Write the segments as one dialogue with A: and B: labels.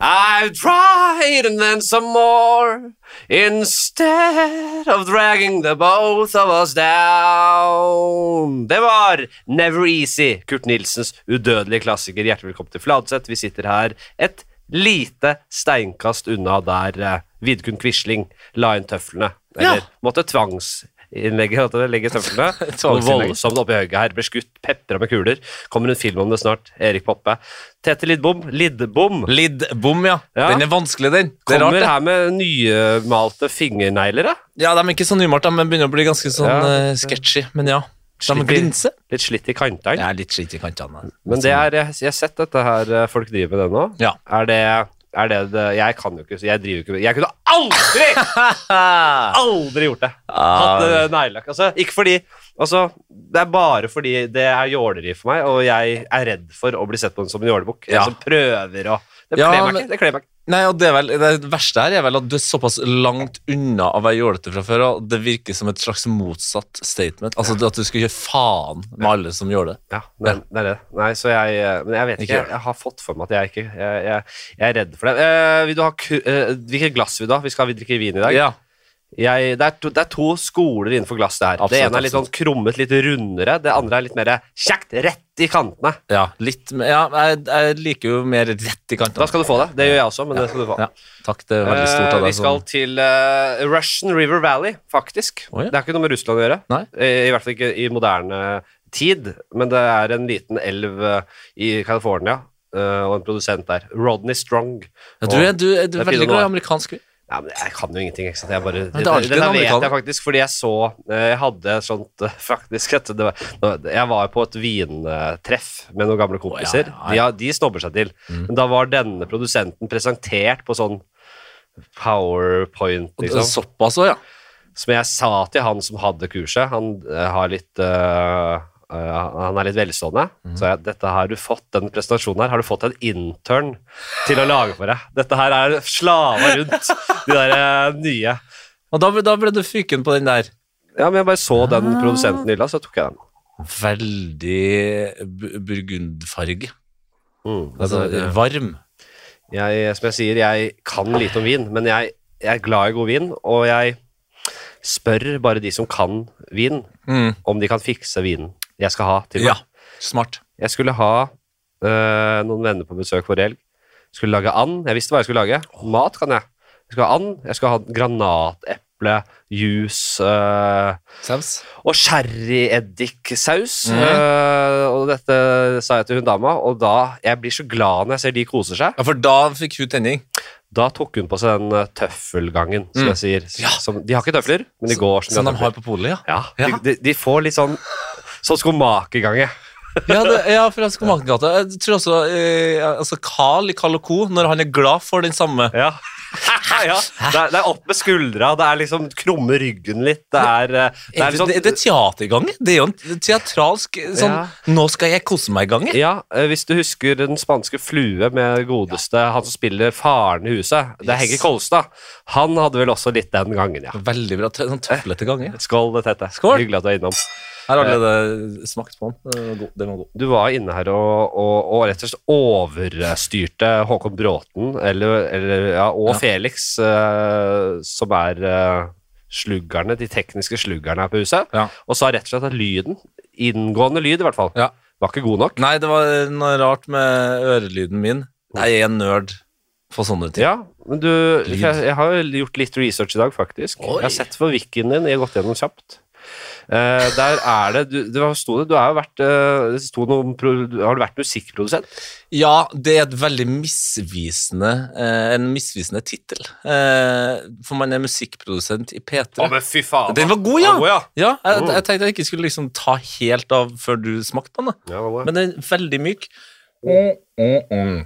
A: I've tried and then some more instead of dragging the both of us down. Det var Never Easy, Kurt Nilsens udødelige klassiker. Hjertelig velkommen til Fladseth. Vi sitter her et lite steinkast unna der eh, Vidkun Quisling la inn tøflene.
B: Ja.
A: Eller måtte tvangsinnlegge at det legges tøflene. Noe
B: Tvangsinnlegge.
A: voldsomt oppi høyre her. Ble skutt, pepra med kuler. Kommer en film om det snart. Erik Poppe. Tete Lidbom. Lidbom.
B: Lidbom, ja.
A: Ja.
B: Den er vanskelig, den. Det er
A: Kommer
B: rart, det.
A: her med nymalte fingernegler, da.
B: Ja, De er ikke så nymalt, de begynner å bli ganske sånn
A: Ja.
B: eh, sketchy, men ja. De
A: Slipper-
B: glinser.
A: Litt slitt i kantene.
B: Jeg er litt skitt i kantene.
A: Men det er, jeg jeg har sett dette her eh, folk driver med det nå.
B: sånn. Ja.
A: Er det, er det, det Jeg kan jo ikke så Jeg driver jo ikke med Jeg kunne aldri, aldri gjort det.
B: Ah.
A: Hatt eh, neglelakk. Altså, ikke fordi Altså, det er bare fordi det er jåleri for meg, og jeg er redd for å bli sett på som en jålebukk.
B: Ja.
A: En som prøver å Det
B: Ja,
A: kler meg
B: men-
A: ikke. Det kler meg ikke.
B: Nei, og det, er vel, det verste her er vel at du er såpass langt unna å være jålete fra før, og det virker som et slags motsatt statement. Altså at du skal gjøre faen med alle som gjør det.
A: Ja, det, det er det. Nei, så jeg eh, Men jeg vet ikke.
B: Ikke gjør
A: Jeg, jeg har fått for meg at jeg ikke Jeg, jeg, jeg er redd for det. Eh, vil du ha ku, eh, Hvilket glass vil du ha? Vi skal vi drikke vin i dag.
B: Ja.
A: Jeg, det, er to, det er to skoler innenfor glass der.
B: Absolutt,
A: det ene er litt sånn
B: absolutt.
A: krummet, litt rundere. Det andre er litt mer kjekt, rett i kantene.
B: ja, litt mer- Ja, jeg, jeg liker jo mer rett i
A: Da
B: kantene.
A: skal du få det. Det gjør jeg også, men det skal du få.
B: Ja, takk, det er veldig stort
A: Eh,
B: av deg.
A: vi skal
B: som-
A: til eh, Russian River Valley, faktisk.
B: Å, ja.
A: Det har ikke noe med Russland å gjøre.
B: Nei.
A: Eh, I hvert fall ikke i moderne tid. Men det er en liten elv eh, i California, eh, og en produsent der. Rodney Strong.
B: ja, du, er, du, er, du
A: Det
B: er
A: er
B: veldig
A: Pinot
B: glad i
A: Noir.
B: amerikansk vin.
A: Ja, men jeg kan jo ingenting, ikke sant. Jeg bare,
B: Men det er alltid
A: dette
B: en
A: vet
B: amerikaner.
A: jeg faktisk, fordi jeg så eh, Jeg hadde et sånt eh, faktisk at det var, nå- Jeg var på et vintreff med noen gamle kompiser.
B: Å, ja, ja, Mm. ja.
A: De, har- de snobber seg til. Men da var denne produsenten presentert på sånn powerpoint, liksom.
B: Såpass òg, ja.
A: Som jeg sa til han som hadde kurset. Han, eh, har litt, eh, eh, han er litt velstående. Så jeg, dette har du fått, denne presentasjonen her har du fått en intern til å lage for deg. Dette her er slava rundt de der eh, nye.
B: Og da, ble- da ble du fyken på den der.
A: Ja, men jeg bare så den produsenten i hylla, så tok jeg den.
B: Veldig bu- burgundfarge.
A: Mm.
B: Altså
A: Altså,
B: varm.
A: jeg, som jeg sier, jeg kan lite om vin, men jeg, jeg er glad i god vin, og jeg spør bare de som kan vin,
B: Mm.
A: om de kan fikse vinen jeg skal ha til meg.
B: Ja, smart.
A: Jeg skulle ha øh, noen venner på besøk for helg. Skulle lage and. Jeg visste hva jeg skulle lage. Mat kan jeg. Jeg skulle ha and. Jeg skulle ha granateple, juice øh,
B: Saus.
A: og sherryeddik-saus.
B: Mhm.
A: Øh, og dette sa jeg til hun dama, og da Jeg blir så glad når jeg ser de koser seg.
B: Ja, for da fikk hun tenning.
A: Da tok hun på seg den øh, tøffelgangen, som
B: Mm.
A: jeg sier.
B: Ja.
A: Som, de har ikke tøfler, men de går som
B: Som
A: de
B: de
A: har
B: har
A: tøfler.
B: på polet, ja.
A: Ja, De,
B: Ja.
A: de, de får litt sånn Sånn skomakergange.
B: Ja, det, ja fra Skomakergata. Jeg tror også eh, altså Carl i Carl Co., når han er glad for den samme
A: Ja. ja. Det, er, det er opp med skuldra, det er liksom krumme ryggen litt. Det er, eh, det
B: Det
A: er
B: er,
A: litt sånn
B: det, er teatergang. Det er jo en teatralsk sånn
A: Ja.
B: 'nå skal jeg kose meg'-gang.
A: ja, eh, Hvis du husker Den spanske flue med godeste han som spiller faren i huset, det er
B: Yes.
A: Hege Kolstad. Han hadde vel også litt den gangen, ja.
B: Veldig bra. tø- Sånn tøflete gang. ja.
A: Skål, Tete.
B: Skål.
A: Hyggelig at du er innom.
B: Jeg har allerede smakt på den. Den var god. Den var god.
A: Du var inne her og, og, og rett og slett overstyrte Håkon Bråten eller, eller, ja, og
B: Ja.
A: Felix, eh, som er eh, sluggerne, de tekniske sluggerne her på huset,
B: Ja.
A: og sa rett og slett at lyden, inngående lyd i hvert fall,
B: Ja.
A: var ikke god nok.
B: Nei, det var noe rart med ørelyden min. Jeg er en nerd for sånne ting.
A: Ja, men du, for jeg, jeg har jo gjort litt research i dag, faktisk. Jeg
B: Oi.
A: har sett for wikien din, jeg har gått gjennom kjapt. Eh, der er det, du, det var- sto det, du har jo vært, eh, det sto noe om pro- har du vært musikkprodusent?
B: Ja, det er et veldig misvisende, eh, en misvisende tittel. Eh, for man er musikkprodusent i P3.
A: men fy faen.
B: Den var god, ja!
A: ja.
B: Ja, jeg,
A: Mm.
B: jeg tenkte jeg ikke skulle liksom ta helt av før du smakte på den. da.
A: Ja, den var god, ja.
B: Men den er veldig myk.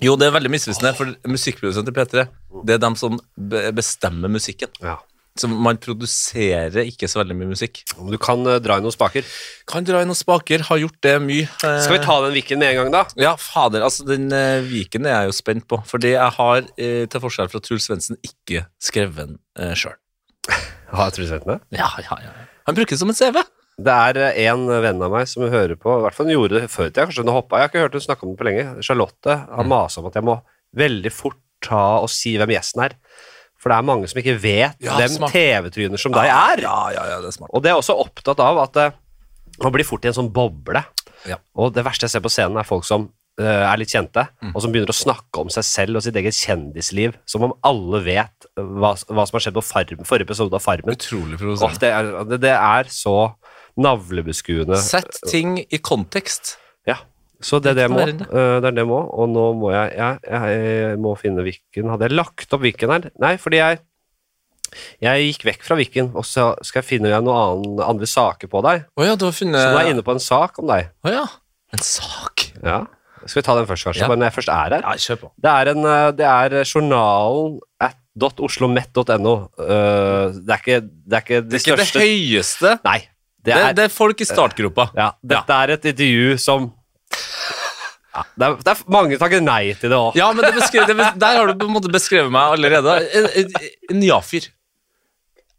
B: Jo, det er veldig misvisende, for musikkprodusent i P3, det er dem som be- bestemmer musikken.
A: ja.
B: Så man produserer ikke så veldig mye musikk.
A: Om du kan eh, dra i noen spaker.
B: Kan dra inn noen spaker, har gjort det mye. eh,
A: Skal vi ta den viken med en gang, da?
B: Ja, fader, altså den eh, Viken er jeg jo spent på, fordi jeg har, eh, til forskjell fra Truls Svendsen, ikke skrevet den eh, sjøl.
A: Har jeg produsenten det?
B: Ja, ja, ja. Han bruker det som en CV.
A: Det er eh, en venn av meg som
B: Mm.
A: hører på, i hvert fall hun gjorde det før i tida, kanskje hun har hoppa, jeg har ikke hørt hun snakke om det på lenge. Charlotte har masa om at jeg må veldig fort ta og si hvem gjesten er. For det er mange som ikke vet
B: Ja,
A: hvem
B: smart.
A: TV-tryner som deg er.
B: Ja, ja, ja, det er smart.
A: Og det er også opptatt av at eh, man blir fort i en sånn boble.
B: Ja.
A: Og det verste jeg ser på scenen, er folk som eh, er litt kjente,
B: Mm.
A: og som begynner å snakke om seg selv og sitt eget kjendisliv, som om alle vet eh, hva, hva som har skjedd på farm, forrige episode av Farmen.
B: Utrolig
A: Åh,
B: provoserende.
A: det, er, det- det er så navlebeskuende.
B: Sett ting i kontekst.
A: Ja. Så det er det jeg må.
B: Ikke noe
A: Eh, Det er det jeg må. Og nå må jeg, jeg, jeg må finne Viken. Hadde jeg lagt opp Viken her? Nei, fordi jeg jeg gikk vekk fra Viken, og så skal jeg finne noen annen, andre saker på deg.
B: Å ja, du har funnet
A: Så nå er jeg inne på en sak om deg.
B: Å ja. En sak.
A: Ja. Skal vi ta den først, kanskje?
B: Ja.
A: Bare når jeg først er her.
B: Ja, kjør på.
A: Det er, en, eh, det er journalen at .oslomet.no. Eh, Det er ikke det, er ikke det,
B: Det er ikke det
A: største
B: høyeste.
A: Nei. Det
B: Det
A: er,
B: er, det er folk i startgropa.
A: Ja, dette er et intervju som ja, det, er, det er mange som takker nei til det òg.
B: Ja, men det beskre- det bes- Der har du på en måte beskrevet meg allerede. En, en, en ja-fyr.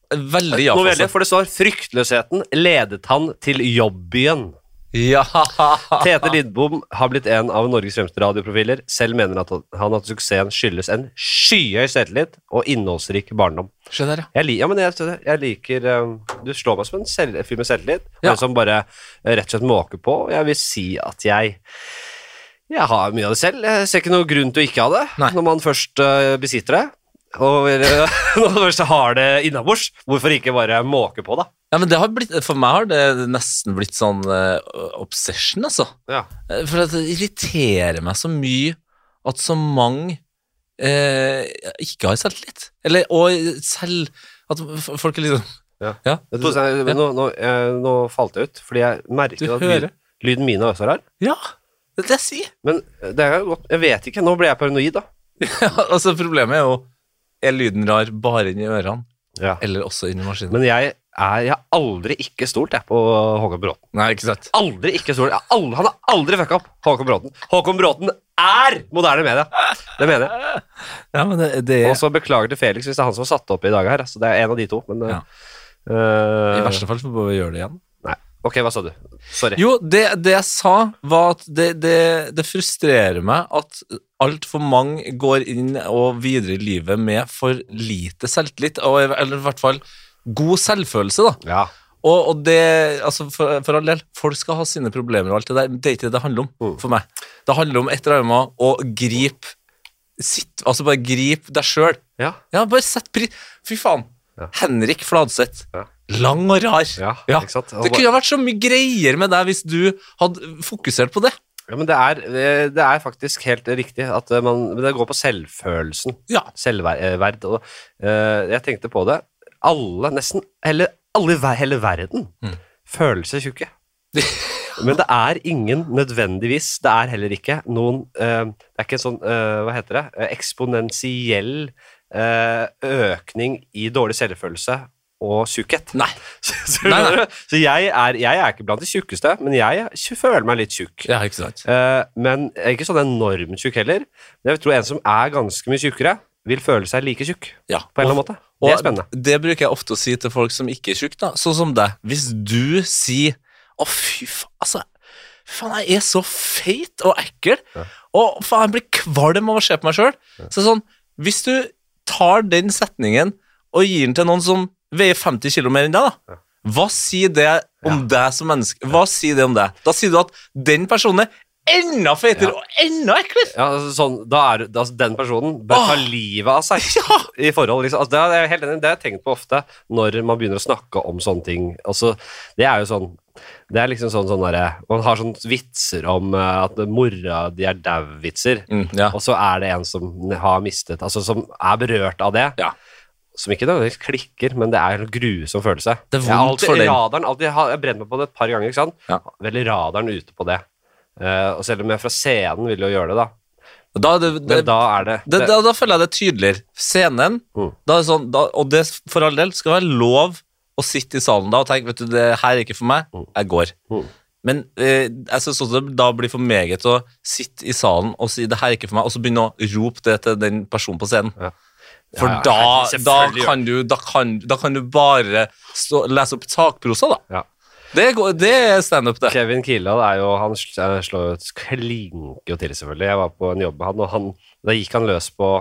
B: En Veldig
A: Novelle,
B: ja-fyr. altså.
A: for det står 'Fryktløsheten ledet han til jobbbyen'.
B: Ja.
A: Tete Lidbom har blitt en av Norges fremste radioprofiler. Selv mener at han at suksessen skyldes en skyhøy selvtillit og innholdsrik barndom.
B: Se der, ja.
A: Jeg, li ja, men jeg, jeg liker um, Du slår meg som en selv, fyr med selvtillit,
B: Ja.
A: men som bare eh, rett og slett måker på. Jeg vil si at jeg jeg har mye av det selv. Jeg ser ikke noe grunn til å ikke ha det
B: Nei.
A: når man først eh, besitter det. Og eh, når man først har det innabords, hvorfor ikke bare måke på, da?
B: ja men det har blitt, for meg har det nesten blitt sånn eh, obsession, altså.
A: Ja.
B: Eh, For at det irriterer meg så mye at så mange eh, ikke har selvtillit. Eller og selv At f- folk er liksom
A: Ja.
B: ja.
A: Vet du, Torstein, nå, nå, eh, nå falt jeg ut, fordi jeg merker
B: Du
A: at
B: hører.
A: lyden, lyden min er også rar.
B: Ja, det er det jeg sier.
A: Men eh, det er jo godt. Jeg vet ikke. Nå ble jeg paranoid, da.
B: altså, problemet er jo Er lyden rar bare inni ørene,
A: Ja.
B: eller også inni maskinen?
A: Men jeg, er, jeg har aldri ikke stolt jeg, på Håkon Bråten.
B: Nei, ikke sant?
A: Aldri ikke stolt. Jeg har aldri, han har aldri fucka opp Håkon Bråten. Håkon Bråten er moderne media! Det mener jeg.
B: Ja, men det, det
A: Og så beklager til Felix hvis det er han som har satt opp i dag her. Så det er en av de to, men eh,
B: Ja.
A: eh,
B: I verste fall så må vi gjøre det igjen.
A: Nei. Ok, hva sa du? Sorry.
B: Jo, det, det jeg sa, var at det, det, det frustrerer meg at altfor mange går inn og videre i livet med for lite selvtillit, og, eller i hvert fall god selvfølelse, da.
A: Ja.
B: Og, og det, altså for, for all del, folk skal ha sine problemer og alt det der, men det er ikke det det handler om
A: Mm.
B: for meg. Det handler om et eller annet å gripe sitt, altså bare gripe deg sjøl.
A: Ja.
B: Ja, bare sett pris Fy faen.
A: Ja.
B: Henrik Fladseth.
A: Ja.
B: Lang og rar.
A: Ja, ikke sant?
B: Det kunne ha vært så mye greier med deg hvis du hadde fokusert på det.
A: Ja, men det er, eh, det er faktisk helt riktig at eh, man men Det går på selvfølelsen.
B: Ja.
A: Selvverd. Og eh, jeg tenkte på det. Alle, nesten Eller alle i ver- hele verden
B: Mm.
A: føler seg tjukke. Men det er ingen nødvendigvis Det er heller ikke noen eh, Det er ikke en sånn eh, Hva heter det? Eh, Eksponentiell eh, økning i dårlig selvfølelse og tjukkhet.
B: Nei.
A: Så, så,
B: Nei, nei.
A: skjønner du? så jeg, er, jeg er ikke blant de tjukkeste, men jeg føler meg litt tjukk.
B: Ja, ikke sant.
A: Eh, men jeg er ikke sånn enormt tjukk heller. Men jeg tror en som er ganske mye tjukkere, vil føle seg like tjukk.
B: Ja.
A: På en eller annen måte. Det er spennende.
B: det bruker jeg ofte å si til folk som ikke er tjukke, da. Sånn som deg. Hvis du sier 'Å, fy faen', altså Faen, jeg er så feit og ekkel,
A: Ja.
B: og faen, jeg blir kvalm av å se på meg sjøl. Så sånn, hvis du tar den setningen og gir den til noen som veier 50 kg mer enn deg, da. Hva sier det om deg som menneske? Hva sier det om deg? Da sier du at den personen er enda feitere
A: Ja.
B: og enda eklere!
A: Ja, altså, sånn, da er, da, den personen bør ta
B: Åh!
A: livet av seg
B: Ja!
A: i forhold. Liksom. Altså, det, er, jeg helt enig, i. det har jeg tenkt på ofte når man begynner å snakke om sånne ting. Altså, det er jo sånn det er liksom sånn, sånn derre- Man har sånne vitser om eh, at mora di er dau-vitser,
B: Mm, ja.
A: og så er det en som har mistet Altså som er berørt av det.
B: Ja.
A: som ikke nødvendigvis klikker, men det er en grusom følelse.
B: Det er
A: jeg har
B: vondt
A: alltid
B: for den.
A: radaren, alltid, jeg har jeg har brent meg på det et par ganger, ikke sant?
B: Ja.
A: Veldig radaren ute på det. Eh, og selv om jeg fra scenen ville jo gjøre det, da.
B: Da er det,
A: Men da er det,
B: det, da, da føler jeg det er tydeligere. Scenen,
A: Mm.
B: da er det sånn, da, og det for all del skal være lov å sitte i salen da og tenke vet du, det her er ikke for meg, jeg går.
A: Mm.
B: Men eh, jeg synes også det da blir for meget å sitte i salen og si det her er ikke for meg, og så begynne å rope det til den personen på scenen.
A: Ja.
B: For
A: Ja, ja,
B: da,
A: selvfølgelig
B: da,
A: gjør
B: kan du, da, kan, da kan du bare stå, lese opp takprosa, da.
A: Ja.
B: Det, går- det er standup, det.
A: Kevin Kildahl er jo Han sl- eh, slår jo et klinke jo til, selvfølgelig. Jeg var på en jobb med han, og han, da gikk han løs på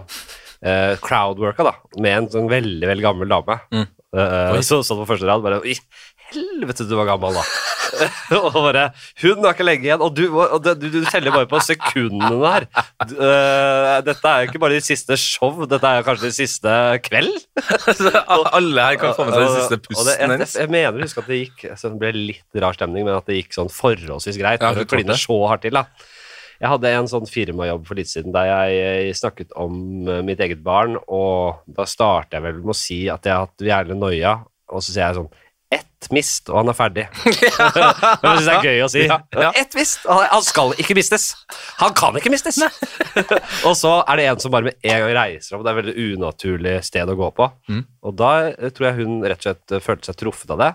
A: eh, crowdworka da, med en sånn veldig, veldig gammel dame.
B: Mm.
A: Eh,
B: Oi.
A: så sånn på første rad bare I helvete, du var gammel, da. og bare Hun har ikke lenge igjen, og du, og det- du, du teller bare på sekundene her. Du, eh, dette er jo ikke bare ditt siste show, dette er kanskje din siste kveld.
B: Alle her kan få med seg den siste
A: Og det-
B: pusten
A: jeg,
B: hennes.
A: jeg, jeg mener å huske at det gikk så Det ble litt rar stemning, men at det gikk sånn forholdsvis greit.
B: Ja,
A: for
B: du
A: å kline
B: klarte.
A: så hardt til da Jeg hadde en sånn firmajobb for litt siden der jeg, eh, snakket om eh, mitt eget barn, og da starter jeg vel med å si at jeg har hatt jævlig noia, og så sier jeg sånn ett mist, og han er ferdig. Det syns jeg er gøy å si.
B: Ja, ja.
A: Ett mist, og han- han skal ikke mistes. Han kan ikke mistes. og så er det en som bare med en gang reiser opp. Det er et veldig unaturlig sted å gå på.
B: Mm.
A: Og da eh, tror jeg hun rett og slett eh, følte seg truffet av det.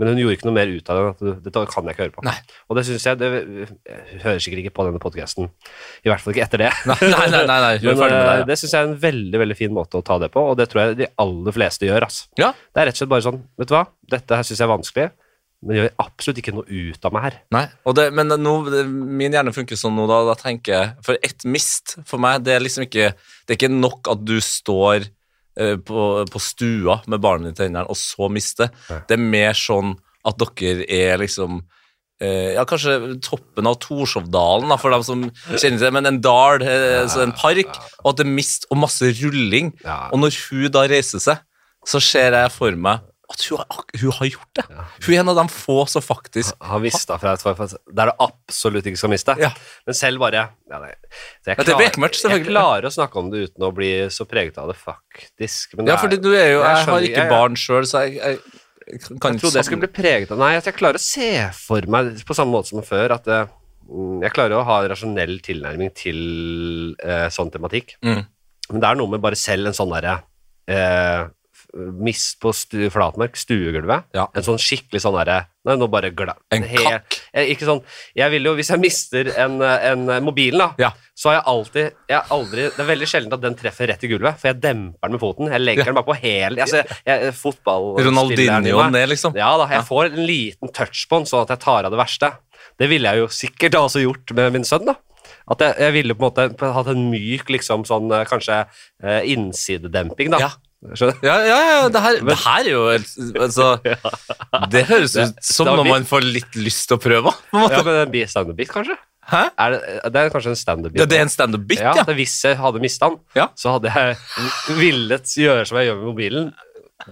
A: Men hun gjorde ikke noe mer ut av det. enn at du- Dette kan jeg ikke høre på.
B: Nei.
A: Og det syns jeg det, jeg hører sikkert ikke på denne podkasten. I hvert fall ikke etter det.
B: Nei, nei, nei, nei, nei. hun er
A: Men,
B: ferdig
A: eh,
B: med det.
A: det syns jeg er en veldig veldig fin måte å ta det på, og det tror jeg de aller fleste gjør. ass.
B: Ja. Ja.
A: Det er rett og slett bare sånn Vet du hva, dette her syns jeg er vanskelig, men gjør absolutt ikke noe ut av meg her.
B: Nei, og det, men nå, det, min hjerne funker sånn nå, da, da tenker jeg For ett mist for meg, det er liksom ikke Det er ikke nok at du står eh, på, på stua med barnet ditt i hendene og så mister.
A: Nei.
B: Det er mer sånn at dere er liksom eh, ja, kanskje toppen av Torshovdalen, da, for dem som kjenner til det, men en dal, eh, så en park, og at det er mist og masse rulling.
A: Ja.
B: Og når hun da reiser seg, så ser jeg for meg at hun, har ak- hun har gjort det. Hun er en av de få som faktisk
A: Han visste fra et forfall der du absolutt ikke skal miste.
B: Ja.
A: Men selv bare ja, nei. Så jeg,
B: Ja, det er bekmørkt,
A: jeg
B: selvfølgelig.
A: klarer å snakke om det uten å bli så preget av det, faktisk. Men det
B: Ja, fordi
A: er,
B: du er
A: jeg
B: jo Jeg,
A: skjønner
B: har
A: ikke,
B: ikke
A: jeg-
B: barn sjøl, så jeg, jeg, jeg kan ikke
A: jeg trodde jeg skulle bli preget av Nei, at jeg klarer å se for meg på samme måte som før at eh, mm, jeg klarer å ha en rasjonell tilnærming til eh, sånn tematikk.
B: Mm.
A: Men det er noe med bare selv en sånn derre eh, f- Mist på stu, flatmark, stuegulvet.
B: Ja.
A: En sånn skikkelig sånn derre Nei, nå bare gla...
B: En
A: helt-
B: kakk.
A: Eh, Ikke sånn Jeg vil jo, hvis jeg mister en, eh, en eh, mobilen, da,
B: Ja.
A: så har jeg alltid jeg har aldri, Det er veldig sjelden at den treffer rett i gulvet, for jeg demper den med foten. Jeg legger
B: Ja.
A: den bare på hel altså, jeg, jeg, Fotballspilleren i
B: Ronaldinho
A: meg.
B: ned, liksom.
A: Ja da, jeg får en liten touch på den, sånn at jeg tar av det verste. Det ville jeg jo sikkert også gjort med min sønn, da. At jeg, jeg ville på en måte hatt en myk, liksom sånn eh, kanskje eh, innsidedemping, da.
B: Ja.
A: Skjønner du?
B: Ja, ja, ja det, her, det her er jo helt- Altså, det høres ut som
A: det var
B: noe man får litt lyst til å prøve. På en måte.
A: Ja, men en bi- standup-bit, kanskje?
B: Hæ?
A: Er det, det er kanskje en standup-bit.
B: Ja, det er en standup-bit,
A: Ja,
B: ja.
A: at Hvis jeg hadde mista den,
B: Ja.
A: så hadde jeg villet gjøre som jeg gjør med mobilen.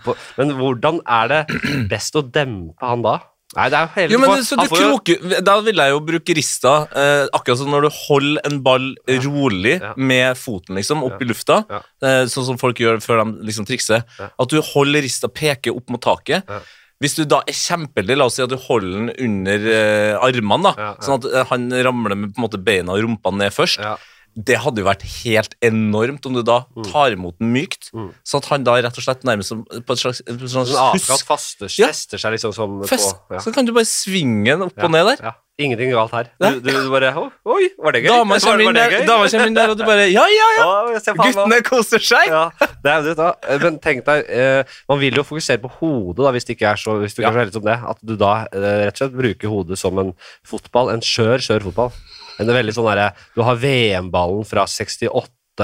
A: På- Men hvordan er det best å dempe han da? Nei, det er jo hele
B: Jo, men
A: for-
B: så
A: han
B: du
A: får jo-
B: kroker, Da ville jeg jo bruke rista, eh, akkurat som når du holder en ball rolig
A: Ja.
B: med foten liksom, opp i lufta,
A: Ja.
B: eh, sånn som folk gjør før de liksom trikser,
A: Ja.
B: at du holder rista peker opp mot taket.
A: Ja.
B: Hvis du da er kjempeheldig, la oss si at du holder den under eh, armene, da,
A: Ja, ja.
B: sånn at eh, han ramler med på en måte beina og rumpa ned først.
A: Ja.
B: Det hadde jo vært helt enormt om du da tar imot den mykt,
A: Mm.
B: sånn at han da rett og slett nærmest som- på et slags, på et slags
A: Sånn avkast
B: husk-
A: faster,
B: Ja.
A: fester seg liksom som
B: fest,
A: på ja.
B: så kan du bare svinge den opp og ned der.
A: Ja. Ingenting galt her. Du, du, du bare «Å, Oi, var det gøy?
B: Dama
A: var, var
B: kommer inn,
A: det
B: der-
A: gøy?
B: dama kommer inn der, og du bare Ja, ja, ja!
A: Å, se faen, hva-
B: Guttene koser seg!
A: ja, det er jo det, da. Men tenk deg, eh, man vil jo fokusere på hodet da, hvis, det ikke er så, hvis du ikke er så heldig som det. At du da eh, rett og slett bruker hodet som en fotball, en skjør, skjør fotball. En veldig sånn derre Du har VM-ballen fra 68,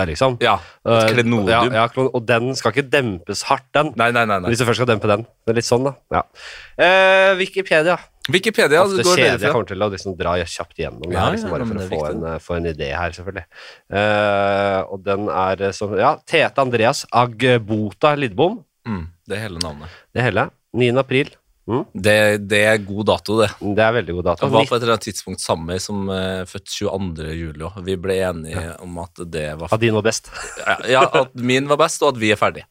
A: liksom.
B: Ja.
A: Eh,
B: Et klenodium.
A: ja, ja, klon- og den skal ikke dempes hardt, den.
B: Nei, nei, nei. nei.
A: Hvis du først skal dempe den. Det er litt sånn, da. Ja. Eh, Wikipedia.
B: Wikipedia
A: Ofte
B: det går
A: kjedelig. Jeg
B: bedre for
A: kommer til å liksom dra kjapt gjennom det
B: Ja,
A: her, liksom,
B: ja,
A: bare for å
B: men det er
A: få en,
B: viktig.
A: eh, få en idé her, selvfølgelig. Eh, og den er eh, som Ja, Tete Andreas Agbota Lidbom.
B: Mm, det er hele navnet.
A: Det hele. 9. april.
B: Det, det er god dato, det.
A: Det er veldig god dato.
B: Jeg var på et eller annet tidspunkt sammen med ei som eh, født 22. juli også. Vi ble enige om at det var
A: At din var best.
B: ja, ja, at min var best, og at vi er ferdige.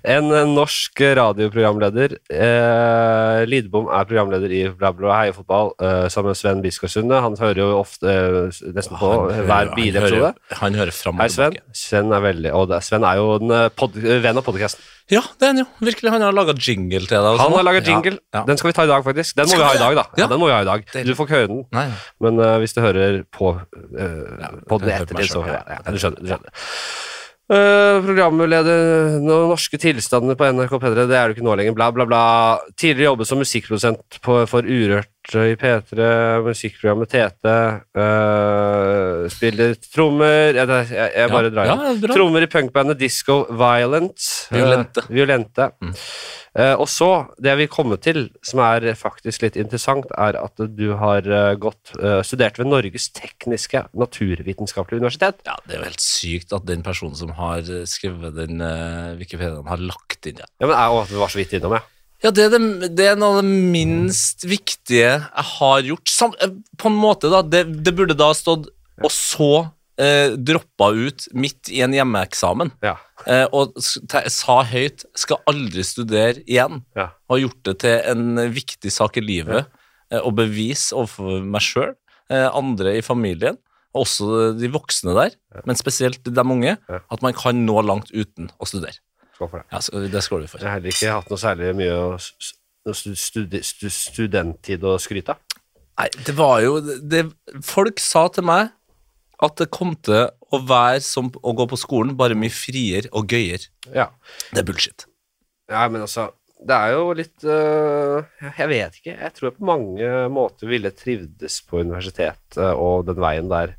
A: En eh, norsk radioprogramleder. Eh, Lidbom er programleder i Bla Bla Heia Fotball eh, sammen med Sven Biskår Sunde. Han hører jo ofte eh, nesten på
B: hører-
A: hver
B: hører,
A: bilepisode.
B: han hører fram
A: Hei,
B: og
A: Sven.
B: tilbake.
A: Sven er veldig Og det- Sven er jo en eh, pod, venn av podkasten.
B: Ja, det er han jo. Virkelig. Han har laga jingle til deg. og
A: Han
B: sånn.
A: har laget jingle.
B: Ja, ja.
A: Den skal vi ta i dag, faktisk. Den må vi ha i dag, da. Ja,
B: Ja.
A: den må vi ha i dag.
B: Deilig.
A: Du får ikke høre den,
B: Nei.
A: men eh, hvis du hører på uh, podden
B: jeg hører på meg
A: ettertid, så
B: selv,
A: ja,
B: ja.
A: ja, Du skjønner. Du skjønner. Eh, programleder no- Norske tilstander på NRK P3, det er du ikke nå lenger, bla, bla, bla. Tidligere jobbet som musikkprodusent på, for Urørt i P3, musikkprogrammet Tete. eh, spiller trommer Jeg, jeg, jeg bare drar
B: ja,
A: inn.
B: ja, bra.
A: Trommer i punkbandet Disco Violent. eh,
B: Violente.
A: Violente. Eh, og så, det jeg vil komme til, som er faktisk litt interessant, er at du har eh, gått, eh, studert ved Norges tekniske naturvitenskapelige universitet.
B: Ja, Det er jo helt sykt at den personen som har eh, skrevet den eh, Wikipediaen, har lagt inn det.
A: Ja, men jeg, å, vi var så vidt innom, jeg.
B: Ja, det er, det, det er noe av det minst viktige jeg har gjort. Sam, eh, på en måte, da. Det, det burde da stått Og så eh, droppa ut midt i en hjemmeeksamen
A: Ja.
B: eh, og s- te, sa høyt 'skal aldri studere igjen'.
A: Ja.
B: Og har gjort det til en eh, viktig sak i livet eh, å bevise overfor meg sjøl, eh, andre i familien, og også de voksne der, men spesielt de unge,
A: Ja.
B: at man kan nå langt uten å studere.
A: Skål for det.
B: Ja, så det skåler vi for.
A: Jeg har heller ikke hatt noe særlig mye å s- s- stu- studi- stu- studenttid å skryte av.
B: Nei, det var jo det, Folk sa til meg at det kom til å være som å gå på skolen, bare mye friere og gøyere.
A: Ja.
B: Det er bullshit.
A: Nei, men altså Det er jo litt øh, Jeg jeg vet ikke. Jeg tror jeg på mange måter ville trivdes på universitet øh, og den veien der.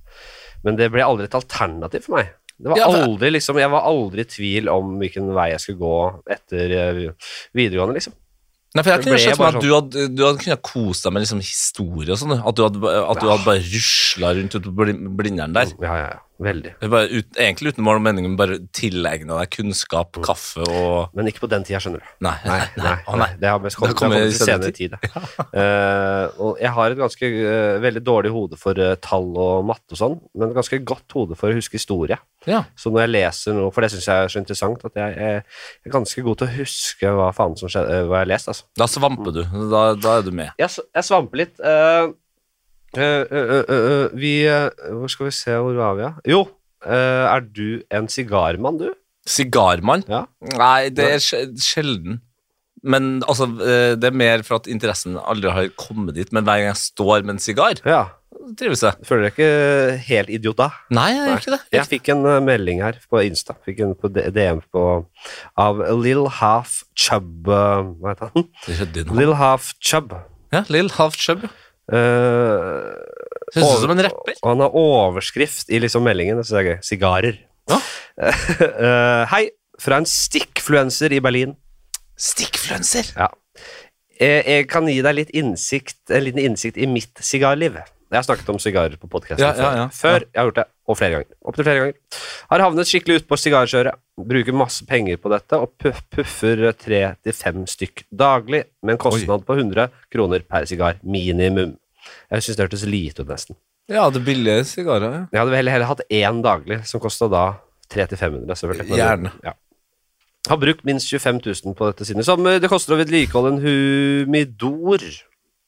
A: Men det ble aldri et alternativ for meg. Det var
B: Ja, for-
A: aldri liksom Jeg var aldri i tvil om hvilken vei jeg skulle gå etter øh, videregående, liksom.
B: Nei, for Jeg
A: Det
B: kunne
A: ble
B: skjønt
A: bare sånn.
B: at du hadde, du hadde kunnet kose deg med liksom historie og sånn. du. At du hadde, at du hadde bare rusla rundt ute på blin- Blindern der.
A: Ja, ja, ja. Veldig.
B: Bare ut, egentlig uten mål og mening, men bare tilegna deg kunnskap, kaffe og
A: Men ikke på den tida, skjønner du.
B: Nei.
A: Nei, nei,
B: å
A: nei. det har mest kommet, det har
B: Det har kommet
A: kommet til senere
B: senere
A: tid. Eh, og jeg har et ganske eh, veldig dårlig hode for eh, tall og matte og sånn, men ganske godt hode for å huske historie.
B: Ja.
A: Så når jeg leser noe, for det syns jeg er så interessant, at jeg er er ganske god til å huske hva faen som skjedde, eh, hva jeg har lest, altså.
B: Da svamper du. Da, da er du med.
A: Jeg, s- jeg svamper litt. eh, eh, eh, eh, eh, vi eh, Hvor skal vi se, hvor var vi, ja? Jo, eh, er du en sigarmann, du?
B: Sigarmann?
A: Ja.
B: Nei, det er sj- sjelden. Men altså, eh, det er mer for at interessen aldri har kommet dit. Men hver gang jeg står med en sigar,
A: Ja.
B: trives jeg.
A: Føler deg ikke helt idiot da?
B: Nei, jeg gjør ikke det.
A: Jeg fikk en eh, melding her på Insta, fikk en på D- DM på, av Lil Half Chubb eh, Hva heter han?
B: Røddin.
A: Lil Half Chubb.
B: Ja, Lill Half Chub. ja.
A: Eh,
B: Høres
A: Over-
B: ut som en rapper.
A: og han har overskrift i liksom meldingen. Det synes jeg er gøy. Sigarer.
B: Ja.
A: Eh, hei, fra en stikkfluenser i Berlin.
B: Stikkfluenser.
A: Ja. Jeg, jeg kan gi deg litt innsikt, en liten innsikt i mitt sigarliv. Jeg har snakket om sigarer på podkasten
B: Ja, ja, ja.
A: før. Jeg har gjort det, og flere ganger. Opptil flere ganger. Har havnet skikkelig utpå sigarkjøret. Bruker masse penger på dette og puff, puffer tre til fem stykk daglig med en kostnad på 100 kroner per sigar. Minimum. Jeg syns det hørtes lite ut, nesten.
B: Ja, det er billige sigarer. ja.
A: Jeg hadde vel heller, heller hatt én daglig, som kosta da 300-500, selvfølgelig.
B: Gjerne.
A: Ja. Har brukt minst 25 000 på dette siden i sommer. Det koster å vedlikeholde en humidor.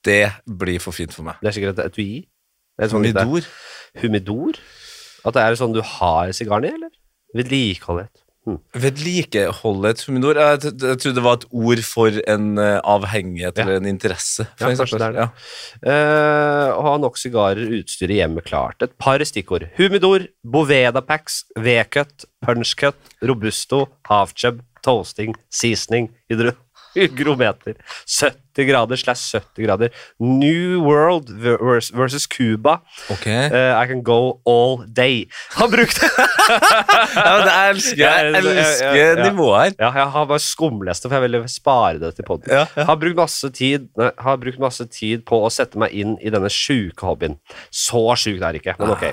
A: Det
B: Det etui for fint for meg.
A: er sikkert et etui. Det er sånn det-
B: Midor.
A: Humidor? At det er sånn du har sigaren i, eller? Vedlikeholde et. Hm.
B: Vedlikeholde et humidor. Jeg, t- jeg trodde det var et ord for en eh, avhengighet eller en interesse.
A: Ja,
B: for eksempel.
A: kanskje det er det.
B: Ja.
A: Eh, å ha nok sigarer og utstyr i hjemmet klart. Et par stikkord. Humidor, Boveda Packs, V-cut, Punch Cut, Robusto, Havchub, Toasting, Seasoning, hydro hygrometer. 70 grader slash 70 grader. New World vers- versus Cuba.
B: Ok.
A: Eh, I can go all day. Har brukt
B: Ja, men jeg elsker, jeg
A: Ja, ja, ja,
B: elsker
A: ja, ja.
B: nivået her.
A: Ja, jeg har bare skumlest det, for jeg ville spare det til podden.
B: Ja, ja.
A: Har, brukt masse tid, nei, har brukt masse tid på å sette meg inn i denne sjuke hobbyen. Så sjuk er det ikke, men ok.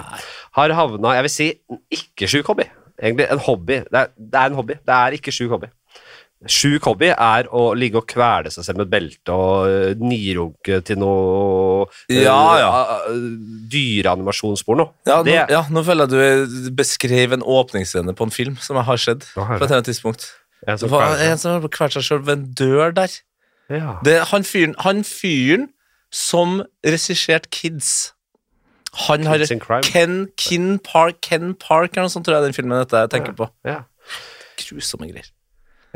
A: Har havna Jeg vil si en ikke-sjuk hobby. Egentlig en hobby. Det er, det er en hobby. Det er ikke sjuk hobby. Sjuk hobby er å ligge og kvele seg selv med belte og øh, nirunke til noe øh,
B: Ja, ja.
A: a- a- dyreanimasjonsporno.
B: Ja, nå,
A: det,
B: ja, nå føler jeg du beskrev en åpningsscene på en film som jeg har sett.
A: Ja,
B: på
A: her
B: et eller annet tidspunkt.
A: Jeg
B: Det
A: som
B: var
A: kveler seg.
B: en som hadde kvalt seg sjøl ved en dør der.
A: sånn ja.
B: Det, han, fyren, han fyren som regisserte Kids han har,
A: Kids in Crime.
B: Ken, Kin Park, Ken Park eller noe sånt, tror jeg den filmen dette jeg tenker på.
A: ja.
B: Grusomme greier.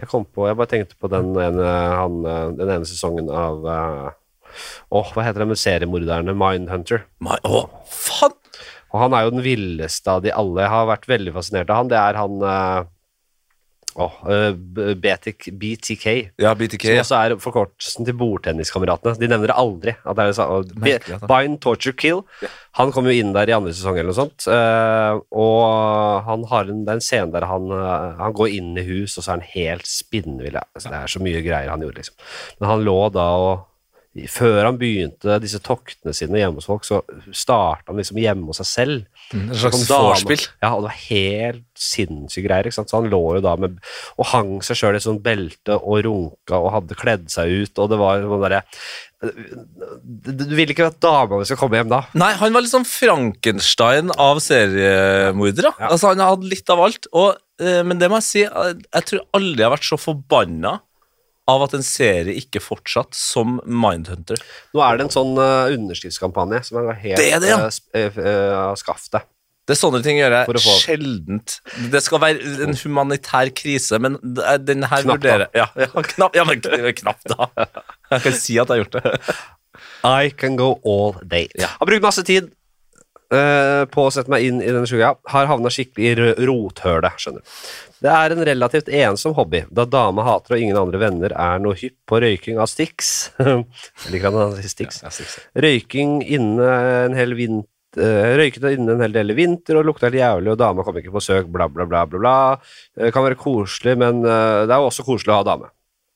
A: Jeg kom på, jeg bare tenkte på den ene, han, eh, den ene sesongen av eh, Åh, hva heter den med seriemorderne? Mindhunter.
B: My, å, faen!
A: Og han er jo den villeste av de alle. Jeg har vært veldig fascinert av han. Det er han eh, åh, eh, B- BTK, BTK
B: Ja, BTK.
A: som
B: Ja.
A: også er forkortelsen til bordtenniskameratene. De nevner det aldri. At det er det samme. Og B-
B: Merkelig, altså.
A: Bind, torture, kill. Han kom jo inn der i andre sesong eller noe sånt. eh, og han har en, det er en scene der han, eh, han går inn i hus, og så er han helt spinnvill. ja. Altså, det er så mye greier han gjorde, liksom. Men han lå da og før han begynte disse toktene sine hjemme hos folk, så starta han liksom hjemme hos seg selv.
B: En
A: Så kom
B: slags
A: dama-
B: vorspiel.
A: Ja, og det var helt sinnssyke greier. ikke sant? Så han lå jo da med, og hang seg sjøl i et sånt belte og runka og hadde kledd seg ut, og det var sånn derre Du du vil ikke at damene skal komme hjem da?
B: Nei, han var litt sånn Frankenstein av seriemordere.
A: Ja.
B: Altså, han hadde litt av alt. Og, eh, men det må jeg si, eh, jeg tror aldri jeg har vært så forbanna av at en serie ikke fortsatt som Mindhunter.
A: Nå er det en sånn eh, underskriftskampanje som er helt
B: Det er det, ja.
A: eh, sp- eh, eh, av skaftet.
B: Det er sånne ting gjør
A: For
B: jeg
A: å få-
B: sjeldent. Det skal være en humanitær krise, men det er- den her
A: Knapt da.
B: vurderer jeg. Ja, ja, knapp, ja, men kn- knapt, da. Jeg kan si at jeg har gjort det.
A: I can go all day. Har brukt masse tid eh, på å sette meg inn i denne skugga. Har havna skikkelig i rø- rothølet, skjønner du. Det er en relativt ensom hobby, da dama hater og ingen andre venner er noe hypp på røyking av Stix. Jeg liker at han sier Stix. Røyking inne en hel vinter Røyket inne en hel del i vinter og lukta helt jævlig, og dama kom ikke på søk, bla, bla, bla. bla, bla. Eh, Kan være koselig, men eh, det er jo også koselig å ha dame.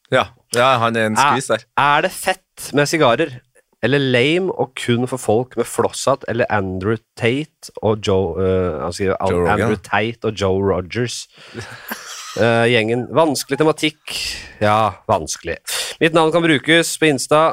B: Ja, ja han er en skvis der.
A: Er det fett med sigarer? Eller lame og kun for folk med flosshatt eller Andrew Tate og Joe, eh, han skriver Al-
B: Joe Rogan.
A: Andrew Tate og Joe Rogers. Eh, gjengen. Vanskelig tematikk. Ja, vanskelig. Mitt navn kan brukes på Insta.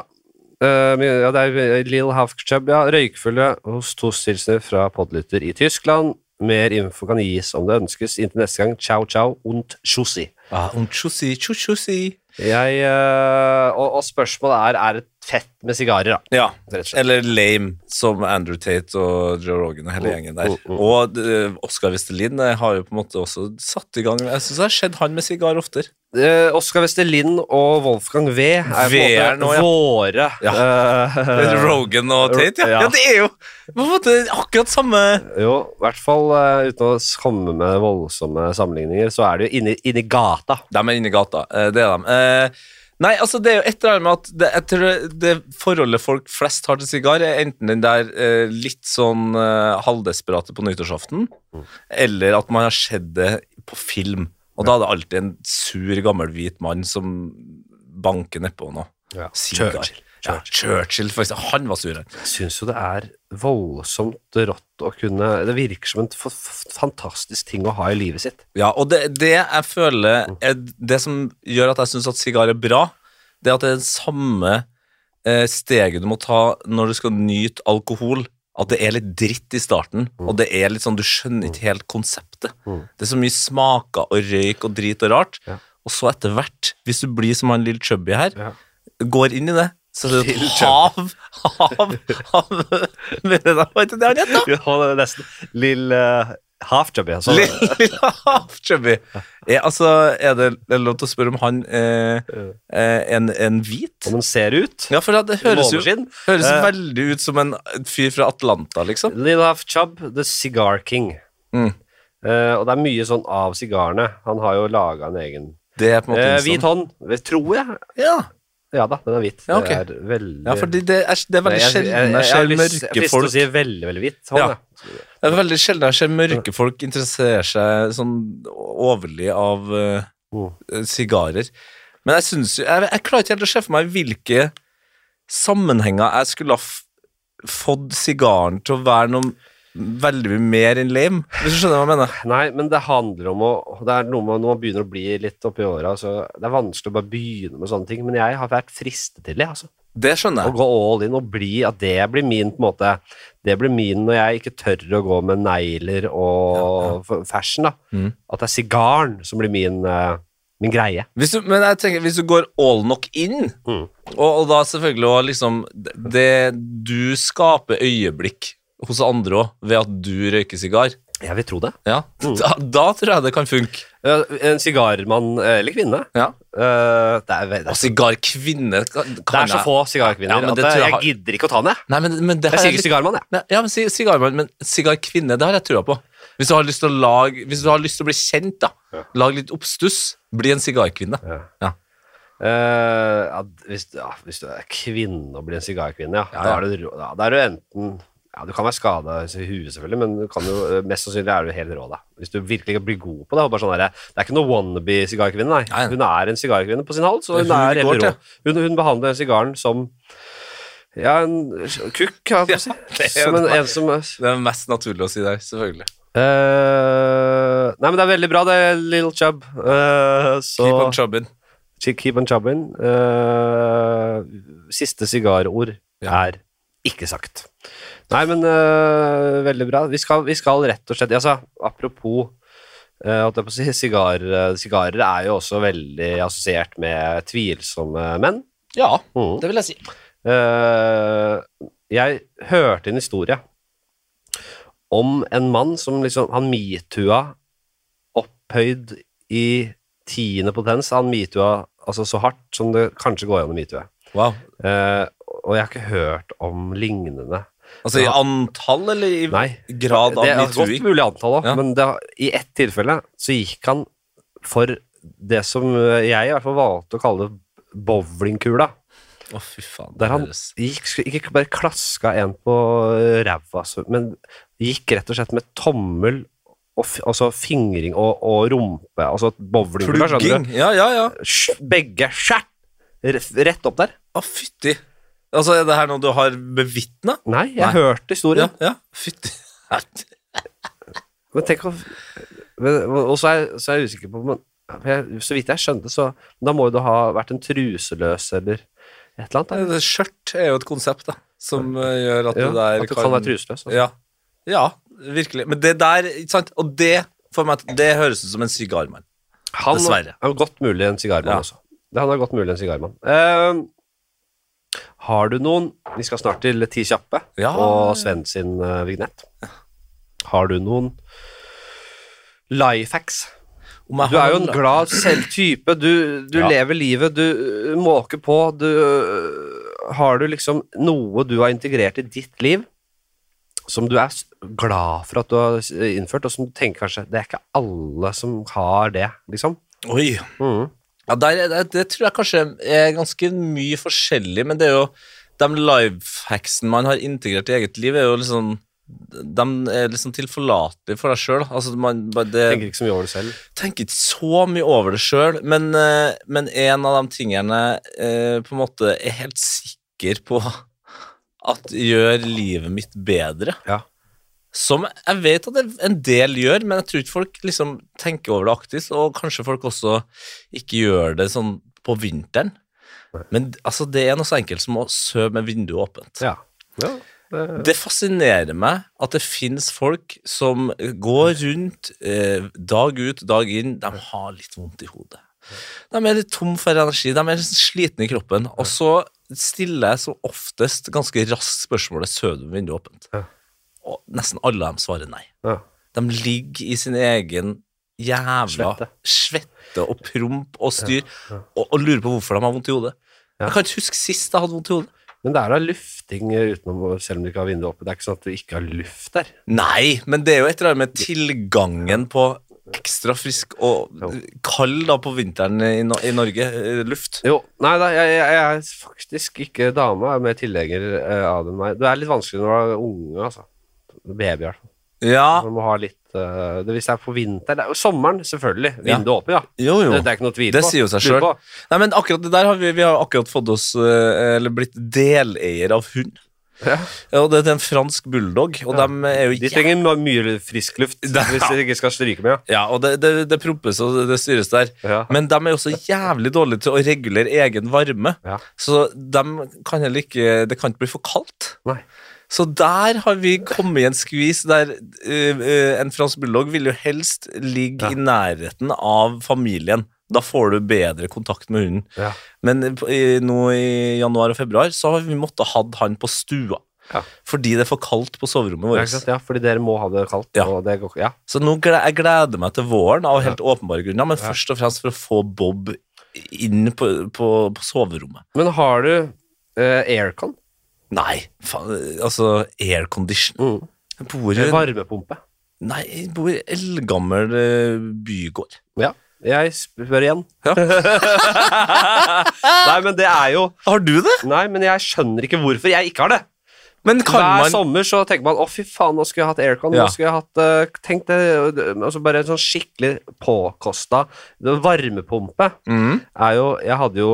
A: Eh, men- ja, det er Lill Hafkchub, ja. Røykfulle hos Tos Hilsener fra podlytter i Tyskland. Mer info kan gis om det ønskes. Inntil neste gang, ciao, ciao und tschussi.
B: Ah, un tjussi, tjussi.
A: Jeg, eh, og, og spørsmålet er er det fett med sigarer, da.
B: Ja,
A: Rett og slett.
B: eller lame, som Andrew Tate og Joe Rogan og hele
A: Oh,
B: gjengen der. Og eh, Oscar Westerlin eh, har jo på en måte også satt i gang Jeg syns jeg har sett han med sigar oftere.
A: Eh, Oskar Westerlin og Wolfgang V er på
B: Veer
A: en måte
B: nå, ja.
A: våre eh,
B: Rogan og Tate, ja.
A: Ja.
B: ja. det er jo på en måte akkurat samme
A: Jo, i hvert fall eh, uten å komme med voldsomme sammenligninger, så er det jo inni, inni gata.
B: De er inne i gata, eh, det er de. Eh, Nei, altså det er jo et eller annet med at det, jeg tror det forholdet folk flest har til sigar, er enten den der eh, litt sånn eh, halvdesperate på nyttårsaften,
A: Mm.
B: eller at man har sett det på film. Og da er det alltid en sur, gammel hvit mann som banker nedpå noe.
A: Ja.
B: Sigar.
A: Churchill.
B: Ja, Churchill, for eksempel. Han var sur. han.
A: Jeg syns jo det er voldsomt rått å kunne Det virker som en f f fantastisk ting å ha i livet sitt.
B: Ja, og det, det jeg føler er Det som gjør at jeg syns at sigar er bra, det er at det er det samme eh, steget du må ta når du skal nyte alkohol. At det er litt dritt i starten, og det er litt sånn, du skjønner ikke helt konseptet.
A: Mm.
B: Det er så mye smaker og røyk og drit og rart.
A: Ja.
B: Og så etter hvert, hvis du blir som han lille Chubby her,
A: Ja.
B: går inn i det, så er det
A: Lil
B: et hav, hav, hav Men det var ikke det han het, da?
A: Ja, det er nesten Lill uh, Halfjobby. Altså.
B: Lilla Havchubby. Er, altså, er det er det lov til å spørre om han eh, eh, en, en hvit?
A: Som den ser ut.
B: Ja, for det høres jo
A: Måneskinn.
B: høres
A: Eh.
B: veldig ut som en fyr fra Atlanta, liksom.
A: Lil Huff Chubb, The Cigar King.
B: Mm.
A: Eh, og det er mye sånn av sigarene. Han har jo laga en egen.
B: Det er på en måte
A: Eh,
B: en
A: hvit
B: sånn-
A: hånd, det tror jeg.
B: Ja,
A: Ja da, den er hvit.
B: Ja, ok.
A: Det er veldig
B: ja for det, er, det er
A: Nei,
B: veldig
A: jeg- jeg- jeg-
B: sjelden jeg
A: jeg har
B: ser
A: lyst- jeg
B: mørke
A: frister å
B: folk
A: si veldig, veldig hvit hånd.
B: Ja.
A: Ja.
B: Det er veldig sjelden jeg ser mørke folk interessere seg sånn overlig av eh,
A: Mm.
B: eh, sigarer. Men jeg syns jo jeg, jeg klarer ikke helt å se for meg hvilke sammenhenger jeg skulle ha f fått sigaren til å være noe veldig mye mer enn lame, hvis du skjønner hva jeg mener.
A: Nei, men det handler om å Det er noe med når man begynner å bli litt oppi åra, så det er vanskelig å bare begynne med sånne ting. Men jeg har vært fristet til det, altså.
B: Det skjønner
A: Å
B: jeg.
A: gå all in og bli At det blir min på en måte Det blir min når jeg ikke tør å gå med negler og f- fashion, da.
B: Mm.
A: At det er sigaren som blir min, eh, min greie.
B: Hvis du, men jeg tenker, hvis du går all knock in,
A: Mm.
B: og, og da selvfølgelig også liksom det, Du skaper øyeblikk hos andre òg ved at du røyker sigar.
A: Jeg vil tro det.
B: Ja. Da, da tror jeg det kan funke.
A: Ja, En sigarmann eh, eller kvinne
B: Ja.
A: eh, det, er, det,
B: Og
A: er,
B: sigarkvinne kan
A: det er så
B: jeg-
A: få sigarkvinner
B: Ja, men
A: at
B: det
A: jeg,
B: tror jeg
A: jeg
B: har-
A: gidder ikke å ta den, jeg.
B: Nei, men, men det her
A: Jeg
B: er
A: sier
B: litt-
A: ikke sigarmann, jeg.
B: Nei, Ja, men si- sigarmann, men sigarkvinne, det har jeg trua på. Hvis du har lyst til å lage, hvis du har lyst til å bli kjent, da, lag litt oppstuss, bli en sigarkvinne. Ja.
A: Eh, ja, hvis, ja, hvis du er kvinne og blir en sigarkvinne, ja, Da,
B: ja.
A: er du, rå- ja, da er du enten ja, Du kan være skada i huet, selvfølgelig, men du kan jo, eh, mest sannsynlig er du helt rå. da Hvis du virkelig blir god på det. og Bare sånn der, det er ikke noe wannabe-sigarkvinne. Nei.
B: Nei, nei.
A: Hun er en sigarkvinne på sin hals, og hun
B: Det er hun
A: er
B: det
A: helt
B: går
A: rå. Hun, hun behandler den sigaren som ja, en kukk, kan jeg si.
B: det er
A: Som en,
B: det.
A: en som eh,
B: Det er mest naturlig å si der, selvfølgelig.
A: eh, Nei, men det er veldig bra, det, Little Chub. Eh, så
B: Keep on chubbing.
A: Keep- Keep on chubbing. Eh, siste sigarord er ikke sagt. Nei, men eh, veldig bra. Vi skal, vi skal rett og slett altså, Apropos eh, holdt jeg på å si, sigar, eh, sigarer er jo også veldig assosiert med tvilsomme menn.
B: Ja,
A: Mhm.
B: det vil jeg si.
A: Eh, jeg hørte en historie om en mann som liksom Han metoo-a opphøyd i tiende potens. Han metoo-a altså så hardt som det kanskje går an å metoo.
B: Wow.
A: Uh, og jeg har ikke hørt om lignende.
B: Altså i
A: Ja.
B: antall, eller i
A: Nei.
B: grad av
A: det er godt
B: metooing?
A: mulig antall òg,
B: Ja.
A: men det, har- i ett tilfelle så gikk han for det som jeg i hvert fall valgte å kalle bowlingkula.
B: Å, fy faen.
A: Der han
B: deres.
A: gikk, ikke bare klaska en på ræva, altså, men gikk rett og slett med tommel og f altså fingring og, og rumpe. Altså bowlingkula, skjønner
B: Plugging. sånn, Ja, ja, ja.
A: du. Sj- Begge skjært! Re- Rett opp der.
B: Å, fytti. Altså, er det her noe du har bevitna?
A: Nei, jeg
B: Nei.
A: hørte historien.
B: Ja, ja. Fytti.
A: Men tenk å men- Og så er, så er jeg usikker på men, for jeg, Så vidt jeg skjønte, så Da må jo det ha vært en truseløs eller et eller annet. Da.
B: Det- Skjørt er jo et konsept, da, som eh, gjør at
A: Ja,
B: det der
A: at du kan være truseløs. Altså.
B: Ja. ja, virkelig. Men det der, ikke sant? Og det for meg, det høres ut som en sigarmann.
A: Han
B: Dessverre.
A: er godt mulig en sigarmann
B: Ja.
A: også. Det- Han er godt mulig en sigarmann. Eh, har du noen Vi skal snart til Ti kjappe
B: Ja.
A: og Sven sin eh, vignett. Har du noen life hacks?
B: Om jeg
A: Du
B: har
A: er jo en
B: da-
A: glad selvtype. Du, du
B: Ja.
A: lever livet, du øh, måker på. Du, øh, har du liksom noe du har integrert i ditt liv som du er s- glad for at du har s- innført, og som du tenker kanskje Det er ikke alle som har det, liksom.
B: Oi.
A: Mhm.
B: Ja, der, er- det, det tror jeg kanskje er ganske mye forskjellig, men det er jo de lifehacksene man har integrert i eget liv, er jo liksom de er liksom tilforlatelige for deg sjøl. Altså, man bare- det-
A: Tenker ikke så mye over det selv.
B: tenker ikke så mye over det sjøl, men, eh, men en av de tingene eh, på en måte er helt sikker på at gjør livet mitt bedre.
A: Ja.
B: Som jeg vet at det- en del gjør, men jeg tror ikke folk liksom tenker over det aktivt, og kanskje folk også ikke gjør det sånn på vinteren. Men altså, det er noe så enkelt som å sove med vinduet åpent.
A: Ja. Ja, det-
B: Det fascinerer meg at det finnes folk som går rundt eh, dag ut, dag inn, de har litt vondt i hodet. De er litt tom for energi, de er litt slitne i kroppen, og så stiller jeg som oftest ganske raskt spørsmålet «Sover du med vinduet åpent?»
A: Ja.
B: Og nesten alle av dem svarer nei.
A: ja.
B: De ligger i sin egen jævla
A: Svette.
B: svette, og promp og styr, Og, og lurer på hvorfor de har vondt i hodet.
A: Ja.
B: Jeg kan ikke huske sist jeg hadde vondt i hodet.
A: Men det er da lufting utenom, selv om du ikke har vinduet oppe. Det er ikke sånn at du ikke har luft der.
B: Nei, men det er jo et eller annet med tilgangen på ekstra frisk og kald da på vinteren i, no i Norge. eh, Luft.
A: Jo, nei da, jeg, jeg, jeg er faktisk ikke dame, jeg er mer tilhenger eh, av det enn meg. Det er litt vanskelig når du er unge, altså. Baby, i hvert fall.
B: Ja,
A: Man må ha litt eh, det, Hvis det er på vinter det er, jo Sommeren, selvfølgelig.
B: Ja.
A: Vinduet åpent, ja.
B: jo jo.
A: Det, det er ikke noe tvil på.
B: Det sier jo seg
A: Lurer
B: selv.
A: på.
B: Nei, men akkurat det der har vi, vi har akkurat fått oss eh, Eller blitt deleier av hund.
A: Ja.
B: Ja, Og det er en fransk bulldog, og
A: Ja.
B: de er jo
A: De trenger my- mye frisk luft
B: Det-
A: hvis de ikke skal stryke med.
B: Ja, og det, det, det prompes og det styres der.
A: Ja.
B: Men de er jo så jævlig dårlige til å regulere egen varme.
A: Ja.
B: Så de kan heller ikke Det kan ikke bli for kaldt.
A: Nei.
B: Så der har vi kommet i en skvis der eh, eh, en fransk bulldog vil jo helst ligge
A: Ja.
B: i nærheten av familien. Da får du bedre kontakt med hunden.
A: Ja.
B: Men på- i, nå i januar og februar så har vi måttet ha han på stua.
A: Ja.
B: Fordi det er for kaldt på soverommet
A: Ja,
B: vårt.
A: ikke sant? ja, fordi dere må ha det kaldt.
B: Ja.
A: Og det går, ja.
B: Så nå gleder, jeg gleder meg til våren av helt åpenbare grunner, men først og fremst for å få Bob inn på, på, på soverommet.
A: Men har du eh, aircon?
B: Nei, faen, altså aircondition.
A: Mm.
B: Jeg bor i
A: Eller
B: en
A: Varmepumpe?
B: Nei, jeg bor i en eldgammel eh, bygård.
A: Ja. Jeg spør igjen.
B: Ja.
A: Nei, men det er jo
B: Har du det?
A: Nei, men jeg skjønner ikke hvorfor jeg ikke har det.
B: Men kan
A: Hver
B: man
A: sommer så tenker man å, fy faen, nå skulle jeg hatt aircon.
B: Ja.
A: Nå skulle jeg hatt eh, Tenk det altså Bare en sånn skikkelig påkosta det- varmepumpe.
B: mm.
A: Er jo, jeg hadde jo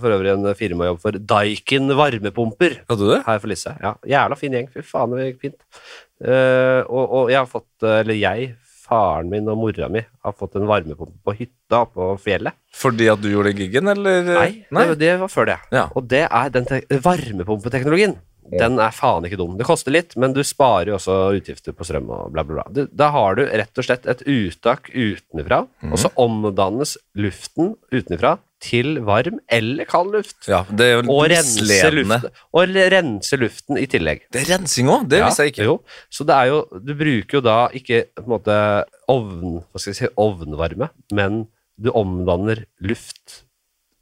A: for øvrig en firmajobb for Daikin varmepumper.
B: Hadde du det?
A: her for Lisse. Ja, jævla fin gjeng. Fy faen, det gikk fint. Eh, og, og jeg har fått, eller jeg, faren min og mora mi har fått en varmepumpe på hytta på fjellet.
B: Fordi at du gjorde den giggen, eller?
A: Nei, Det, det var før det.
B: Eh, Ja.
A: Og det er den te varmepumpeteknologien. Den er faen ikke dum. Det koster litt, men du sparer jo også utgifter på strøm og bla, bla, bla. Du, da har du rett og slett et uttak utenfra, og så omdannes luften utenfra til varm eller kald luft.
B: Ja, det er jo
A: Og rense,
B: misledende.
A: luften, og rense luften i tillegg.
B: Det er rensing òg, det
A: Ja,
B: visste jeg ikke.
A: Jo. Så det er jo, du bruker jo da ikke på en måte ovn, hva skal jeg si, ovnvarme, men du omdanner luft,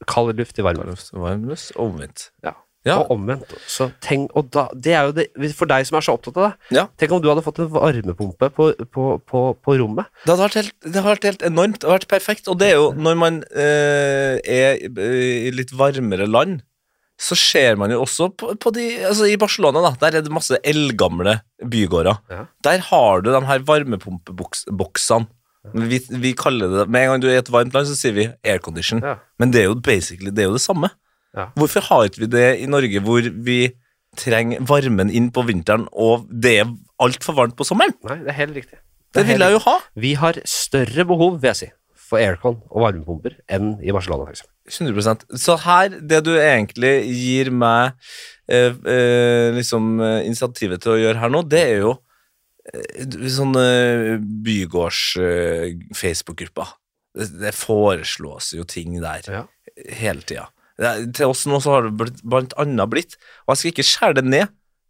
A: kald luft i varme.
B: Varmløs og omvendt.
A: Ja.
B: Ja.
A: Og omvendt. Så tenk, og da, det er jo det, for deg som er så opptatt av det,
B: Ja.
A: tenk om du hadde fått en varmepumpe på, på, på, på rommet.
B: Det hadde vært helt, det hadde vært helt enormt. Det hadde vært perfekt. Og det er jo når man eh, er i- i litt varmere land, så ser man jo også på, på de Altså i Barcelona, da, der er det masse eldgamle bygårder.
A: Ja.
B: Der har du de her varmepumpeboksene. Vi, vi kaller det Med en gang du er i et varmt land, så sier vi aircondition.
A: Ja.
B: Men det er jo basically det, er jo det samme.
A: Ja.
B: Hvorfor har ikke vi det i Norge hvor vi trenger varmen inn på vinteren, og det er altfor varmt på sommeren?
A: Nei, det er helt riktig.
B: Det vil jeg jo ha.
A: Vi har større behov, vil jeg si, for aircon og varmepumper enn i Barcelona, for eksempel.
B: 100 Så her, det du egentlig gir meg eh, eh, liksom eh, initiativet til å gjøre her nå, det er jo eh, sånn eh, bygårds-Facebook-gruppa. det, det foreslås jo ting der
A: Ja.
B: hele tida. Det er- Til oss nå så har det blitt, blant annet blitt Og jeg skal ikke skjære det ned.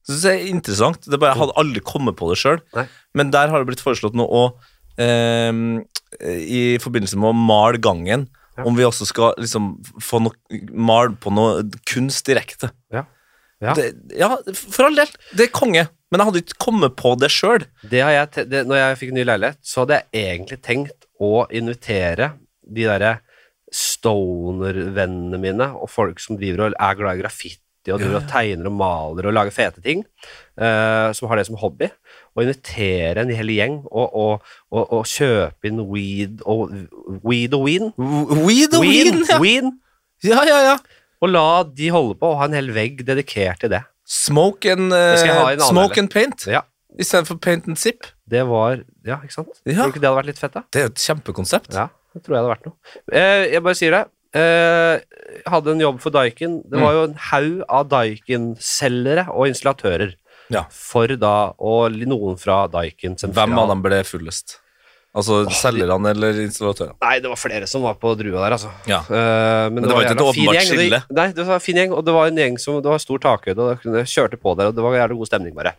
B: Det synes jeg er interessant. Det er bare, jeg hadde aldri kommet på det sjøl.
A: Nei.
B: Men der har det blitt foreslått noe å ehm, I forbindelse med å male gangen.
A: Ja.
B: Om vi også skal liksom få noe, male på noe kunst direkte.
A: Ja. Ja.
B: Det, ja, for all del. Det er konge. Men jeg hadde ikke kommet på det sjøl.
A: Det har jeg te det, når jeg fikk ny leilighet, så hadde jeg egentlig tenkt å invitere de derre stoner-vennene mine, og folk som driver og er glad i graffiti og driver og tegner og maler og lager fete ting, eh, som har det som hobby, og invitere en hel gjeng og, og, og, og kjøpe inn weed og weed og ween.
B: We the
A: Ween,
B: win! Ja.
A: ween,
B: ja, ja, ja.
A: og la de holde på og ha en hel vegg dedikert til det.
B: Smoke and, eh,
A: Det skal jeg ha i en annen
B: smoke
A: del.
B: and paint
A: Ja,
B: istedenfor paint and sip.
A: det var Ja, ikke sant?
B: Ja.
A: Tror du ikke det hadde vært litt fett, da?
B: Det er jo et kjempekonsept.
A: Ja, det tror jeg det hadde vært noe. Eh, jeg bare sier det. Eh, jeg hadde en jobb for Daikin. Det
B: Mm.
A: var jo en haug av Daikin-selgere og installatører.
B: Ja.
A: For da, og li- noen fra Daikin sentral.
B: Hvem av dem ble fullest? Altså selgerne eller installatørene?
A: Nei, det var flere som var på drua der, altså.
B: Ja.
A: Eh, men,
B: det var ikke
A: jævla fin
B: et
A: gjeng,
B: åpenbart
A: og det-
B: skille.
A: Nei, det var en fin gjeng, og det var en gjeng som Det var stor takhøyde, og jeg kjørte på der, og det var jævlig god stemning, bare.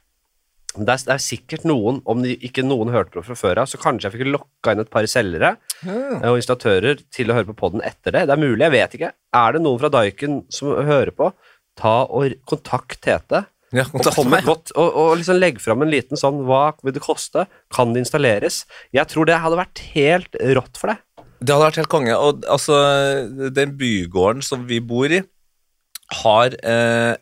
A: Men det er, det er sikkert noen, om de, ikke noen hørte på fra før av, så kanskje jeg fikk lokka inn et par selgere. eh,
B: Ja.
A: og installatører til å høre på podden etter det. Det er mulig, jeg vet ikke. Er det noen fra Daiken som hører på, ta og kontakt Tete.
B: Ja,
A: Og,
B: kontakt
A: kom med
B: meg.
A: godt, og, og liksom legg fram en liten sånn Hva vil det koste? Kan det installeres? Jeg tror det hadde vært helt rått for deg.
B: Det hadde vært helt konge. Og altså, den bygården som vi bor i, har eh,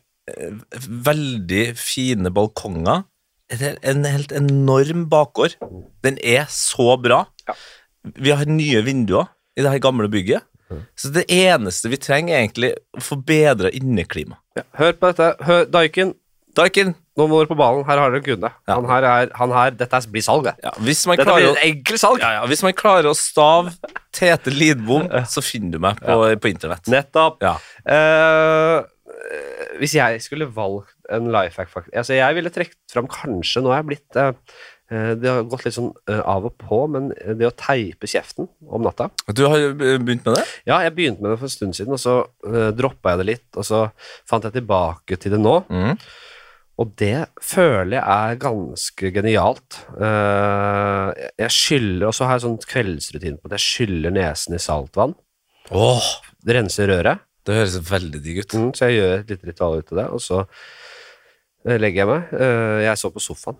B: veldig fine balkonger. Det er En helt enorm bakgård. Den er så bra.
A: Ja.
B: Vi har nye vinduer i det her gamle bygget.
A: Mm.
B: Så det eneste vi trenger, er egentlig å forbedre inneklimaet.
A: Hør på dette. Hør, Daiken,
B: Daikin,
A: nå må dere på ballen. Her har dere en kunde.
B: Ja.
A: Han, her er, han her Dette blir salg, det.
B: ja, hvis man
A: Dette
B: klarer
A: blir
B: å
A: et enkelt salg.
B: ja, ja, Hvis man klarer å stave Tete Lidbom, så finner du meg på, på internett.
A: Nettopp.
B: Ja.
A: Eh, hvis jeg skulle valgt en life hack fakt- altså Jeg ville trukket fram kanskje Nå har jeg blitt eh, eh, Det har gått litt sånn eh, av og på, men eh, det å teipe kjeften om natta
B: Du har jo eh, begynt med det?
A: Ja, jeg begynte med det for en eh,
B: Mm.
A: stund siden, og så uh, droppa jeg det litt, og så fant jeg tilbake til det nå. Og det føler jeg er ganske genialt. Eh, jeg- jeg skyller, og så har jeg sånn kveldsrutine på det. Jeg skyller nesen i saltvann,
B: Åh,
A: renser røret,
B: det høres veldig digg ut.
A: mm, så jeg gjør et lite ritual ut av det, og så eh, legger jeg meg. Eh, jeg så på sofaen.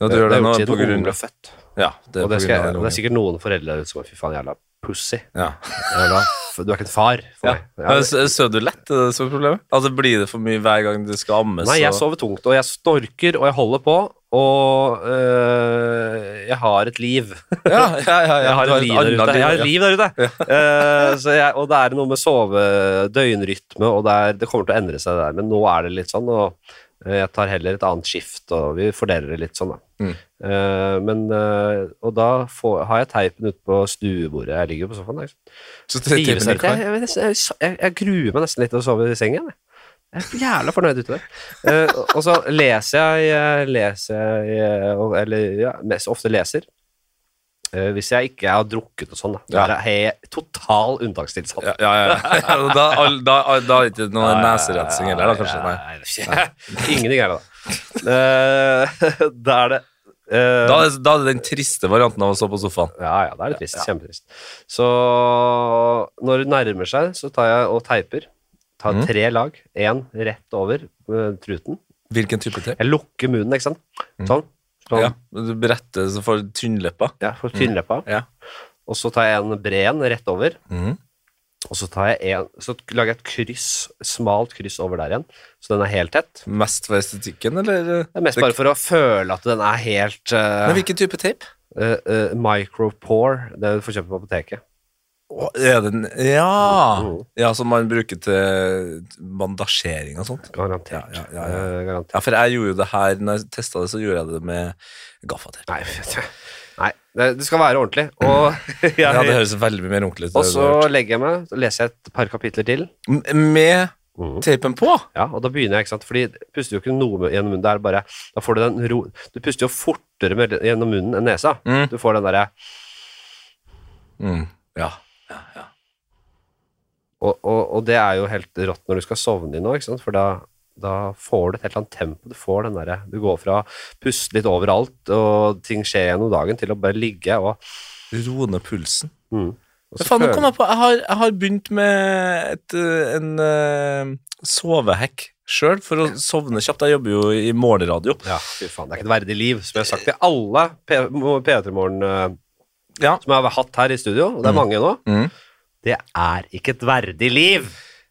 B: Ja, du gjør det
A: er
B: nå
A: jo siden
B: på grunn
A: ungen ble født.
B: Ja, det
A: Og
B: er på
A: det,
B: grunn
A: skal, jeg-
B: av den
A: det er
B: ungen.
A: sikkert noen foreldre der ute som er fy faen jævla pussy.
B: Ja.
A: Jævla f- Du er ikke en far for meg. Ja,
B: Men sø- Søv du lett, er det som er problemet? Altså, blir det for mye hver gang du skal amme?
A: Nei, jeg
B: så-
A: sover tungt, og jeg snorker, og jeg holder på, og øh, jeg har et liv.
B: Ja, ja, ja, ja.
A: Jeg har
B: du
A: et liv der
B: annet
A: ute. Jeg har et
B: ja.
A: liv der ute. Eh, så jeg, og det er noe med sove, døgnrytme, og det, er, det kommer til å endre seg der, men nå er det litt sånn, og eh, jeg tar heller et annet skift, og vi fordeler det litt sånn da.
B: Mm.
A: Eh, men, eh, og da får, har jeg teipen ut på stuebordet, jeg ligger jo på sofaen, liksom.
B: Så det- det-
A: Trives
B: det-
A: litt. Jeg, jeg, vet nesten- jeg, jeg, jeg gruer meg nesten litt til å sove i sengen. jeg. Jeg er jævla fornøyd ute der. Eh, og- og så leser jeg, eh, leser jeg eh, og- Eller ja, mest ofte leser. Eh, hvis jeg ikke har drukket og sånn, da.
B: Ja.
A: Det er helt total unntakstilstand.
B: Ja, ja, ja. Og Da, all- da, da er det ikke noe neserensing heller, da, kanskje? Nei.
A: Nei. Ingenting er det, da. Eh, da er det eh,
B: Da er, det- da er det den triste varianten av å stå på sofaen.
A: Ja, ja, det er litt trist. Kjempetrist. Så når det nærmer seg, så tar jeg og teiper. Tar
B: Mm.
A: tre lag, én rett over eh, truten.
B: Hvilken type teip?
A: Jeg lukker munnen, ikke sant. Sånn. sånn.
B: Mhm. Ja, Mhm.
A: Ja.
B: du bretter så får du tynnleppa.
A: for tynnleppa.
B: Ja.
A: Og så tar jeg en bred en rett over.
B: Mhm.
A: Og så, tar jeg en, så lager jeg et kryss, smalt kryss over der igjen, så den er helt tett.
B: Mest for estetikken, eller?
A: Det er mest bare for å føle at den er helt eh,
B: Men
A: uh,
B: hvilken type teip?
A: micropore. Det du får kjøpt på apoteket.
B: Å, er den, ja.
A: Mhm.
B: ja, som man bruker til bandasjering og sånt.
A: Garantert.
B: Ja, ja, ja, ja.
A: Eh, garantert.
B: Ja, for jeg gjorde jo det her, når jeg testa det, så gjorde jeg det med gaffateip.
A: Nei, nei det, det skal være ordentlig. Og, jeg,
B: Ja, det høres veldig mye mer ordentlig ut.
A: og så legger jeg meg, så leser jeg et par kapitler til.
B: M- Med teipen på?
A: Ja, og da begynner jeg, ikke sant. Fordi du puster jo ikke noe med- gjennom munnen. Det er bare, da får du den ro Du puster jo fortere med, gjennom munnen enn nesa.
B: Mm.
A: Du får den derre
B: Mm. Ja.
A: og, og, og det er jo helt rått når du skal sovne i nå, ikke sant. For da, da får du et helt annet tempo. Du får den derre Du går fra å puste litt overalt, og ting skjer gjennom dagen, til å bare ligge og,
B: Ro ned pulsen.
A: mm. og så
B: Men faen, nå
A: føler-
B: kom jeg på Jeg har, jeg har begynt med et, eh, en eh, sovehekk sjøl for å sovne kjapt. Jeg jobber jo i morgenradio.
A: Ja, fy faen, det er ikke et verdig liv, som jeg har sagt til alle P3-morgen
B: Ja.
A: eh, som jeg har hatt her i studio, og det er mange nå.
B: Mm.
A: Det er ikke et verdig liv!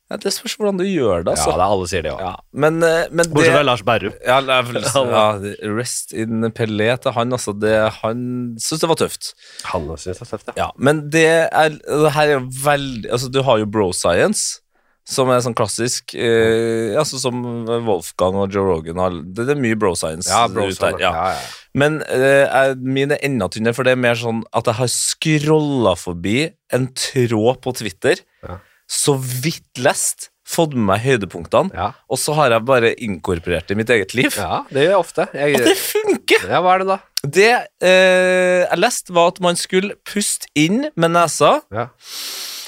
B: Ja, det spørs hvordan du gjør det,
A: Ja,
B: altså.
A: det er alle sier det òg.
B: Ja, men, eh, men det
A: Bortsett fra Lars Berrum.
B: ja, jeg vil- ja, Rest in Pelé til han, altså. Det, han syns det var tøft.
A: Han også syns det er tøft, ja.
B: Ja, men det er det her er jo veldig Altså, du har jo bro science, som er sånn klassisk eh, Altså som Wolfgang og Joe Rogan har Det, det er mye bro science
A: Ja, bro,
B: ut
A: sånn,
B: der. Ja.
A: ja, ja.
B: Men eh, jeg, min er enda tynnere, for det er mer sånn at jeg har scrolla forbi en tråd på Twitter,
A: Ja.
B: så vidt lest, fått med meg høydepunktene,
A: Ja.
B: og så har jeg bare inkorporert det i mitt eget liv.
A: ja, det gjør jeg ofte.
B: Og det
A: Jeg,
B: funker!
A: ja, hva er det da?
B: Det eh, jeg leste, var at man skulle puste inn med nesa
A: Ja.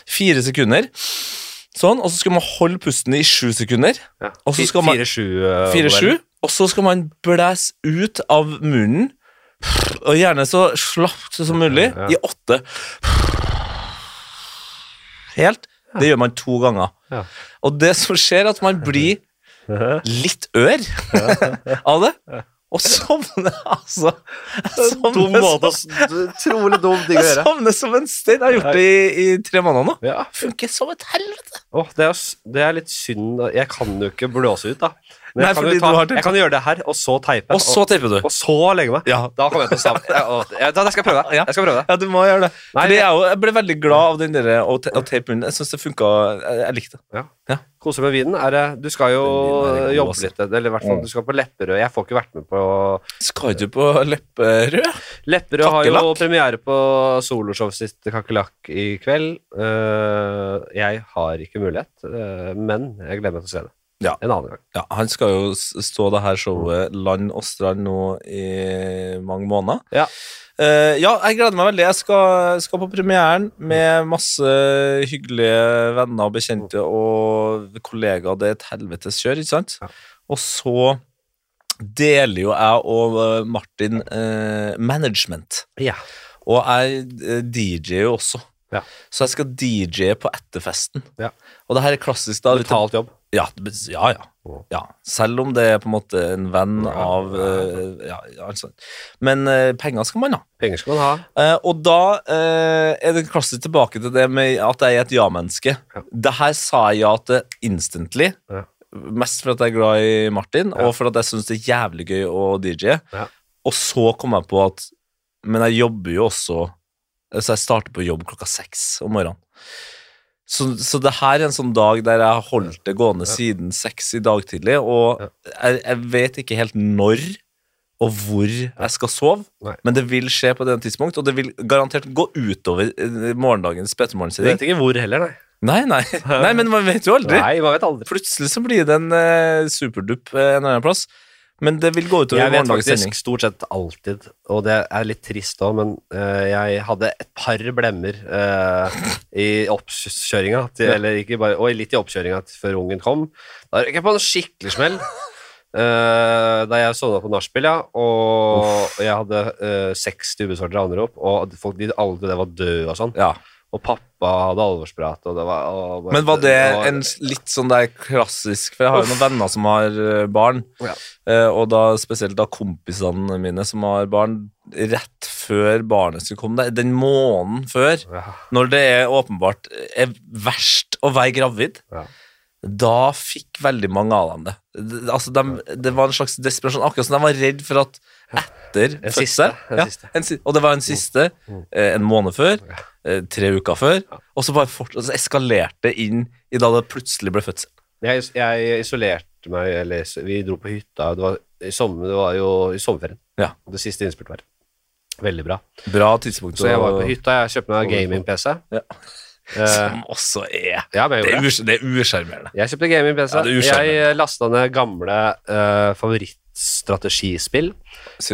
B: fire sekunder. Sånn, og så skal man holde pusten i sju sekunder.
A: Ja.
B: Og så skal man-
A: 4-7. eh,
B: Fire-sju.
A: modellen.
B: Og så skal man blæse ut av munnen, og gjerne så slapt som mulig,
A: Ja.
B: i åtte. Helt. Det gjør man to ganger.
A: Ja.
B: Og det som skjer, er at man blir litt ør av det. Og sovner, altså. Jeg
A: Dum
B: sovner,
A: måte å
B: som-
A: s- sånn- Utrolig dum ting å
B: jeg
A: gjøre.
B: sovner som en stein. Jeg har gjort det i, i tre måneder nå.
A: Ja.
B: Funker som et helvete.
A: Åh, det, er, s- det er litt synd Jeg kan jo ikke blåse ut, da. Men
B: Nei,
A: jeg, kan
B: fordi
A: jo ta,
B: du har det-
A: jeg kan gjøre det her, og så teipe.
B: Og så teiper du.
A: og så legge meg.
B: Ja.
A: Da kommer jeg til å savne ja, og- ja, da- Jeg skal prøve det.
B: Ja.
A: Jeg skal prøve det.
B: Ja, du må gjøre det.
A: Nei,
B: Fordi jeg, jo- jeg ble veldig glad av den der eh, å te- å teipe munnen. Jeg syns det funka. Jeg, jeg likte det.
A: Kose med vinen. Er, det- du skal jo
B: Den vinen er god,
A: jobbe
B: altså.
A: litt, eller i hvert fall
B: Mm.
A: du skal på Lepperød. Jeg får ikke vært med på
B: Skal du på Lepperød?
A: Lepperød har jo
B: Kakerlakk?
A: premiere på soloshowet sitt Kakerlakk i kveld. Eh, jeg har ikke mulighet, eh, men jeg gleder meg til å se det.
B: Ja.
A: En annen gang.
B: Ja, han skal jo s- stå det her showet land og strand nå i mange måneder.
A: Ja.
B: Eh, ja, jeg gleder meg veldig. Jeg skal, skal på premieren med masse hyggelige venner og bekjente og kollegaer. Det er et helvetes kjør, ikke sant?
A: Ja.
B: Og så deler jo jeg og eh, Martin eh, management.
A: Ja.
B: Og jeg eh, DJ jo også.
A: Ja.
B: Så jeg skal DJ på etterfesten.
A: Ja.
B: Og det her er klassisk da. vet du-
A: Betalt jobb.
B: Ja, ja, ja.
A: Wow.
B: ja. Selv om det er på en måte en venn av eh, Ja, ja, altså. Men eh, penger skal man ha.
A: Penger skal man ha.
B: Eh, og da eh, er det klassisk tilbake til det med at jeg er et ja-menneske.
A: Ja.
B: Det her sa jeg ja til instantly.
A: Ja.
B: Mest for at jeg er glad i Martin,
A: Ja.
B: og for at jeg syns det er jævlig gøy å DJ.
A: Ja.
B: Og så kom jeg på at Men jeg jobber jo også Så jeg starter på jobb klokka seks om morgenen. Så, så det her er en sånn dag der jeg har holdt det gående siden seks i dag tidlig, og
A: Ja.
B: jeg, jeg vet ikke helt når og hvor jeg skal sove,
A: Nei.
B: men det vil skje på det tidspunkt, og det vil garantert gå utover eh, morgendagens
A: Du
B: Petermorgen-sending.
A: vet ikke hvor heller, nei.
B: Nei, nei. nei, men man vet jo aldri.
A: Nei, man vet aldri.
B: Plutselig så blir det en eh, superdupp eh, en annen plass, men det vil gå utover
A: Jeg vet
B: morgendagens
A: faktisk
B: sending.
A: stort sett alltid, og det er litt trist òg, men eh, jeg hadde et par blemmer eh, i oppkjøringa, til,
B: Ja.
A: eller ikke bare, og litt i oppkjøringa til- før ungen kom. Da røk jeg på en skikkelig smell. eh, da jeg sovna på nachspiel, ja, og jeg hadde eh, 60 ubesvarte anrop, og folk, de, alle trodde jeg var død og sånn.
B: Ja.
A: Og pappa hadde alvorsprat, og det var og,
B: Men var det
A: og-
B: en s- litt sånn der klassisk For jeg har jo noen venner som har eh, barn,
A: Ja.
B: eh, og da spesielt da kompisene mine som har barn, rett før barnet skulle komme, det- den måneden før,
A: ja,
B: når det er åpenbart eh, er verst å være gravid,
A: ja.
B: da fikk veldig mange av dem det. Det- Altså, dem- det var en slags desperasjon, akkurat som de var redd for at etter
A: En
B: fødsel
A: siste, en
B: ja,
A: siste.
B: en, si- Og det var en siste,
A: Mm.
B: eh, en måned før,
A: Ja.
B: eh, tre uker før, og så bare fort, og så eskalerte det inn i da det plutselig ble fødsel.
A: Jeg, jeg isolerte meg, eller is- vi dro på hytta, det var, i sommer, det var jo i sommerferien.
B: Ja.
A: Det siste innspurt var. Veldig bra.
B: Bra tidspunkt.
A: Så jeg var
B: å-
A: på hytta, jeg kjøpte meg gaming-PC.
B: Ja.
A: Eh,
B: Som også er
A: ja, men jeg
B: Det er,
A: gjorde det.
B: us det er usjarmerende.
A: Jeg kjøpte gaming-PC.
B: Ja, det er uskjermet.
A: jeg lasta ned gamle eh, favorittstrategispill.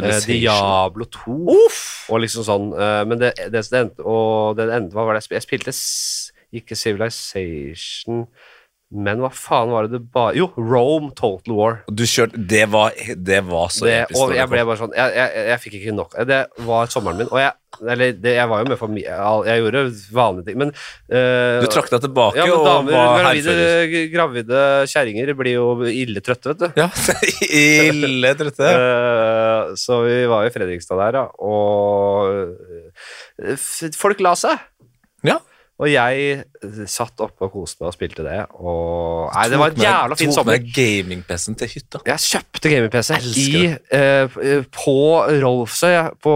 A: Eh, Diablo 2.
B: Uff!
A: Og liksom sånn eh, Men det, det, det endte Og det endte Hva var det jeg spilte? Jeg spilte s- ikke Civilization Men hva faen var det det bare Jo, Rome Total War
B: Du kjørte Det var, det var så
A: det,
B: episk.
A: Og
B: da det
A: jeg ble
B: kom.
A: bare sånn jeg, jeg, jeg fikk ikke nok Det var sommeren min Og jeg Eller det, jeg var jo med familie Jeg gjorde vanlige ting Men eh,
B: Du trakk deg tilbake
A: ja, men
B: og
A: damer,
B: var herfører.
A: gravide, gravide kjerringer blir jo ille trøtte, vet du.
B: Ja, ille trøtte.
A: Eh, så vi var jo i Fredrikstad der, da, og eh, f- folk la seg.
B: Ja.
A: Og jeg eh, satt oppe og koste meg og spilte det, og Nei, det var
B: Tok
A: en
B: med-
A: jævla fin
B: Tok
A: sommer.
B: med gaming-PC-en til hytta.
A: Jeg kjøpte gaming-PC i
B: Elsker
A: eh, p- på Rolfsøy, på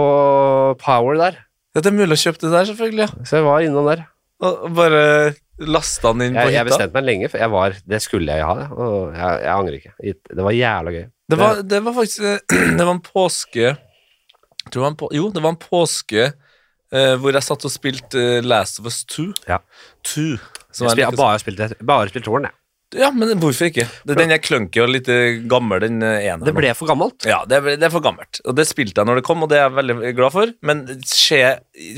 A: Power der.
B: Ja, det er mulig å kjøpe det der, selvfølgelig. ja.
A: Så jeg var innom der.
B: Og og bare lasta den inn på
A: Jeg, jeg
B: hytta.
A: bestemte meg lenge, for jeg var, det skulle jeg ha, det. Og jeg, jeg angrer ikke. Det var jævla gøy.
B: Det var, det var faktisk eh, Det var en påske jeg tror det var en på, Jo, det var en påske eh, hvor jeg satt og spilte eh, Last of Us 2.
A: Ja.
B: 2
A: Jeg spil,
B: som er
A: jeg
B: litt-
A: har bare spilt, jeg har bare spilt tårn, jeg.
B: Ja, men hvorfor ikke? Det er Den er clunky og litt eh, gammel, den eh, eneren.
A: Det ble for gammelt.
B: Ja, det, ble- det er for gammelt. Og det spilte jeg når det kom, og det er jeg veldig glad for. Men se,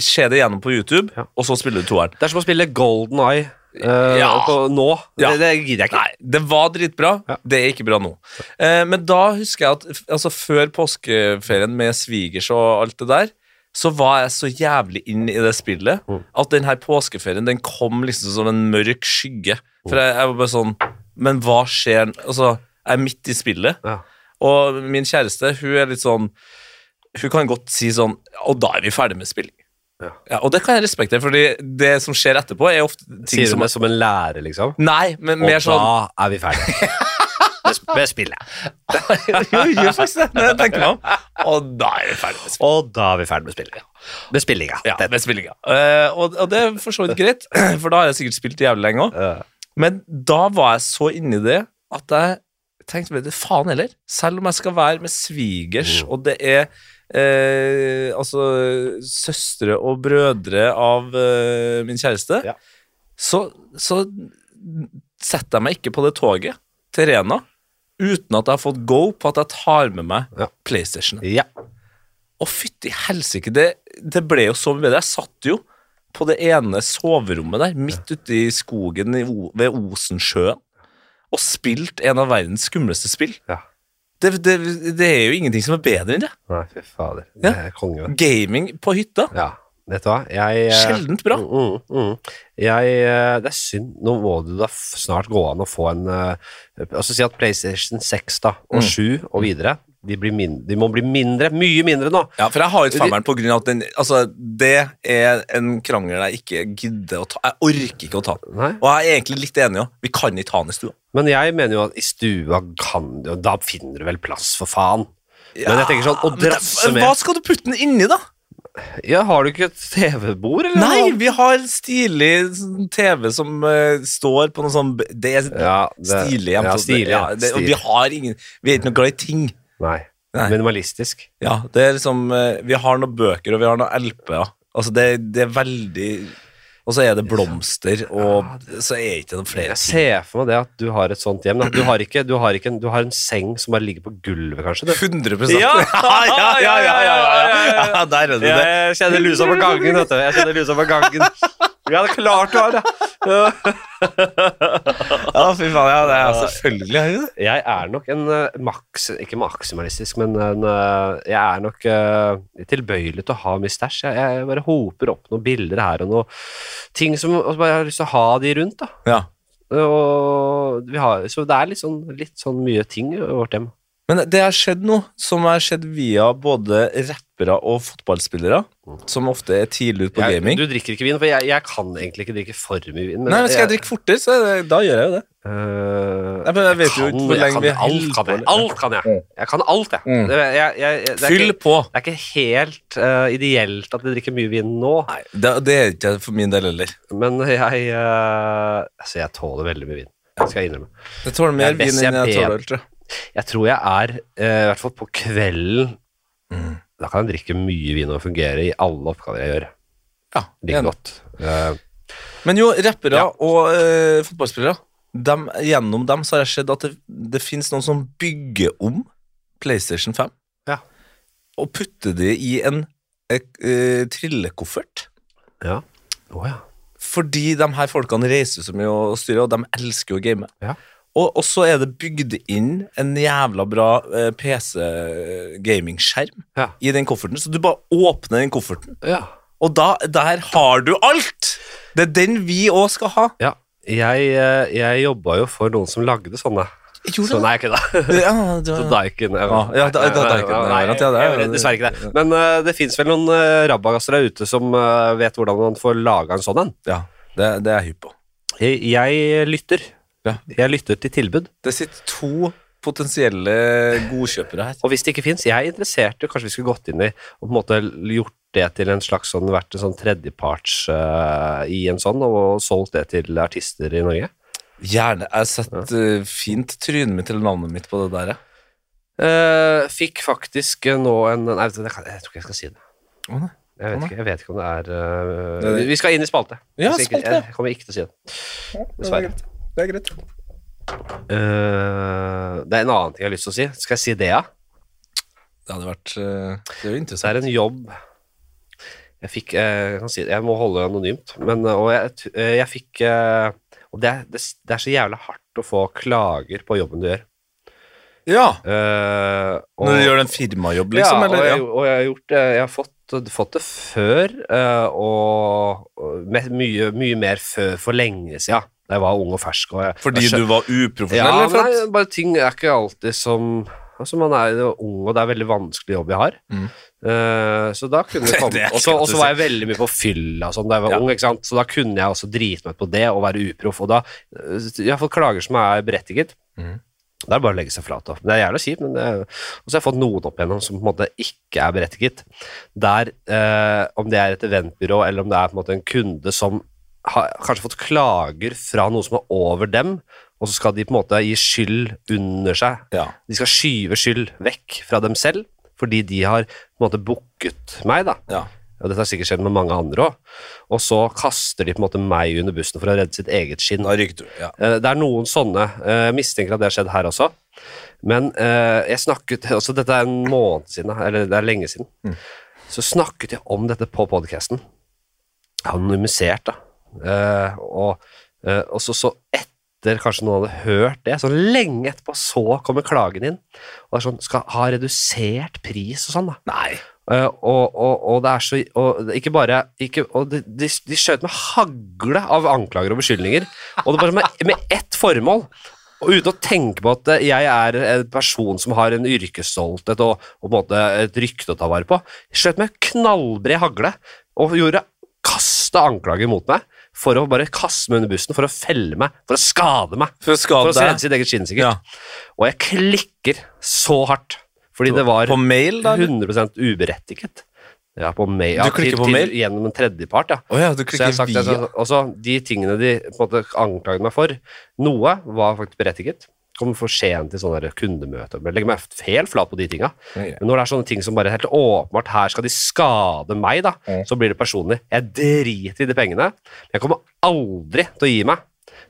B: se det gjennom på YouTube,
A: Ja.
B: og så spiller du toeren.
A: Det er som å spille Golden Eye eh,
B: Ja.
A: på, nå.
B: Ja.
A: Det, det gidder jeg ikke.
B: Nei, det var dritbra.
A: Ja.
B: Det er ikke bra nå. Eh, men da husker jeg at f- altså, før påskeferien med svigers og alt det der, så var jeg så jævlig inn i det spillet
A: Mm.
B: at den her påskeferien den kom liksom som en mørk skygge.
A: Mm.
B: For jeg, jeg var bare sånn Men hva skjer n- Altså, jeg er midt i spillet.
A: Ja.
B: Og min kjæreste, hun er litt sånn Hun kan godt si sånn Og da er vi ferdig med spilling.
A: Ja.
B: og det kan jeg respektere, Fordi det som skjer etterpå, er ofte ting
A: Sier du
B: som
A: det som en lærer, liksom?
B: Nei, men
A: Og
B: mer sånn
A: da er vi ferdige. Med sp- Med spillet.
B: Jo, jo, faktisk det. Når jeg tenker meg om. Og da er vi ferdig med spilling.
A: Og da er vi ferdige med spillet. Med spillinga.
B: Ja, med spillinga. Eh, og, og det er for så vidt greit, for da har jeg sikkert spilt jævlig lenge òg.
A: Eh,
B: Men da var jeg så inni det at jeg tenkte vet du, faen heller. Selv om jeg skal være med svigers,
A: Mm.
B: og det er eh, altså søstre og brødre av eh, min kjæreste,
A: Ja.
B: så, så setter jeg meg ikke på det toget til Rena uten at jeg har fått go på at jeg tar med meg
A: Ja.
B: PlayStation.
A: ja.
B: Å, fytti helsike, det, det ble jo så mye bedre. Jeg satt jo på det ene soverommet der, midt ute i skogen i, O- ved Osensjøen, og spilte en av verdens skumleste spill.
A: Ja.
B: Det, det, det er jo ingenting som er bedre enn det.
A: Nei, fy fader.
B: Ja.
A: Det er konge. vet du.
B: Gaming på hytta.
A: Ja, vet du hva? Jeg, eh,
B: Sjeldent bra.
A: Mm, mm, mm. Jeg, eh, det er synd. Nå må det da f- snart gå an å få en eh, Altså si at PlayStation 6 da, og
B: Mm.
A: 7 og videre, de, blir min, de må bli mindre. Mye mindre nå.
B: Ja, for jeg har ut femmeren på grunn av at den, altså, det er en krangel jeg ikke gidder å ta. Jeg orker ikke å ta den.
A: Nei.
B: Og jeg er egentlig litt enig òg. Vi kan ikke ha den i stua.
A: Men jeg mener jo at i stua kan du Da finner du vel plass, for faen. Men jeg tenker sånn, å
B: Men det-
A: drasse med
B: Hva skal du putte den inni, da?
A: ja, Har du ikke et TV-bord, eller?
B: Nei,
A: noe?
B: vi har en stilig sånn TV som eh, står på noe sånn b- Det er
A: Ja, det-
B: stilig. hjemme
A: ja,
B: hos-
A: stilig, ja,
B: ja, det, og
A: stilig.
B: vi har ingen Vi er ikke noe glad i ting.
A: Nei.
B: Nei.
A: Minimalistisk.
B: Ja, det er liksom eh, Vi har noen bøker, og vi har noen LP-er. Altså, det, det er veldig Og så er det blomster, og så er det ikke noen flere
A: Jeg
B: ting.
A: ser for meg det at du har et sånt hjem. da. Du har, ikke, du har, ikke en, du har en seng som bare ligger på gulvet, kanskje? Du.
B: 100
A: Ja!
B: ja, ja, ja, ja, ja, ja, ja.
A: Ja,
B: Der er det det.
A: Jeg kjenner lusa på gangen, vet du. Jeg kjenner lusa på gangen. Ja, det er klart du har det.
B: Ja, fy faen, ja, det er selvfølgelig er det det.
A: Jeg er nok en eh, maks... Ikke maksimalistisk, men en, eh, jeg er nok eh, tilbøyelig til å ha mye stæsj. Jeg, jeg bare hoper opp noen bilder her og noen ting som og så bare jeg har lyst til å ha de rundt. da.
B: Ja.
A: Og vi har, så det er litt sånn, litt sånn mye ting i vårt hjem.
B: Men det har skjedd noe som har skjedd via både rappere og fotballspillere, som ofte er tidlig ute på
A: Jeg,
B: gaming.
A: du drikker ikke vin, for jeg, jeg kan egentlig ikke drikke for mye vin.
B: Nei, men Skal jeg drikke fortere, så er det- da gjør jeg jo det.
A: Eh,
B: Nei, men jeg vet jo
A: kan-
B: ikke hvor lenge vi
A: jeg kan alt,
B: holder
A: kan
B: på,
A: jeg.
B: eller?
A: Alt kan jeg. Jeg kan alt, jeg.
B: Mm.
A: Det, jeg, jeg, jeg det, er
B: Fyll
A: ikke,
B: på.
A: det er ikke helt eh, ideelt at jeg drikker mye vin nå,
B: Nei, det, det er ikke for min del heller.
A: men jeg eh, Altså, jeg tåler veldig mye vin. Skal jeg innrømme.
B: Jeg tåler mer
A: Jeg er best
B: vin enn
A: jeg ber.
B: jeg tåler øl, tror jeg.
A: Jeg tror jeg er, eh, i hvert fall på kvelden
B: Mm.
A: Da kan jeg drikke mye vin og fungere i alle oppgaver jeg gjør.
B: Ja,
A: Ligger
B: enig.
A: godt. Eh,
B: Men jo, rappere
A: Ja.
B: og eh, fotballspillere dem, Gjennom dem så har jeg sett at det, det finnes noen som bygger om PlayStation 5
A: Ja.
B: og putter det i en eh, eh, trillekoffert.
A: ja. Å ja.
B: Fordi de her folkene reiser så mye og styrer, og de elsker å game.
A: Ja.
B: Og, og så er det bygd inn en jævla bra eh, PC-gamingskjerm
A: Ja.
B: i den kofferten, så du bare åpner den kofferten,
A: ja.
B: og da, der har du alt! Det er den vi òg skal ha.
A: ja. Jeg, eh, jeg jobba jo for noen som lagde sånne.
B: Gjorde
A: Så nei, ikke da.
B: Ja, det
A: Så
B: var-
A: Daikin jeg-
B: Ja, ja, da- da-
A: Nei, nei,
B: Daikin, ja,
A: nei,
B: at ja, det er-
A: jeg gjør Dessverre ikke det. Men eh, det fins vel noen uh, rabagasser der ute som eh, vet hvordan man får laga en sånn en.
B: ja det, det er jeg hypp på.
A: Jeg, jeg lytter.
B: Ja.
A: Jeg lytter til tilbud.
B: Det sitter to potensielle godkjøpere her.
A: Og hvis det ikke fins, jeg er interessert i Kanskje vi skulle gått inn i og på en måte gjort det til en slags sånn, vært en sånn tredjeparts eh, i en sånn, og solgt det til artister i Norge.
B: Gjerne. Jeg setter eh, fint trynet mitt eller navnet mitt på det der. jeg.
A: Eh, fikk faktisk eh, nå en Nei, vet du, det kan, jeg tror ikke jeg skal si det.
B: Å, nei.
A: Jeg vet,
B: Å, nei.
A: ikke, jeg vet ikke om det er eh,
B: Sånn, Det er det.
A: Vi skal inn i spalte.
B: Ja,
A: Hvis ikke-
B: spalte, ja.
A: Jeg kommer ikke til å si det.
B: Det er
A: Dessverre.
B: greit. Det er greit.
A: Eh, det er en annen ting jeg har lyst til å si. Skal jeg si det, ja?
B: Det hadde vært eh, Det er jo
A: Så
B: interessant.
A: er det en jobb Jeg fikk eh, Jeg, kan si det, jeg må holde det anonymt, men eh, og jeg, t- eh, jeg fikk eh, Og det er, det, s- det er så jævla hardt å få klager på jobben du gjør.
B: Ja!
A: Eh, og-
B: Når du gjør en firmajobb, liksom?
A: ja,
B: eller?
A: og jeg,
B: Ja.
A: og jeg har gjort det. Jeg har fått, øh, fått det før, eh, og, og me- mye, mye mer før for lenge siden. Da jeg var ung og fersk. Og jeg,
B: Fordi
A: jeg skjø-
B: du var
A: ja,
B: uprofesjonell? eller for
A: nei,
B: at-
A: bare ting er ikke alltid som Altså Man er jo ung, og det er veldig vanskelig jobb jeg har.
B: Mm.
A: Eh, så da kunne det
B: Det
A: komme
B: er
A: Og så
B: klart
A: og
B: du
A: så var jeg veldig mye på fylla sånn, da jeg var
B: Ja.
A: ung, ikke sant? så da kunne jeg også drite meg ut på det og være uproff. Og da eh, Jeg har fått klager som er berettiget.
B: Mm.
A: Da er det bare å legge seg flat. da. Det er jævlig kjipt, men det er, Og så har jeg fått noen opp igjennom som på en måte ikke er berettiget. Der, eh, om det er et eventbyrå eller om det er på en måte en kunde som har kanskje fått klager fra noen som er over dem, og så skal de på en måte gi skyld under seg.
B: ja.
A: De skal skyve skyld vekk fra dem selv, fordi de har på en måte booket meg, da.
B: ja.
A: Og dette har sikkert skjedd med mange andre òg. Og så kaster de på en måte meg under bussen for å redde sitt eget skinn.
B: Da ryker du. Ja.
A: Eh, Det er noen sånne. Eh, Jeg mistenker at det har skjedd her også. Men eh, jeg snakket altså Dette er en måned siden, da, eller det er lenge siden. Så snakket jeg om dette på podkasten. Anonymisert, da. Eh, og, eh, og så, så etter etter kanskje noen hadde hørt det, så lenge etterpå så kommer klagen inn. Og det er sånn, skal ha redusert pris og sånn, da.
B: Nei.
A: Eh, og, og, og det er så og det- Ikke bare ikke, og de, de, de skjøt med hagle av anklager og beskyldninger. Og det bare med, med ett formål. Og uten å tenke på at eh, jeg er en person som har en yrkesstolthet og, og på en måte et rykte å ta vare på. Skjøt med knallbred hagle og gjorde kasta anklager mot meg for å bare kaste meg under bussen, for å felle meg, for å skade meg.
B: For å
A: For å
B: skade
A: redde
B: deg
A: sitt eget skinn, sikkert.
B: ja.
A: Og jeg klikker så hardt, fordi det var
B: på mail, da? eller?
A: 100 uberettiget. Ja, på mail. Ja,
B: Du klikker
A: til,
B: på mail?
A: Til, gjennom en tredjepart, ja.
B: Å ja,
A: Så
B: du
A: jeg
B: klikker
A: har sagt det,
B: via
A: så, også, De tingene de på en måte anklaget meg for, noe var faktisk berettiget. Kom for sent til sånne der kundemøter. men Legger meg helt flat på de tinga. Men når det er sånne ting som bare helt åpenbart her skal de skade meg, da,
B: Mm.
A: så blir det personlig. Jeg driter i de pengene. Men jeg kommer aldri til å gi meg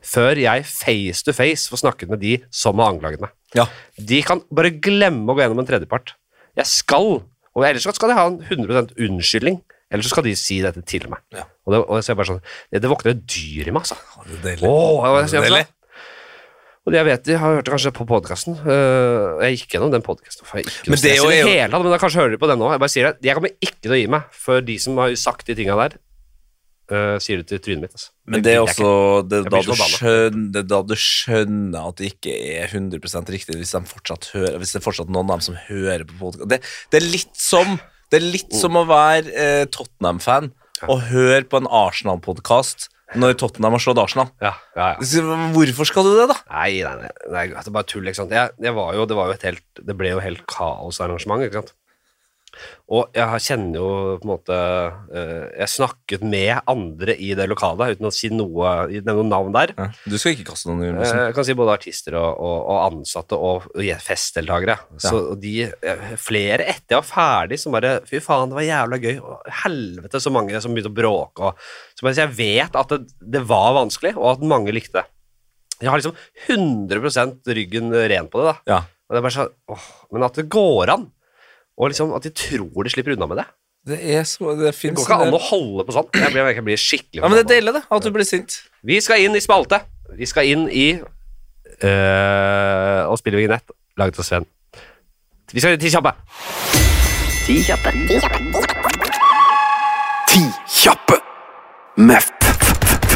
A: før jeg face to face får snakket med de som har anklaget meg.
B: Ja.
A: De kan bare glemme å gå gjennom en tredjepart. Jeg skal, og ellers skal de ha en 100 unnskyldning. Eller så skal de si dette til meg.
B: Ja.
A: Og, det, og jeg ser bare sånn, det, det våkner et dyr i meg, altså.
B: Å, det er deilig.
A: Åh, jeg, jeg,
B: Det er
A: jeg,
B: deilig.
A: og det jeg vet, jeg har hørt det kanskje på podkasten. jeg gikk gjennom den podkasten.
B: Men
A: Men
B: det
A: det i
B: jo er
A: det
B: jo-
A: hele tatt, men da kanskje hører de på den nå. Jeg bare sier det, jeg kommer ikke til å gi meg før de som har sagt de tinga der, eh, sier det til trynet mitt. Altså.
B: Men det
A: gidder
B: er
A: jeg
B: også det
A: Jeg
B: er da,
A: blir
B: du
A: forbanna.
B: skjønner, det er da du skjønner at det ikke er 100 riktig hvis, de fortsatt hører, hvis det er fortsatt noen av dem som hører på podkast. Det, det er litt som Det er litt som å være eh, Tottenham-fan og høre på en Arsenal-podkast når Tottenham har slått Arsenal.
A: ikke. Ja, ja, ja.
B: Så Hvorfor skal du det, da?
A: Nei, nei, nei, nei, det er altså, bare tull, ikke sant. Jeg, jeg var jo, det, var jo et helt, det ble jo helt kaosarrangement, ikke sant. Og jeg har- kjenner jo på en måte eh, Jeg snakket med andre i det lokalet uten å si noe, nevne noe navn der.
B: Du skal ikke kaste noen i
A: Eh, Jeg kan si både artister og, og, og ansatte og og festdeltakere. Så de, eh, flere etter jeg var ferdig, som bare Fy faen, det var jævla gøy. Og helvete, så mange som begynte å bråke. Og, så bare, så jeg vet at det, det var vanskelig, og at mange likte det. Jeg har liksom 100 ryggen ren på det. da.
B: Ja.
A: Og det er bare sånn, åh, Men at det går an, og liksom at de tror de slipper unna med det.
B: Det er så Det
A: Det
B: fins
A: går ikke an å holde på sånn. Jeg blir, jeg blir skikkelig
B: eh, Ja, men det er
A: forbanna.
B: deilig, det. At du blir sint.
A: Vi skal inn i spalte. Vi skal inn i øh, Og spille vignett laget av Sven. Vi skal inn til kjappe.
C: Ti kjappe.
D: Ti kjappe med f- f- f-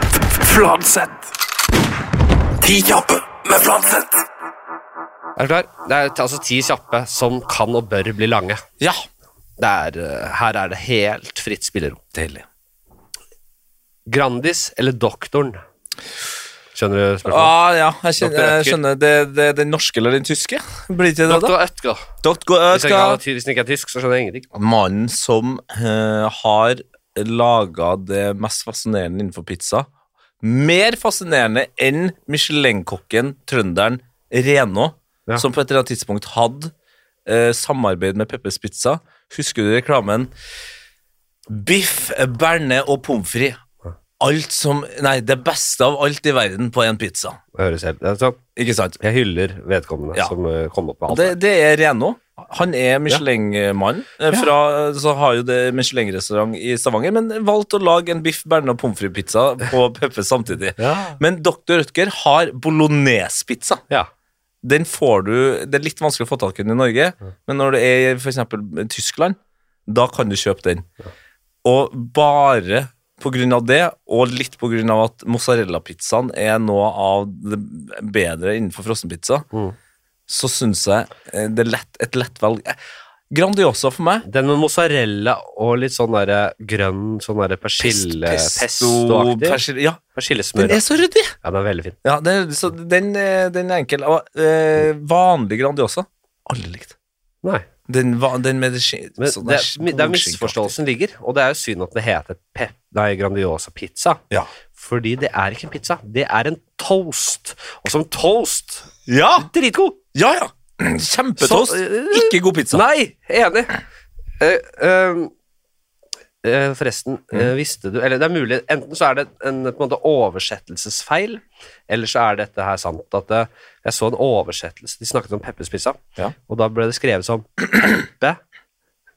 D: f- Fladseth. Ti kjappe med Fladseth.
A: Er du klar? Det er t- altså ti kjappe som kan og bør bli lange.
B: Ja.
A: Det er, øh, her er det helt fritt spillerom.
B: Deilig.
A: Grandis eller Doktoren? Skjønner du spørsmålet?
B: Ah, ja, jeg skjønner,
A: Dr.
B: jeg
A: Ødger.
B: skjønner. Det, det, den norske eller den tyske? Blir ikke det det, da?
A: Doktor Ødgaard.
B: Doktor
A: Hvis jeg ikke har- hvis den ikke er tysk, så skjønner jeg ingenting.
B: Mannen som eh, har laga det mest fascinerende innenfor pizza. Mer fascinerende enn Michelin-kokken, trønderen Reno,
A: Ja.
B: som på et eller annet tidspunkt hadde eh, samarbeid med Peppers Pizza. Husker du reklamen? Biff, berne og pommes frites. Alt som Nei, det beste av alt i verden på én pizza.
A: Det høres helt det er sånn.
B: Ikke sant?
A: Jeg hyller vedkommende
B: Ja.
A: som øh, kom opp med alt.
B: Det, det er Reno. Han er Michelin-mann. eh, fra- Så har jo det Michelin-restaurant i Stavanger, men valgte å lage en biff berne og pommes frites-pizza på Peppe samtidig.
A: Ja.
B: Men Dr. Rødger har bolognese-pizza.
A: Ja.
B: Den får du Det er litt vanskelig å få tak i den i Norge, men når det er i for eksempel Tyskland, da kan du kjøpe den. Og bare på grunn av det, og litt på grunn av at mozzarella-pizzaen er noe av det bedre innenfor frossenpizza,
A: Mm.
B: så syns jeg eh, det er lett, et lett valg. Eh, Grandiosa for meg.
A: Den med mozzarella og litt sånn der grønn sånn der persille pesto-aktig.
B: persille Ja, den
A: Persillesmør.
B: er så ryddig!
A: Ja, den er veldig fin.
B: Ja, den, er- så den, eh, den er enkel. Og eh, vanlig Grandiosa Alle likte.
A: Nei.
B: Den, va- den med det, skin-
A: Men det,
B: sånn der
A: er- der
B: skinkeaktig.
A: misforståelsen ligger, og det er jo synd at det heter pe nei, Grandiosa pizza.
B: Ja.
A: Fordi det er ikke en pizza, det er en toast. Og som toast
B: Ja!
A: Dritgod!
B: Ja, ja!
A: Så,
B: Kjempetoast.
A: eh,
B: Ikke god pizza.
A: Nei, enig. Eh, ehm, eh, forresten,
B: Mm.
A: eh, visste du Eller det er mulig, enten så er det en på en måte oversettelsesfeil, eller så er dette her sant. At eh, jeg så en oversettelse, de snakket om Peppes pizza,
B: Ja.
A: og da ble det skrevet som Peppe.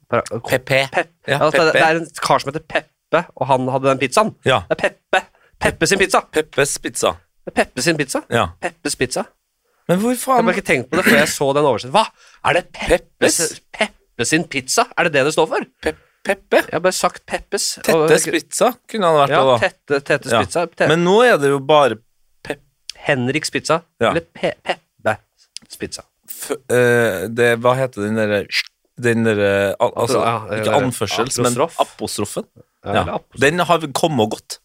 A: Bare-
B: Pepe.
A: Pep.
B: Ja,
A: altså, det-
B: Peppe.
A: Det er en kar som heter Peppe, og han hadde den pizzaen.
B: Ja.
A: Det er Peppe. Peppe sin pizza.
B: Peppes pizza.
A: Det er Peppe sin pizza.
B: Ja.
A: Peppes pizza.
B: Men hvor
A: Jeg har
B: faen
A: bare ikke tenkt på det før jeg så den oversettelsen. Hva? Er det Peppes? Peppe sin pizza? Er det det det står for?
B: Pe Peppe?
A: Jeg har bare sagt Peppes. og-
B: Tettes pizza kunne han vært
A: Ja,
B: på, da.
A: tette, Tettes
B: Ja.
A: pizza. Te
B: Men nå er det jo bare
A: Henriks pizza.
B: Ja.
A: Eller Pe Peppes pizza.
B: f eh, det, Hva heter den derre den derre al- altså,
A: Ja, det
B: Ikke
A: der-
B: anførsels, men
A: apostrof.
B: apostrofen.
A: Ja, eller
B: Ja.
A: apostrof.
B: Den har kommet og gått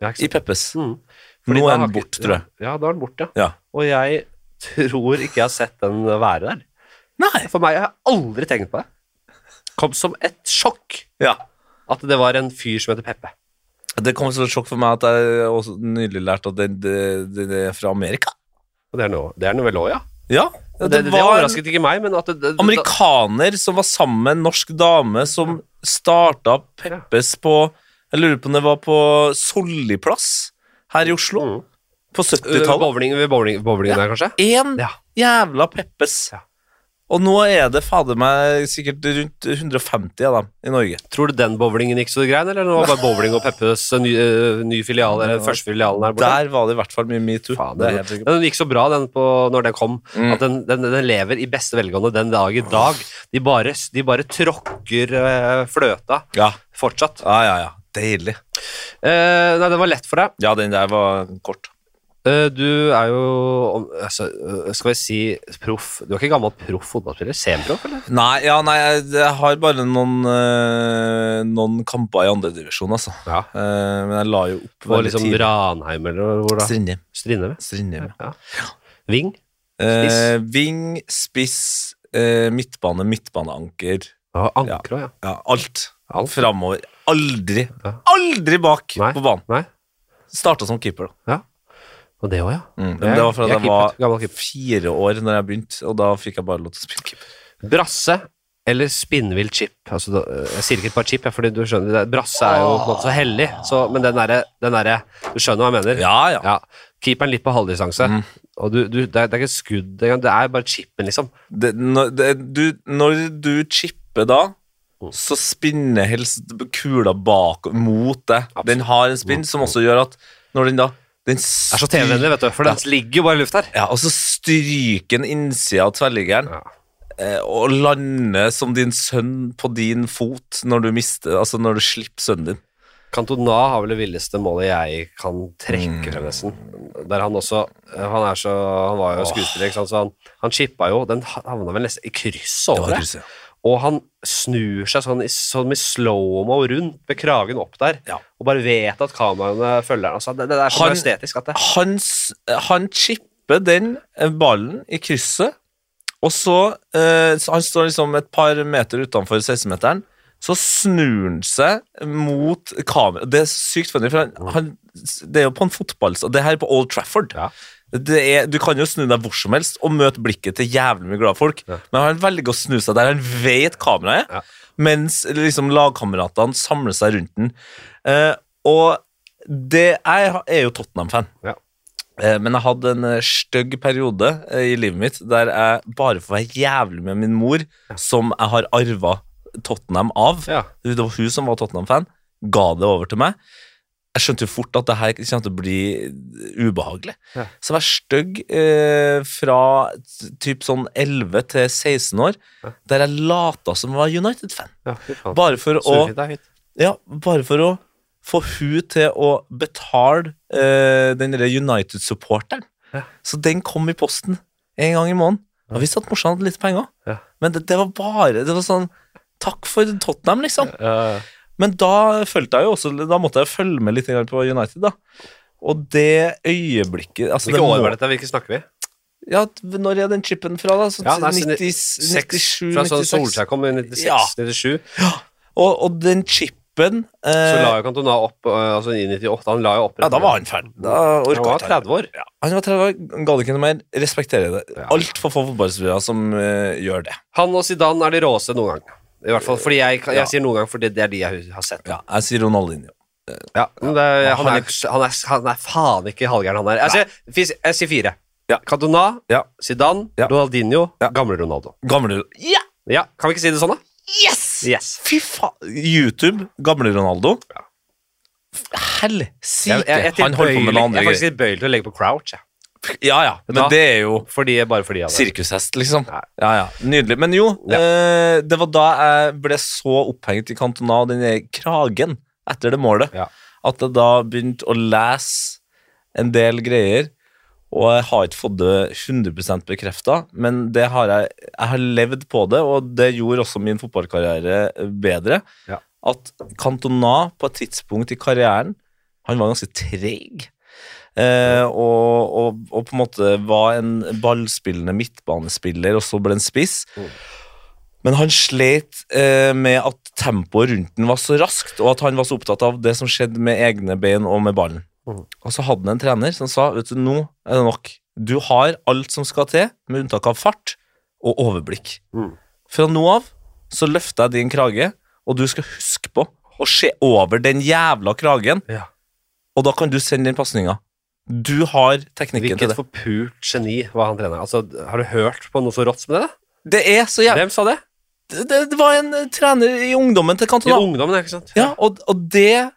A: Ja, ikke
B: i
A: sant?
B: Peppes.
A: Mm. Fordi
B: Nå
A: da har
B: er den
A: ikke-
B: borte, tror jeg.
A: Ja, da er den borte.
B: Ja.
A: Og jeg tror ikke jeg har sett den være der.
B: Nei!
A: For meg jeg har aldri tenkt på det. Kom som et sjokk
B: Ja.
A: at det var en fyr som heter Peppe.
B: Det kom som et sjokk for meg at jeg også nylig lærte at den, den, den er fra Amerika.
A: Og det er noe- det er den vel òg, ja.
B: Ja,
A: Det,
B: det,
A: det, det,
B: var en
A: overrasket ikke meg, men at det, det,
B: amerikaner som var sammen med en norsk dame som starta Peppes på Jeg lurer på om det var på Solliplass her i Oslo
A: Mm.
B: på
A: Ved
B: 70-tallet.
A: bowling, ved bowling, bowlingen der, kanskje?
B: Én
A: Ja.
B: jævla Peppes.
A: Ja.
B: Og nå er det fader meg sikkert rundt 150 av dem i Norge.
A: Tror du den bowlingen gikk så det grein, eller det var bare bowling og Peppes eh, ny, eh, ny filial, eller første filialen her borte?
B: Der var det i hvert fall mye metoo.
A: Faen,
B: Det er
A: den,
B: jeg helt sikker på.
A: den gikk så bra den på, når den kom,
B: Mm.
A: at den, den, den lever i beste velgående den dag i dag. De bare, de bare tråkker eh, fløta
B: Ja.
A: fortsatt.
B: ja, ja, ja. Deilig.
A: Eh, nei, den var lett for deg.
B: Ja, den der var kort.
A: Eh, du er jo om- altså, eh, Skal vi si proff Du er ikke gammel proff fotballspiller? Semiproff, eller?
B: Nei, ja, nei jeg, jeg har bare noen, eh, noen kamper i andredivisjon, altså.
A: Ja.
B: Eh, men jeg la jo
A: Og
B: opp veldig
A: liksom
B: tidlig.
A: Ranheim, eller hvor da?
B: Strindheim.
A: Strindheim?
B: Strindheim.
A: Ja. Ving?
B: Eh, ving, spiss, eh, midtbane, midtbaneanker.
A: Ja, Anker òg, ja.
B: Ja, alt.
A: Alt.
B: Framover. Aldri,
A: Ja.
B: aldri bak
A: Nei.
B: på banen.
A: Nei.
B: Starta som keeper, da.
A: Og det òg, ja.
B: Mm. Men det var fordi
A: Jeg er
B: jeg var
A: keeper, gammel keeper.
B: fire år når jeg begynte, og da fikk jeg bare lov til å spille keeper.
A: Brasse eller spinnvill chip? Altså, da- jeg sier ikke et par chip, jeg, fordi du skjønner det. Brasse er jo på en måte så hellig, så, men den derre den derre- Du skjønner hva jeg mener?
B: Ja, ja.
A: Ja. Keeperen litt på halvdistanse.
B: Mm.
A: Og du, du, det, er, det er ikke et skudd engang, det er bare chipen, liksom.
B: Det, når, det, du, når du chipper da,
A: Mm.
B: så spinner helst kula bak mot deg. Den har en spinn som også gjør at når den da den
A: Det er så TV-vennlig, vet du, for den ligger jo bare i luft her.
B: Ja, og så stryker den innsida av tverrliggeren
A: Ja.
B: eh, og lander som din sønn på din fot når du mister Altså når du slipper sønnen din.
A: Cantona har vel det villeste målet jeg kan
B: Mm.
A: trekke frem, nesten. Der han også Han, er så, han var jo skuespiller, ikke sant, så han, han chippa jo. Den havna vel nesten i krysset over det.
B: krysset,
A: Og han snur seg sånn i, sånn i slow-mo rundt med kragen opp der,
B: Ja.
A: og bare vet at kameraene følger han. Altså, det, det er så
B: Han-
A: estetisk at det
B: Han, s- han chipper den eh, ballen i krysset, og så eh, så Han står liksom et par meter utenfor 16-meteren. Så snur han seg mot kamera. Det er sykt funny, for han, han, det er jo på en fotball... Og det her er på Old Trafford.
A: Ja.
B: Det er, du kan jo snu deg hvor som helst og møte blikket til jævlig mye glade folk,
A: Ja.
B: men han velger å snu seg der han vet kameraet er,
A: Ja.
B: mens liksom lagkameratene samler seg rundt den. Eh, og det, jeg er jo Tottenham-fan,
A: Ja.
B: eh, men jeg hadde en eh, stygg periode eh, i livet mitt der jeg bare får være jævlig med min mor, som jeg har arva Tottenham av.
A: Ja.
B: Det var hun som var Tottenham-fan, ga det over til meg. Jeg skjønte jo fort at det her kommer til å bli ubehagelig.
A: Ja.
B: Så jeg var stygg eh, fra t- typ sånn 11 til 16 år, der jeg lata som jeg var United-fan.
A: ja, fy faen.
B: Bare for å
A: Surfing, det er fint.
B: ja, bare for å få hun til å betale eh, den derre United-supporteren.
A: Ja.
B: Så den kom i posten en gang i måneden. Og visste at morsan hadde litt penger.
A: Ja.
B: Men det, det var bare Det var sånn Takk for Tottenham, liksom.
A: Eh,
B: Men da følte jeg jo også Da måtte jeg følge med litt grann på United, da. Og det øyeblikket altså
A: Hvilke
B: det
A: år
B: må-
A: var dette? Hvilke snakker vi?
B: Ja, Når er den chipen fra, da? Så
A: Ja, nei, siden
B: 90, 97,
A: Fra sånn
B: 96?
A: Solskjær kom i 96,
B: Ja.
A: 97,
B: Og, og den chipen eh,
A: så la jo Cantona opp eh, altså i 98, han la jo opp.
B: Ja, da var han ferdig. Da orket
A: Han var 30 år.
B: Han var 30 år, ga det ikke noe mer. Respekterer det.
A: Ja.
B: Altfor få fotballspillere som eh, gjør det.
A: Han og Zidane er de råeste noen gang. I hvert fall, fordi jeg, jeg
B: Ja.
A: sier noen gang, fordi det er de jeg har sett.
B: Ja, jeg sier Ronaldinho.
A: Ja, men det, er- han,
B: Han
A: er, han, er, han er faen ikke halvgæren, han er. Jeg sier, fis- jeg sier fire.
B: Ja.
A: Cantona,
B: Ja.
A: Zidane,
B: Ja.
A: Ronaldinho,
B: Ja.
A: gamle Ronaldo.
B: Gamle Ja!
A: Ja, Kan vi ikke si det sånn, da?
B: Yes!
A: Yes.
B: Fy faen. YouTube, gamle Ronaldo.
A: Ja. Jeg, jeg, jeg,
B: helsike
A: er
B: han holder på med
A: tilbøyelig-
B: det
A: jeg
B: andre
A: er faktisk
B: greier.
A: tilbøyelig til å legge på crouch, jeg.
B: Ja, ja, men
A: hva?
B: det er jo
A: Fordi, bare fordi jeg det.
B: Sirkushest, liksom.
A: Nei.
B: Ja, ja. Nydelig. Men jo,
A: Ja.
B: eh, det var da jeg ble så opphengt i Cantona og den der kragen etter det målet,
A: Ja.
B: at jeg da begynte å lese en del greier. Og jeg har ikke fått det 100 bekrefta, men det har jeg, jeg har levd på det, og det gjorde også min fotballkarriere bedre.
A: Ja.
B: At Cantona på et tidspunkt i karrieren Han var ganske treig. Eh, og, og, og på en måte var en ballspillende midtbanespiller, og så ble han spiss.
A: Mm.
B: Men han slet eh, med at tempoet rundt den var så raskt, og at han var så opptatt av det som skjedde med egne bein og med ballen.
A: Mhm.
B: Og så hadde han en trener som sa vet du, nå er det nok. Du har alt som skal til, med unntak av fart og overblikk.
A: Mhm.
B: Fra nå av så løfter jeg din krage, og du skal huske på å se over den jævla kragen,
A: Ja.
B: og da kan du sende den pasninga. Du har teknikken til
A: Hvilket
B: det.
A: forpult geni var han treneren? Altså, har du hørt på noe så rått som det? da?
B: Det er så jævla
A: Hvem sa det?
B: det, det var en eh, trener i ungdommen til
A: I
B: Cantona.
A: ungdommen, ikke sant?
B: Ja, og, og det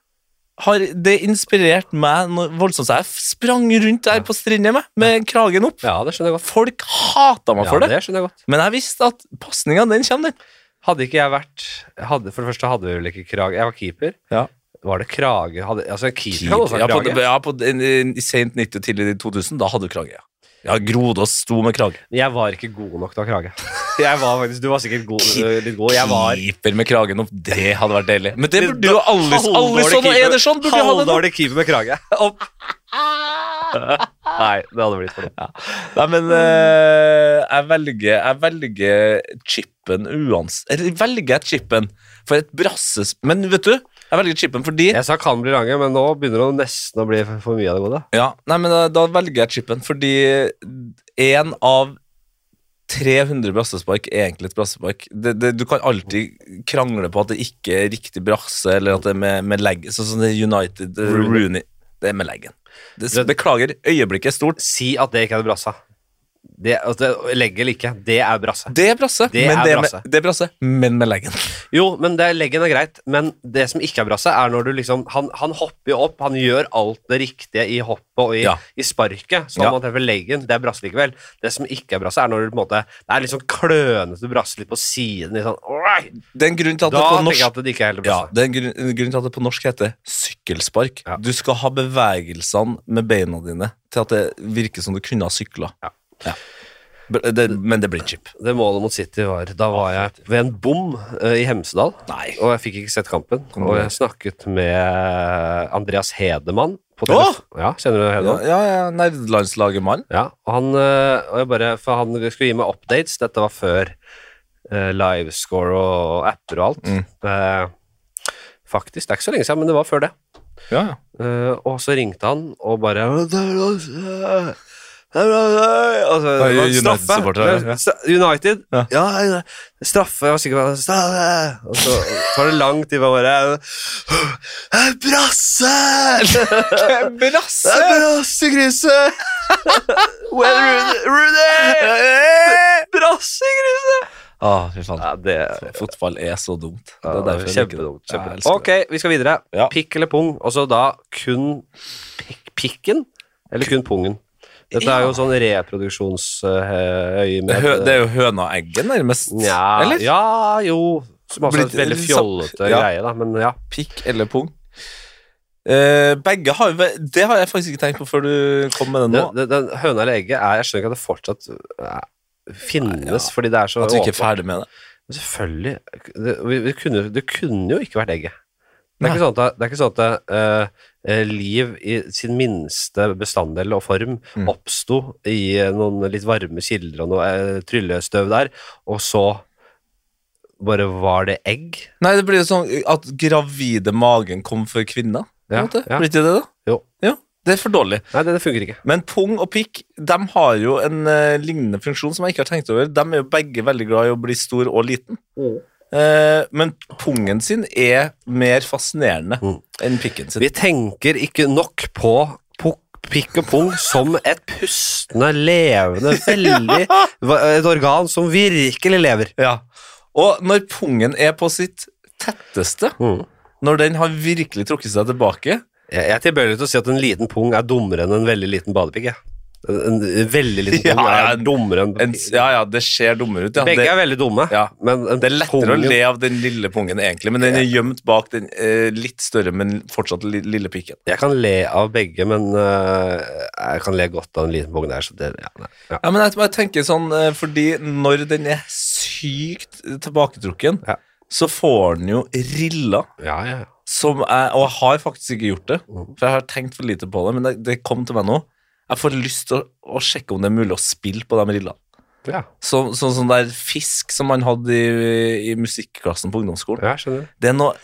B: har det inspirert meg noe voldsomt. Så jeg sprang rundt der på strindet med, med kragen opp.
A: Ja, det skjønner jeg godt.
B: Folk hata meg
A: Ja,
B: for det.
A: det skjønner jeg godt.
B: Men jeg visste at pasninga, den kommer, den.
A: Hadde ikke jeg vært hadde, For det første hadde vi vel ikke krage Jeg var keeper.
B: Ja.
A: Var det krage hadde, Altså, en keeper kan også ha
B: Ja, på,
A: krage.
B: ja, på den- i sent 90 og tidlig 2000, da hadde du krage. Ja, ja Grodås sto med krage.
A: Jeg var ikke god nok til å ha krage. Jeg var faktisk, Du var sikkert god, øh, litt god. Jeg var
B: Keeper med kragen opp, det hadde vært deilig. Men det burde jo Alison
A: Halvdårlig
B: og
A: keeper-
B: Ederson burde jo ha det nå.
A: halvdårlig keeper med krage. sånn. Opp. Nei, det hadde blitt for dumt.
B: Nei, men eh, jeg, velger, jeg velger chipen uans... Eller velger jeg chipen for et brasses... Men vet du, jeg velger chipen fordi
A: Jeg sa kan bli lange, men nå begynner det nesten å bli for- for mye av det gode.
B: ja, Nei, men da, da velger jeg chipen fordi én av 300 brassespark er egentlig et brassespark. Det, det, du kan alltid krangle på at det ikke er riktig brasse, eller at det er med, med leg. Sånn som det er United eh,
A: Rooney.
B: Rooney. Det er med leggen. Det, beklager, øyeblikket er stort.
A: Si at det ikke er brassa. Det, altså, det- legg eller ikke, det er brasse.
B: Det er brasse,
A: Det
B: men
A: er
B: det, er
A: brasse.
B: med, det er brasse, men med leggen.
A: Jo, men det, leggen er greit, men det som ikke er brasse, er når du liksom Han, han hopper jo opp, han gjør alt det riktige i hoppet og i,
B: Ja.
A: i sparket, så
B: Ja.
A: om han treffer leggen, det er brasse likevel. Det som ikke er brasse, er når du på en måte Det er litt sånn klønete brasse litt på siden, litt sånn «Alright!»
B: Det er en grunn til at
A: Da
B: det på
A: tenker jeg
B: norsk
A: at det ikke er helt
B: ja,
A: brasse.
B: det er en grunn, en grunn til at det på norsk heter sykkelspark.
A: Ja.
B: Du skal ha bevegelsene med beina dine til at det virker som du kunne ha sykla.
A: Ja.
B: B- Det, men det blir chip.
A: Det målet mot City var Da var jeg ved en bom eh, i Hemsedal,
B: Nei.
A: og jeg fikk ikke sett kampen.
B: Kom
A: Og
B: igjen.
A: jeg snakket med eh, Andreas Hedemann på
B: Åh!
A: telefon. Ja, kjenner du
B: Ja,
A: Hedemann?
B: ja, ja nerdelandslaget mann.
A: Ja, og han, øh, og jeg bare, for han skulle gi meg updates. Dette var før øh, livescore og apper og alt.
B: Mm.
A: Eh, faktisk, det er ikke så lenge siden, men det var før det.
B: Ja, ja.
A: Eh, og så ringte han og bare Og så, det var
B: United
A: straffe.
B: supporter, ja.
A: Men sta- United.
B: Ja.
A: Ja. ja, straffe. Jeg var sikker på at- Straffe! Og så tar det lang tid. og Bare Brasse!
B: Brasse!
A: Brassekrysset! Well, Rune! Brassekrysset!
B: Ah, fy faen.
A: Ja, det
B: Fotball er så dumt.
A: ja,
B: det er derfor jeg liker det.
A: kjempedumt.
B: Jeg
A: kjempedumt.
B: elsker
A: Ok, vi skal videre.
B: Ja.
A: Pikk eller pung? Og så da kun pik pikken? Eller kun pungen? Dette er jo sånn
B: det.
A: reproduksjonsøyemed.
B: Hø, det er jo høna og egget, nærmest.
A: Nja,
B: Eller?
A: Ja, jo. Som også er
B: Blitt-
A: en veldig fjollete
B: Ja.
A: greie, da. Men ja.
B: Pikk eller pung. Eh, begge har jo ve- Det har jeg faktisk ikke tenkt på før du kom med det nå.
A: Den, den, den høna eller egget er Jeg skjønner ikke at det fortsatt eh, finnes, fordi det er så
B: At vi ikke er
A: åpenbart.
B: ferdig med det.
A: Men Selvfølgelig. Det, vi- vi kunne, det kunne jo ikke vært egget. Det er
B: Nei.
A: ikke sånn at, det er ikke sånn at eh, eh, liv i sin minste bestanddel og form
B: Mm.
A: oppsto i eh, noen litt varme kilder og noe eh, tryllestøv der, og så bare var det egg.
B: Nei, det blir jo sånn at gravide magen kom før kvinner. på en
A: Ja,
B: måte.
A: ja.
B: Blir ikke det, da?
A: Jo.
B: Ja, det er for dårlig.
A: Nei, det, det funker ikke.
B: Men pung og pikk de har jo en eh, lignende funksjon som jeg ikke har tenkt over. De er jo begge veldig glad i å bli stor og liten.
A: Mm.
B: Eh, men pungen sin er mer fascinerende
A: Mm.
B: enn pikken sin.
A: Vi tenker ikke nok på pukk, pikk og pung som et pustende, levende, veldig Et organ som virkelig lever.
B: Ja. Og når
A: Mm.
B: pungen er på sitt tetteste, når den har virkelig trukket seg tilbake,
A: Jeg jeg er tilbøyelig til å si at en liten pung er dummere enn en veldig liten badepikk. jeg. En, en veldig liten
B: Ja,
A: pung
B: ja,
A: er
B: en-
A: dummere enn
B: En, ja, ja, det ser dummere ut. Ja.
A: Begge
B: Det,
A: er veldig dumme,
B: Ja.
A: men en
B: det er lettere å
A: pungen-
B: le av den lille pungen, egentlig, men den er gjemt bak den eh, litt større, men fortsatt li, lille pikken.
A: Jeg kan le av begge, men øh, jeg kan le godt av en liten pung der. Så det, ja, nei, ja.
B: Ja, men jeg, jeg tenker sånn, eh, fordi når den er sykt tilbaketrukken,
A: Ja.
B: så får den jo rilla.
A: Ja, ja.
B: Som jeg, og jeg har faktisk ikke gjort det, for jeg har tenkt for lite på det, men det, det kom til meg nå. Jeg får lyst til å, å sjekke om det er mulig å spille på de rillene.
A: ja.
B: Så, sånn som der fisk som man hadde i, i musikklassen på ungdomsskolen.
A: ja jeg skjønner.
B: Det er noe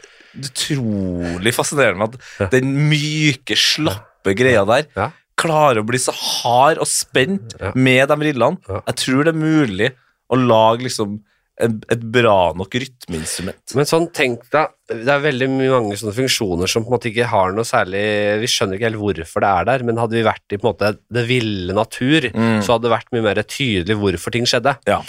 B: utrolig fascinerende med at den myke, slappe greia der
A: Ja.
B: klarer å bli så hard og spent
A: Ja.
B: med de rillene.
A: Ja.
B: Jeg tror det er mulig å lage liksom en, et bra nok rytmeinstrument.
A: Men sånn, tenk deg, det er veldig mange sånne funksjoner som på en måte ikke har noe særlig Vi skjønner ikke helt hvorfor det er der, men hadde vi vært i på en måte det ville natur,
B: Mm.
A: så hadde det vært mye mer tydelig hvorfor ting skjedde.
B: Ja.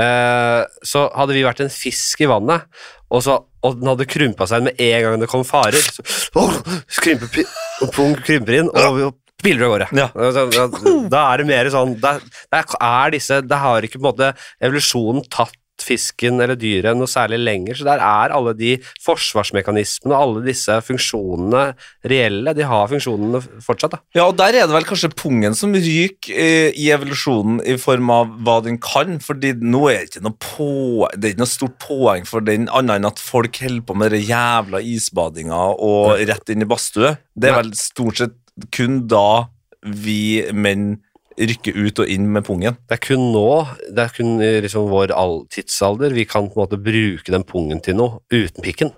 A: Eh, så hadde vi vært en fisk i vannet, og, så, og den hadde krympa seg med en gang det kom farer. Så, åh, så krymper, pi- og pung krymper inn, og, og piler av gårde.
B: Ja.
A: Da, da, da er det mer sånn Da, da er disse Da har ikke på en måte evolusjonen tatt fisken eller dyret noe særlig lenger, så der er alle de forsvarsmekanismene og alle disse funksjonene reelle. De har funksjonene fortsatt, da.
B: Ja, og der er det vel kanskje pungen som ryker eh, i evolusjonen i form av hva den kan, fordi nå er det ikke noe, på, det er ikke noe stort poeng for den, annet enn at folk holder på med det jævla isbadinga og rett inn i badstue. Det er
A: Nei.
B: vel stort sett kun da vi menn rykker ut og inn med pungen.
A: Det er kun nå, det er kun i liksom vår all tidsalder, vi kan på en måte bruke den pungen til noe uten pikken.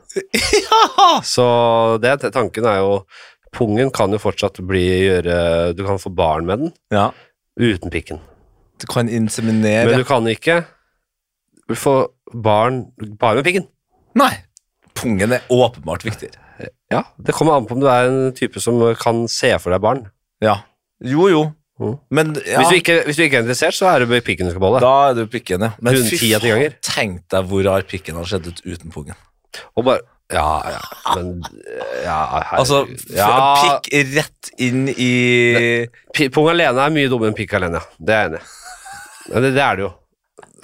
A: Så det, tanken er jo Pungen kan jo fortsatt bli gjøre Du kan få barn med den
B: Ja,
A: uten pikken.
B: du kan inseminere.
A: Men du kan ikke få barn bare med pikken.
B: Nei, pungen er åpenbart viktigere.
A: Ja, Det kommer an på om du er en type som kan se for deg barn.
B: Ja, jo jo.
A: Mhm.
B: Men, ja.
A: Hvis, du ikke, hvis du ikke er interessert, så er det med pikken du skal beholde.
B: Da er det jo pikken, ja. Men
A: Rundt
B: fy
A: ti av ti
B: faen,
A: ganger.
B: tenk deg hvor rar pikken hadde sett ut uten pungen.
A: Og bare Ja, ja, men ja, herregud.
B: Altså, f-
A: ja,
B: pikk rett inn i
A: pi- Pung alene er mye dummere enn pikk alene, ja. Det er jeg enig i. Men Det, det er det jo.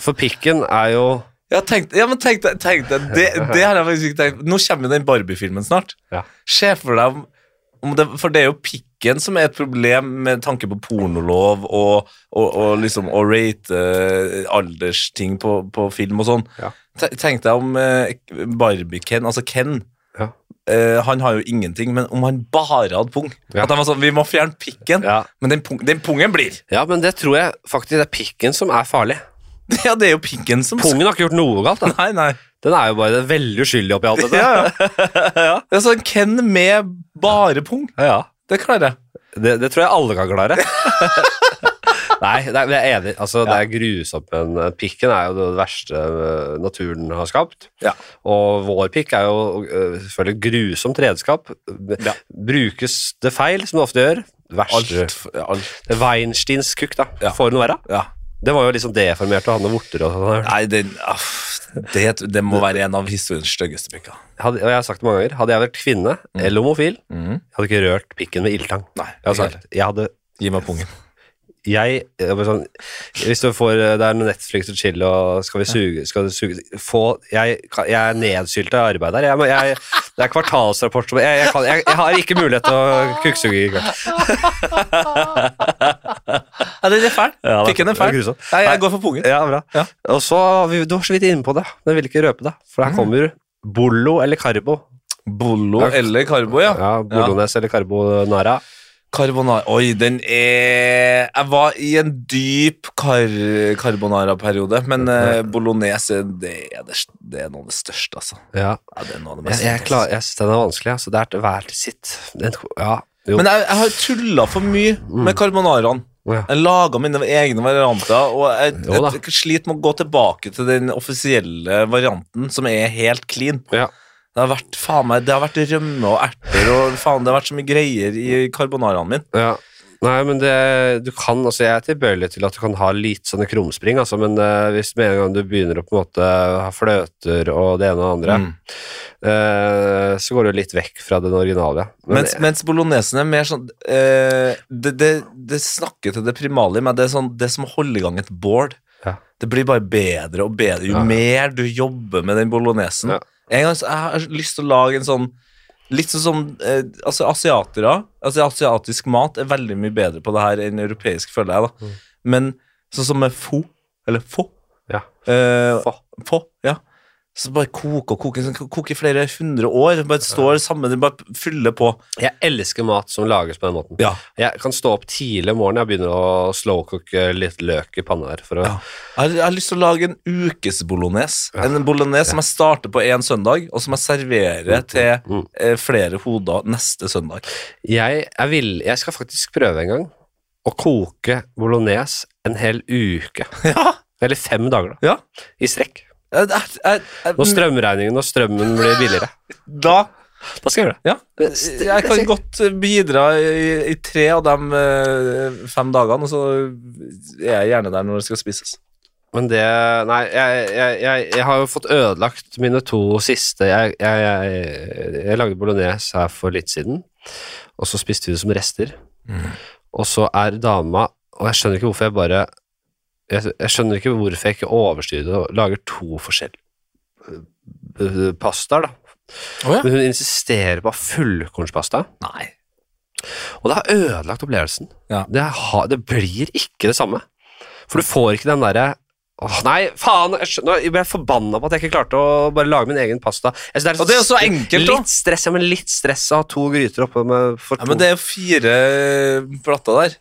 A: For pikken er jo
B: Ja, tenk, ja men tenk deg, tenk deg. Det, det har jeg faktisk ikke tenkt Nå kommer jo den Barbie-filmen snart.
A: Ja.
B: Se for deg om, om det, For det er jo pikken som er et problem med tanke på pornolov og, og, og liksom å rate eh, aldersting på, på film og sånn.
A: Ja.
B: Te- Tenk deg om eh, Barbie-Ken, altså Ken
A: Ja.
B: eh, han har jo ingenting, men om han bare hadde pung
A: Ja.
B: At han var sånn, Vi må fjerne pikken,
A: ja.
B: men den, pung, den pungen blir!
A: ja, men det tror jeg faktisk det er pikken som er farlig.
B: Ja, det er jo pikken som
A: Pungen har ikke gjort noe galt. Da.
B: Nei, nei.
A: Den er jo bare veldig uskyldig oppi alt dette.
B: Ja, ja. Det er sånn Ken med bare pung.
A: Ja.
B: Det klarer jeg.
A: Det, det tror jeg alle kan klare. Nei, det er, jeg er enig. Altså, Det er grusomt, men eh, pikken er jo det verste eh, naturen har skapt.
B: Ja.
A: Og vår pikk er jo eh, selvfølgelig et grusomt redskap. B-
B: Ja.
A: Brukes det feil, som det ofte gjør, verste
B: Alt, alt.
A: Det er Weinsteins kukk, da.
B: Ja.
A: Får det noe verre?
B: Ja.
A: Det var jo liksom deformert og hadde noen vorter og sånn.
B: Nei, den, aff, det, det må være en av historiens styggeste pikker.
A: Hadde, og jeg har sagt det mange ganger, hadde jeg vært kvinne eller homofil, jeg hadde ikke rørt pikken med ildtang.
B: Mm. Nei,
A: Jeg har sagt, jeg hadde
B: Gi meg pungen.
A: jeg, jeg bare sånn, Hvis du får Det er noe Netflix og chill og Skal vi suge, skal du suge få, jeg, kan- jeg er nedsylta i arbeid her. Jeg, må- jeg, det er kvartalsrapport som jeg, jeg, kan, jeg, jeg har ikke mulighet til å kukksuge i kveld.
B: Ja, den er fæl.
A: Ja, det er
B: Pikken er
A: fæl. Det
B: fæl.
A: er grusomt.
B: Nei,
A: Nei.
B: jeg går for pungen.
A: Ja, bra.
B: Ja.
A: Og så har vi- Du var så vidt inne på det, men jeg ville ikke røpe det. For her kommer Bollo eller Carbo.
B: Bollo
A: Ja.
B: eller karbo, ja.
A: Ja, Bollones eller Carbonara.
B: Carbonara Oi, den er Jeg var i en dyp kar carbonara-periode, men eh, bolognese det er, det, det er noe av det største, altså.
A: Ja.
B: Ja, det er noe av
A: Jeg,
B: det mest
A: jeg, klar, jeg syns den er vanskelig. Altså. Det er til hver til sitt. Den, ja, jo. Mm.
B: Men jeg, jeg har tulla for mye med carbonaraen.
A: Ja.
B: Jeg laga mine egne varianter, og jeg,
A: Jo da.
B: jeg, sliter med å gå tilbake til den offisielle varianten, som er helt clean.
A: Ja.
B: Det har vært, faen meg, det har vært rømme og erter og faen, det har vært så mye greier i carbonaraen min.
A: Ja. Nei, men det, du kan, altså jeg er tilbøyelig til at du kan ha litt sånne krumspring, altså, men eh, hvis med en gang du begynner å på en måte ha fløter og det ene og det andre,
B: Mm.
A: eh, så går du litt vekk fra den originale. ja. Men,
B: Mens, mens bolognesen er mer sånn eh, det, det, det snakker til det primale i meg. Det er sånn, det er som å holde i gang et bål.
A: Ja.
B: Det blir bare bedre og bedre jo
A: Ja.
B: mer du jobber med den bolognesen.
A: Ja.
B: En gang så, jeg har lyst til å lage en sånn Litt sånn som eh, altså asiatere altså Asiatisk mat er veldig mye bedre på det her enn europeisk, føler jeg. da
A: Mm.
B: Men sånn som med fo, eller fo,
A: Ja.
B: eh,
A: Pho.
B: Pho, ja. Så bare koke og koke. Sånn, koke i flere hundre år. Bare står sammen, det bare fyller på.
A: jeg elsker mat som lages på den måten.
B: Ja.
A: Jeg kan stå opp tidlig om morgenen, jeg begynner å slowcooke litt løk i panna her. For å,
B: Ja. Jeg har, jeg har lyst til å lage en ukes bolognese. En bolognese som jeg starter på én søndag, og som jeg serverer til
A: Mm.
B: eh, flere hoder neste søndag.
A: jeg, er vill, jeg skal faktisk prøve en gang å koke bolognese en hel uke.
B: Ja,
A: Eller fem dager, da.
B: Ja.
A: I strekk.
B: jeg, jeg, jeg,
A: Når
B: jeg,
A: strømregningen og strømmen blir billigere.
B: da
A: Da skal jeg gjøre det.
B: ja. Jeg kan godt bidra i, i tre av de eh, fem dagene, og så er jeg gjerne der når det skal spises.
A: Men det Nei, jeg, jeg, jeg, jeg har jo fått ødelagt mine to siste Jeg, jeg, jeg, jeg lagde bolognese her for litt siden, og så spiste vi det som rester. Og så er dama Og jeg skjønner ikke hvorfor jeg bare Jeg, jeg skjønner ikke hvorfor jeg ikke overstyrer det og lager to forskjellige øh, øh, pastaer, da.
B: Å ja.
A: Men hun insisterer på å ha fullkornspasta,
B: Nei.
A: og det har ødelagt opplevelsen.
B: Ja.
A: Det, har, det blir ikke det samme. For du får ikke den derre Åh, nei, faen! Jeg skjø- nå ble jeg forbanna på at jeg ikke klarte å bare lage min egen pasta. Jeg synes
B: Og det er jo så
A: stre-
B: enkelt, da.
A: Litt stress, ja, men litt stress å ha to gryter oppe med for
B: Ja,
A: to.
B: men det er jo fire plater der.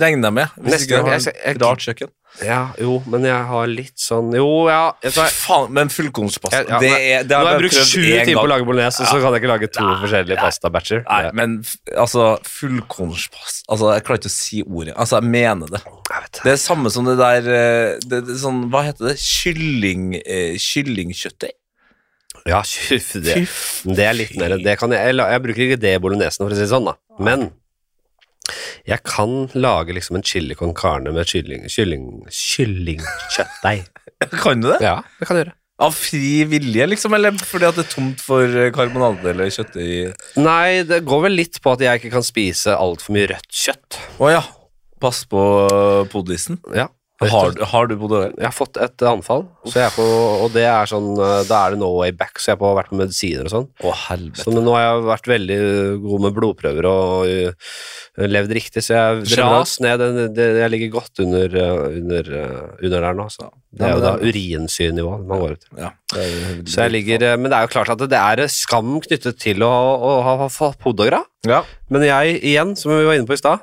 B: Regner jeg med. Hvis
A: Neste
B: ikke
A: gang,
B: du har
A: jeg skal- jeg-
B: et rart kjøkken.
A: ja, jo, men jeg har litt sånn Jo, ja vet du hva,
B: Fy faen, men fullkornspasta
A: jeg, ja,
B: det,
A: nei,
B: er- det
A: Nå har
B: har
A: jeg
B: jeg
A: brukt
B: prøvd
A: sju
B: én
A: timer på å
B: gang.
A: lage bolognese, og så kan jeg ikke lage to forskjellige pastabatcher.
B: Nei, men f- altså, fullkornspasta Altså, jeg klarer ikke å si ordet. Altså, jeg mener det.
A: Jeg vet det.
B: Det er samme som det der eh, det, det, sånn, Hva heter det? Kylling, eh, kyllingkjøttdeig?
A: Ja, tjuff, det.
B: Fy f-
A: Men Det er litt mer det kan jeg, jeg, la- jeg bruker ikke det i bolognesen, for å si det sånn, da. Men jeg kan lage liksom en chili con carne med kylling, kylling, kyllingkjøttdeig.
B: Kan du det?
A: Ja, det kan jeg gjøre.
B: Av fri vilje, liksom? Eller fordi at det er tomt for eh, karbonade eller kjøttdeig?
A: Nei, det går vel litt på at jeg ikke kan spise altfor mye rødt kjøtt.
B: Å ja. Pass på eh, podisen.
A: Ja.
B: Har, har du podisen?
A: Jeg har fått et anfall, så jeg er på, og det er sånn, eh, da er det no way back, så jeg har på- vært på medisiner og sånn.
B: Å, helvete.
A: Så nå har jeg vært veldig eh, god med blodprøver og eh, levd riktig, så jeg
B: Generelt?
A: dras ned. Det, det, jeg ligger godt under, eh, under, eh, under der nå. Så. Det er
B: Ja,
A: jo
B: men
A: da
B: det
A: urinsynivå man går ut.
B: Ja, det er,
A: Så jeg ligger,
B: sånn.
A: eh, men det er jo klart at det er skam knyttet til å, å ha ha fått podagra.
B: ja.
A: Men jeg, igjen, som vi var inne på i stad,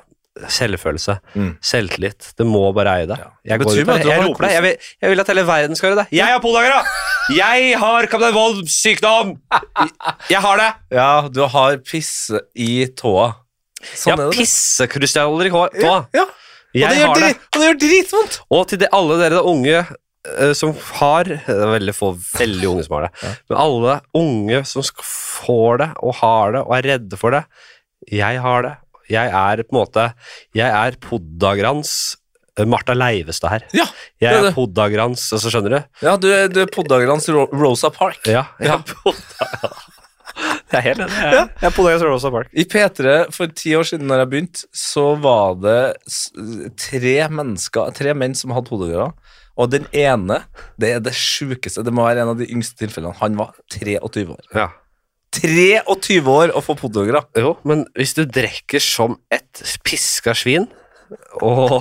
A: selvfølelse.
B: Mm.
A: Selvtillit. Det må bare eie deg.
B: Ja.
A: Jeg,
B: Det
A: går ut
B: betyr
A: der,
B: bare at du
A: jeg
B: har
A: roper deg. Jeg vil, jeg vil at hele verden skal høre det. Jeg har podagra! Jeg har Kaptein Volms sykdom! Jeg har det!
B: Ja, du har pisse i tåa. Sånn
A: ja,
B: er det.
A: pissekrystaller i hår. Nå,
B: Ja, og det,
A: jeg
B: gjør
A: har det.
B: drit, og det gjør dritvondt!
A: Og til de, alle dere da unge eh, som har Det er veldig få veldig unge som har det. Men alle unge som sk- får det og har det og er redde for det Jeg har det. Jeg er på en måte Jeg er Poddagrans eh, Martha Leivestad her.
B: Ja,
A: Jeg
B: det er
A: er
B: det.
A: Poddagrans, altså skjønner du?
B: ja du, er- du er poddagerens Ro Rosa Park.
A: Ja. Jeg
B: Ja.
A: er Poddagrans. Jeg er helt enig. Jeg jeg er Poddagrans Rosa Park.
B: I P3 for ti år siden når jeg begynte, så var det s- tre mennesker, tre menn som hadde poddagerer. Og den ene, det er det sjukeste, det må være en av de yngste tilfellene, han var 23 år.
A: Ja.
B: 23 år å få poddagerer!
A: Jo, men hvis du drikker som et piska svin og,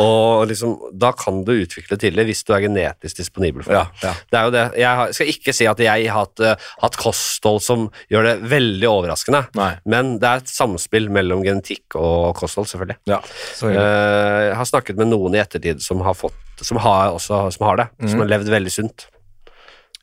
A: og liksom Da kan du utvikle tidlig hvis du er genetisk disponibel for det.
B: Ja, ja.
A: Det er jo det. Jeg har- skal ikke si at jeg har hatt, eh, hatt kosthold som gjør det veldig overraskende,
B: Nei.
A: men det er et samspill mellom genetikk og kosthold, selvfølgelig.
B: Ja, så hyggelig.
A: Eh, Jeg har snakket med noen i ettertid som har, fått, som har, også, som har det, som har levd veldig sunt.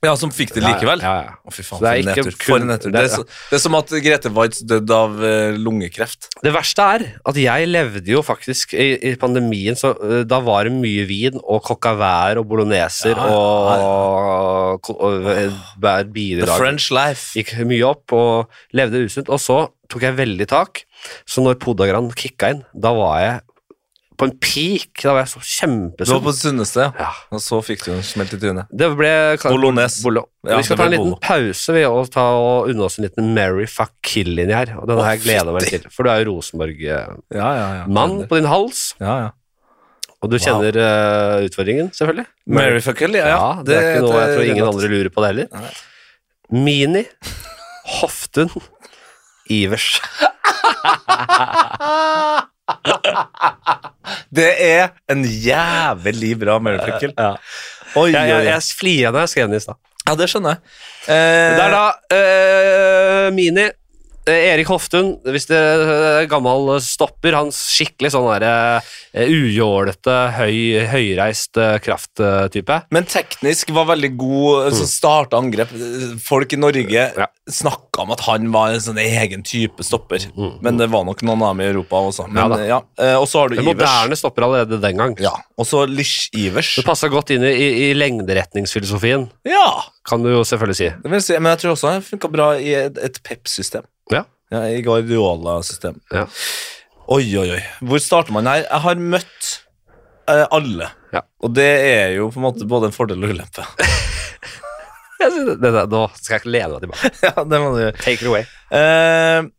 B: ja, som fikk det Mm. likevel.
A: Ja, ja, ja.
B: Å, fy faen,
A: Så det er
B: for en
A: ikke
B: nedtur.
A: kun-
B: For en nedtur.
A: det
B: Det,
A: er-
B: er så, det er som at Grete Waitz døde av eh, lungekreft.
A: Det verste er at jeg levde jo faktisk i, i pandemien, så eh, da var det mye vin og coquavær og bologneser
B: Ja, ja,
A: og, ko- og, eh, bær bier i
B: The
A: dag.
B: French life.
A: Gikk mye opp og levde usunt. Og så tok jeg veldig tak Så når podagran kicka inn, da var jeg på en peak. Da var jeg så
B: Du var
A: kjempesunn.
B: på det sunneste, ja.
A: Ja.
B: Og så fikk du en smelt i trynet.
A: Det ble
B: Bolognese.
A: Bolo.
B: Ja,
A: vi skal ta
B: det
A: en
B: ble
A: liten
B: bolo.
A: pause ved å ta og unne oss en liten Mary fuck kill-linje her. Og denne
B: Å,
A: her gleder jeg meg
B: fytti.
A: til, for du er jo eh, Rosenborg-mann
B: Ja, ja, ja.
A: på din hals.
B: Ja, ja.
A: Og du kjenner eh, utfordringen, selvfølgelig.
B: Maryfuckel, ja.
A: Ja,
B: ja.
A: det, er ikke noe jeg tror ingen
B: relativt.
A: andre lurer på det heller.
B: Nei.
A: Mini, Hoftun, Ivers.
B: Det er en jævlig bra Maryfuckel.
A: Ja.
B: Oi,
A: Jeg, jeg,
B: oi, oi.
A: jeg flirer når jeg skrev den i stad.
B: Ja, det skjønner jeg. Eh,
A: Det er da eh, Mini. eh, Erik Hoftun, hvis det er gammel stopper, han skikkelig sånn der eh, ujålete, høy, høyreist eh, krafttype.
B: Men teknisk var veldig god, så starta angrep. Folk i Norge
A: Mm. Ja.
B: snakka om at han var en sånn egen type stopper. Men det var nok noen av dem i Europa også. Men,
A: Mm, Ja
B: ja, eh, Og så har du
A: En
B: Ivers.
A: moderne stopper allerede den gang.
B: Ja, Og så Lish-Ivers.
A: Det passa godt inn i, i, i lengderetningsfilosofien,
B: Ja,
A: kan du jo selvfølgelig si.
B: det vil si, Men jeg tror også han funka bra i et, et PEP-system.
A: Ja.
B: Ja, I Guardiola-system.
A: Ja.
B: Oi, oi, oi. Hvor starter man her? Jeg har møtt eh, alle.
A: Ja.
B: Og det er jo på en måte både en fordel og ulempe.
A: Jeg synes det, det, det, nå skal jeg ikke lene meg tilbake.
B: ja, det må du gjøre.
A: Take it away.
B: Eh,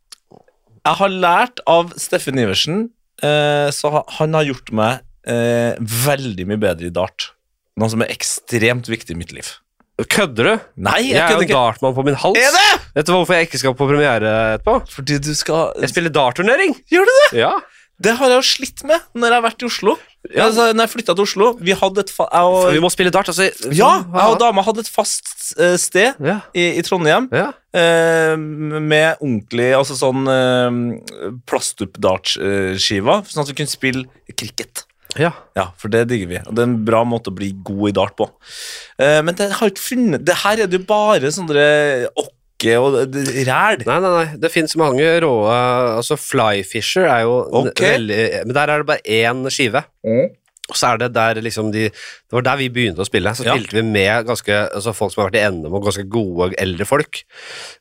B: jeg har lært av Steffen Iversen, eh, så ha- han har gjort meg eh, veldig mye bedre i dart. Noe som er ekstremt viktig i mitt liv.
A: Kødder du?
B: Nei,
A: Jeg
B: jeg
A: er jo
B: kødder ikke.
A: dartmann på min hals.
B: Er det?
A: Vet du hvorfor jeg ikke skal på premiere etterpå?
B: Fordi du skal
A: Jeg spiller dartturnering!
B: Gjør du det?
A: Ja.
B: Det har jeg jo slitt med når jeg har vært i Oslo. Altså, når jeg flytta til Oslo Vi hadde et fa jeg og,
A: Vi må spille dart, altså.
B: Ja, jeg og dama hadde et fast eh, sted
A: Ja.
B: i, i Trondheim
A: ja.
B: eh, med ordentlig altså sånn eh, plastupp-dartskiva, sånn at vi kunne spille cricket.
A: ja.
B: Ja, for det digger vi. Og det er en bra måte å bli god i dart på. Eh, men det har jeg ikke funnet Det her er det jo bare sånn sånne åkke og det- det- ræl.
A: Nei, nei, nei. Det fins mange rå Altså, Flyfisher er jo n-
B: Ok.
A: veldig Men der er det bare én skive. Og så er det der liksom de Det var der vi begynte å spille. Så
B: Ja.
A: spilte vi med ganske, altså folk som har vært i NM, og ganske gode eldre folk.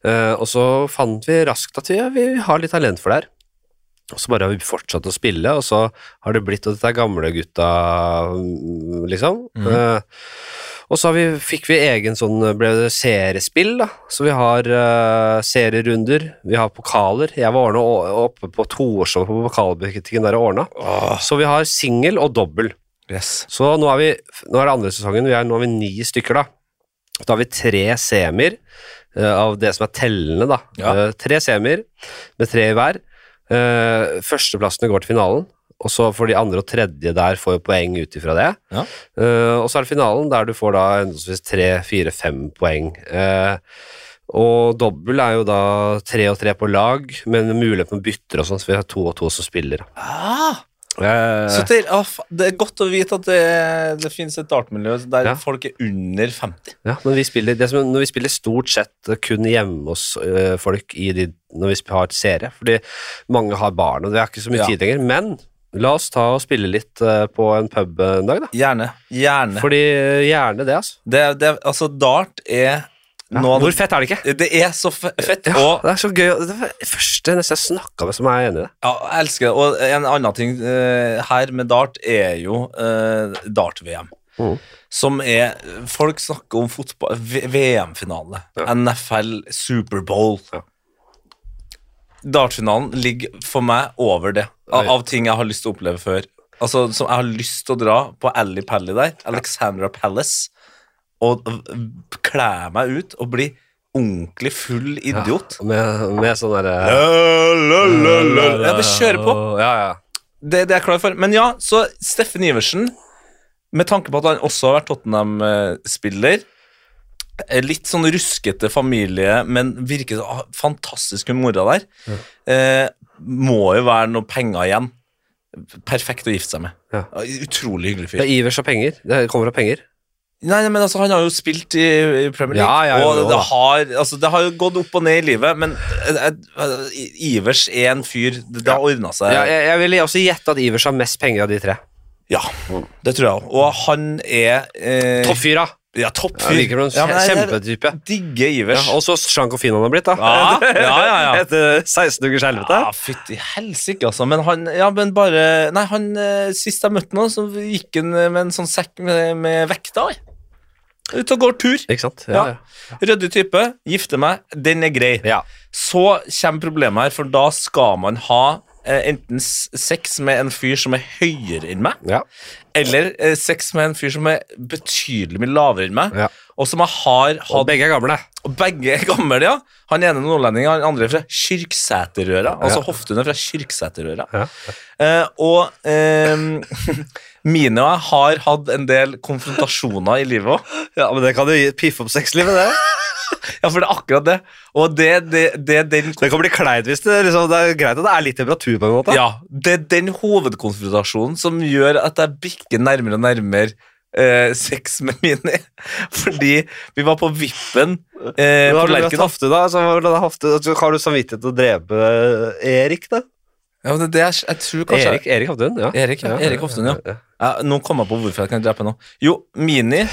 A: Eh, og så fant vi raskt at vi, vi har litt talent for det her. Og så bare har vi fortsatt å spille, og så har det blitt at dette er gamle gutta, mm, liksom. Eh, og så har vi, fikk vi egen sånn ble det seriespill, da. Så vi har eh, serierunder, vi har pokaler. Jeg var ordna å- oppe på toårsshowet på pokalbutikken der og ordna.
B: Åh,
A: Så vi har singel og dobbel.
B: yes.
A: Så nå er, vi, nå er det andre sesongen, vi er, nå er vi ni stykker da. Da har vi tre semier eh, av det som er tellende da.
B: Ja.
A: Eh, tre semier med tre i hver. Eh, førsteplassene går til finalen, og så får de andre og tredje der får jo poeng ut ifra det.
B: Ja.
A: Eh, og så er det finalen der du får da henholdsvis tre, fire, fem poeng. Eh, og dobbel er jo da tre og tre på lag, men mulighet med bytter og sånn, så vi har to og to som spiller.
B: Ah,
A: Eh,
B: så det, ah, fa- det er godt å vite at det, det finnes et dartmiljø der
A: Ja.
B: folk er under 50.
A: Ja, men vi spiller, det som, når vi spiller stort sett kun hjemme hos øh, folk i de, når vi sp- har et serie, fordi mange har barn, og det er ikke så mye
B: Ja.
A: tid lenger. Men la oss ta og spille litt øh, på en pub en dag, da.
B: Gjerne. Gjerne.
A: Fordi øh, gjerne det, altså.
B: Det, det, altså, dart er
A: Ja.
B: noe av
A: Hvor
B: det
A: fett er det ikke?
B: Det er så fe- fett.
A: Ja,
B: Og
A: det er så gøy. og Det var det første nesten jeg snakka med som er enig i det.
B: Ja, jeg elsker det. Og en annen ting eh, her med dart er jo eh, dart-VM.
A: Mhm.
B: Som er Folk snakker om fotball V- VM-finale, NFL, Superbowl.
A: Ja.
B: Dartfinalen ligger for meg over det, av,
A: Ja.
B: av ting jeg har lyst til å oppleve før. Altså, som jeg har lyst til å dra på Ally Pally der, Alexandra Palace, og v- kle meg ut og bli ordentlig full idiot.
A: Med, med sånn derre
B: Jeg bare kjører på.
A: Ja, ja.
B: Det, det er jeg klar for. Men ja, så Steffen Iversen, med tanke på at han også har vært Tottenham-spiller eh, Litt sånn ruskete familie, men virker så ah, fantastisk hun mora der. Eh, må jo være noe penger igjen. Perfekt å gifte seg med.
A: Ja.
B: Utrolig hyggelig
A: Det
B: fyr.
A: er Ivers og penger. Det kommer av penger.
B: Nei, nei, men altså, Han har jo spilt i i Premier League,
A: Ja, ja, jo,
B: og
A: jo,
B: det
A: da.
B: har, altså, det har jo gått opp og ned i livet, men eh, eh, Ivers er en fyr Det, det har ordna seg.
A: Ja, jeg, jeg ville også gjette at Ivers har mest penger av de tre.
B: Ja, det tror jeg også. Og han er eh,
A: Toppfyra!
B: Ja,
A: Jeg
B: toppfyr.
A: liker noen
B: Ja, men jeg- jeg
A: kjempetype.
B: Digger Ivers.
A: Ja, og så slank og fin han har blitt, da.
B: Ja, ja, ja, ja.
A: Etter 16 ukers helvete.
B: Ja, fytti helsike, altså. Men han Ja, men bare Nei, han eh, sist jeg møtte han, så gikk han eh, med en sånn sekk med, med vekta i. Ut og går tur.
A: Ikke sant? Ja,
B: Ja.
A: ja.
B: Ryddig type. Gifter meg. Den er grei.
A: Ja.
B: Så kommer problemet her, for da skal man ha eh, enten s- sex med en fyr som er høyere enn meg,
A: Ja.
B: eller eh, sex med en fyr som er betydelig mye lavere enn meg,
A: Ja.
B: og som jeg har
A: Og
B: hatt
A: begge er gamle.
B: og begge er gamle, ja. Han ene er nordlending, han andre er fra Kyrksæterøra. Altså
A: Ja.
B: hoftene fra Kyrksæterøra.
A: Ja.
B: Eh, og eh, mine og jeg har hatt en del konfrontasjoner i livet òg.
A: Ja, men det kan jo piffe opp sexlivet, det.
B: Ja, for det er akkurat det. Og det, det, det er den
A: Det kan bli kleint hvis det, liksom, det er greit at det er litt temperatur på en måte.
B: Ja, det er den hovedkonfrontasjonen som gjør at jeg bikker nærmere og nærmere eh, sex med mine. Fordi vi var på vippen eh,
A: Men
B: på
A: har du dratt
B: Lerkendal.
A: hofte, da? Så har du dratt hofte, så har du samvittighet til å drepe eh, Erik, da?
B: Ja, men det, er det jeg, jeg tror kanskje
A: Erik, Erik Hoftun, ja.
B: Erik, ja. Erik Hoftun, ja.
A: ja.
B: Ja, nå kom jeg på hvorfor jeg kan drepe nå. Jo, Mini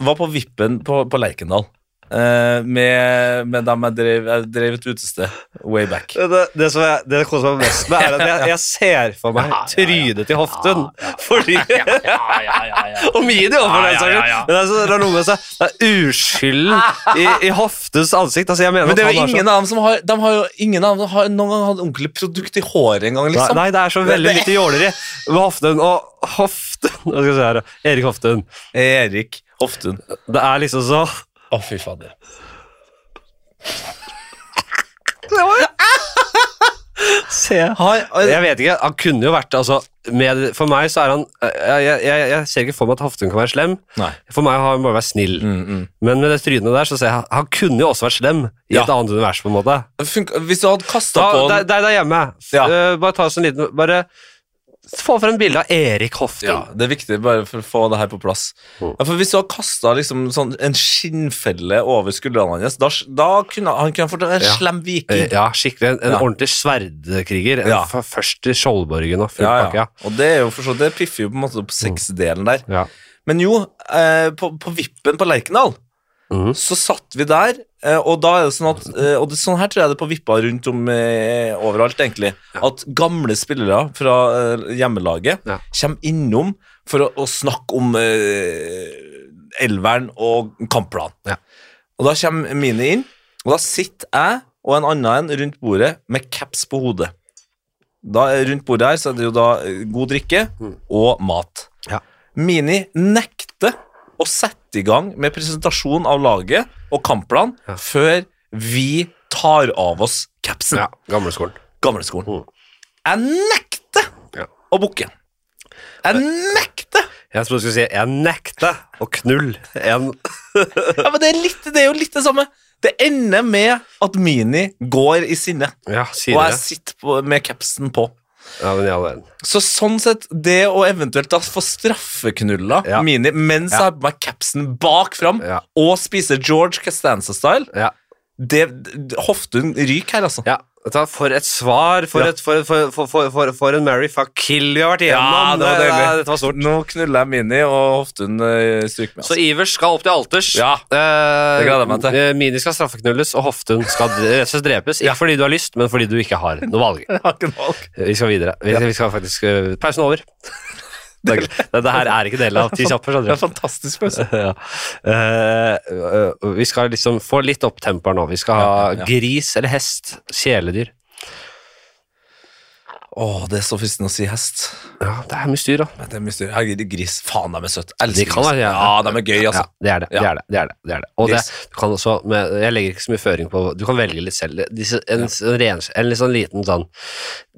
B: var på vippen på, på Lerkendal. eh, med, med dem jeg drev, jeg drev et utested way back.
A: Det, det som jeg, det koser meg mest med, er at jeg, jeg ser for meg trynet til Hoftun. Fordi Og Mini òg, for den saks skyld. Men det er, så, det er noe med seg Det er uskylden i, i Hoftuns ansikt. Altså, jeg mener
B: Men det er
A: at
B: jo
A: han
B: ingen av dem som har, de har jo ingen av dem har noen gang hatt ordentlig produkt i håret engang,
A: Nei,
B: liksom.
A: nei, det er så
B: Det-
A: veldig
B: det-
A: lite jåleri med Hoftun og Hoftun Hva skal jeg si her, da? Erik Hoftun.
B: Erik Hoftun.
A: Det er liksom så
B: Å, fy fader.
A: Se
B: Har,
A: Jeg vet ikke, han kunne jo vært altså, med, For meg så er han jeg, jeg, jeg, jeg ser ikke for meg at Hoftun kan være slem.
B: Nei.
A: For meg har han bare vært snill.
B: Mm, mm.
A: Men med det trynet der så ser jeg han kunne jo også vært slem i
B: Ja.
A: et annet univers. på en måte
B: Funk, hvis du hadde kasta
A: da,
B: på
A: der,
B: en
A: der, der hjemme. F-
B: Ja.
A: eh, bare ta oss en liten Bare få frem bilde av Erik Hoftun.
B: ja, Det er viktig bare for å få det her på plass.
A: Mm.
B: Ja, for Hvis du hadde kasta liksom, sånn, en skinnfelle over skuldrene hans, da, da kunne han kunne fått en
A: Ja. Eh,
B: slem viking.
A: Ja, skikkelig. En, en
B: Ja.
A: ordentlig sverdkriger. En
B: Ja.
A: f- Først i Skjoldborgen og full
B: Ja,
A: pakke.
B: ja. Og det er jo for så det piffer jo på en måte på
A: Mm.
B: sexdelen der.
A: Ja.
B: Men jo, eh, på, på vippen på Lerkendal
A: Mhm.
B: så satt vi der, eh, og da er det sånn at eh, Og det, sånn her tror jeg det er på vippa rundt om eh, overalt, egentlig. At gamle spillere fra eh, hjemmelaget
A: Ja.
B: kommer innom for å, å snakke om eh, elveren og kampplanen.
A: Ja.
B: Og da kommer Mini inn, og da sitter jeg og en annen en rundt bordet med caps på hodet. Da, rundt bordet her så er det jo da eh, god drikke
A: Mm.
B: og mat.
A: Ja.
B: Mini nekter å sette i gang med presentasjon av laget og kampplan
A: Ja.
B: før vi tar av oss capsen.
A: ja. Gamleskolen.
B: Gamleskolen.
A: Mm.
B: Jeg nekter
A: Ja.
B: å booke. Jeg nekter!
A: Jeg trodde du skulle si 'jeg nekter å knulle en
B: Ja, men det er, litt, det er jo litt det samme. Det ender med at Mini går i sinne,
A: Ja, sier
B: og
A: det.
B: jeg sitter på, med capsen på.
A: Ja, men i all verden.
B: Så sånn sett, det å eventuelt da få straffeknulla
A: Ja.
B: Mini mens jeg har på meg capsen bak fram
A: Ja.
B: og spiser George Costanza-style
A: Ja.
B: det, Hoftun ryker her, altså.
A: Ja, vet du hva, For et svar, for,
B: Ja.
A: et, for, for, for, for, for, for en Mary fuck kill vi har vært
B: Ja, eh,
A: igjennom. Eh,
B: det var deilig.
A: dette var stort.
B: Nå knuller jeg Mini, og Hoftun øh, stryker med.
A: Så
B: Altså.
A: Ivers skal opp til alters.
B: Ja,
A: Eh,
B: det gleder jeg meg til.
A: eh, Mini skal straffeknulles, og Hoftun skal d- rett og slett drepes. Ikke fordi du har lyst, men fordi du ikke har noe valg.
B: jeg har ikke noe valg.
A: Vi skal videre. Vi, vi skal faktisk eh, Pausen er over. Dette her er ikke del av ti kjappe.
B: Det er
A: skjønner du.
B: en fantastisk pause.
A: Ja. Eh, eh, vi skal liksom få litt opp temper nå. Vi skal ha
B: Ja, ja.
A: gris eller hest. Kjæledyr.
B: Å, det er så fristende å si hest.
A: Ja, det er mye styr, da.
B: Men det er mye styr. Herregud, gris. Faen, de er søte. Elsker
A: De kan
B: gris.
A: være jævla-
B: Ja, de er gøy, altså.
A: Ja, det er det. det,
B: Ja.
A: er det, det, er det, det, er det. Og det,
B: Yes.
A: du kan også, med, jeg legger ikke så mye føring på Du kan velge litt selv. Disse, en, en, ren, en litt sånn liten sånn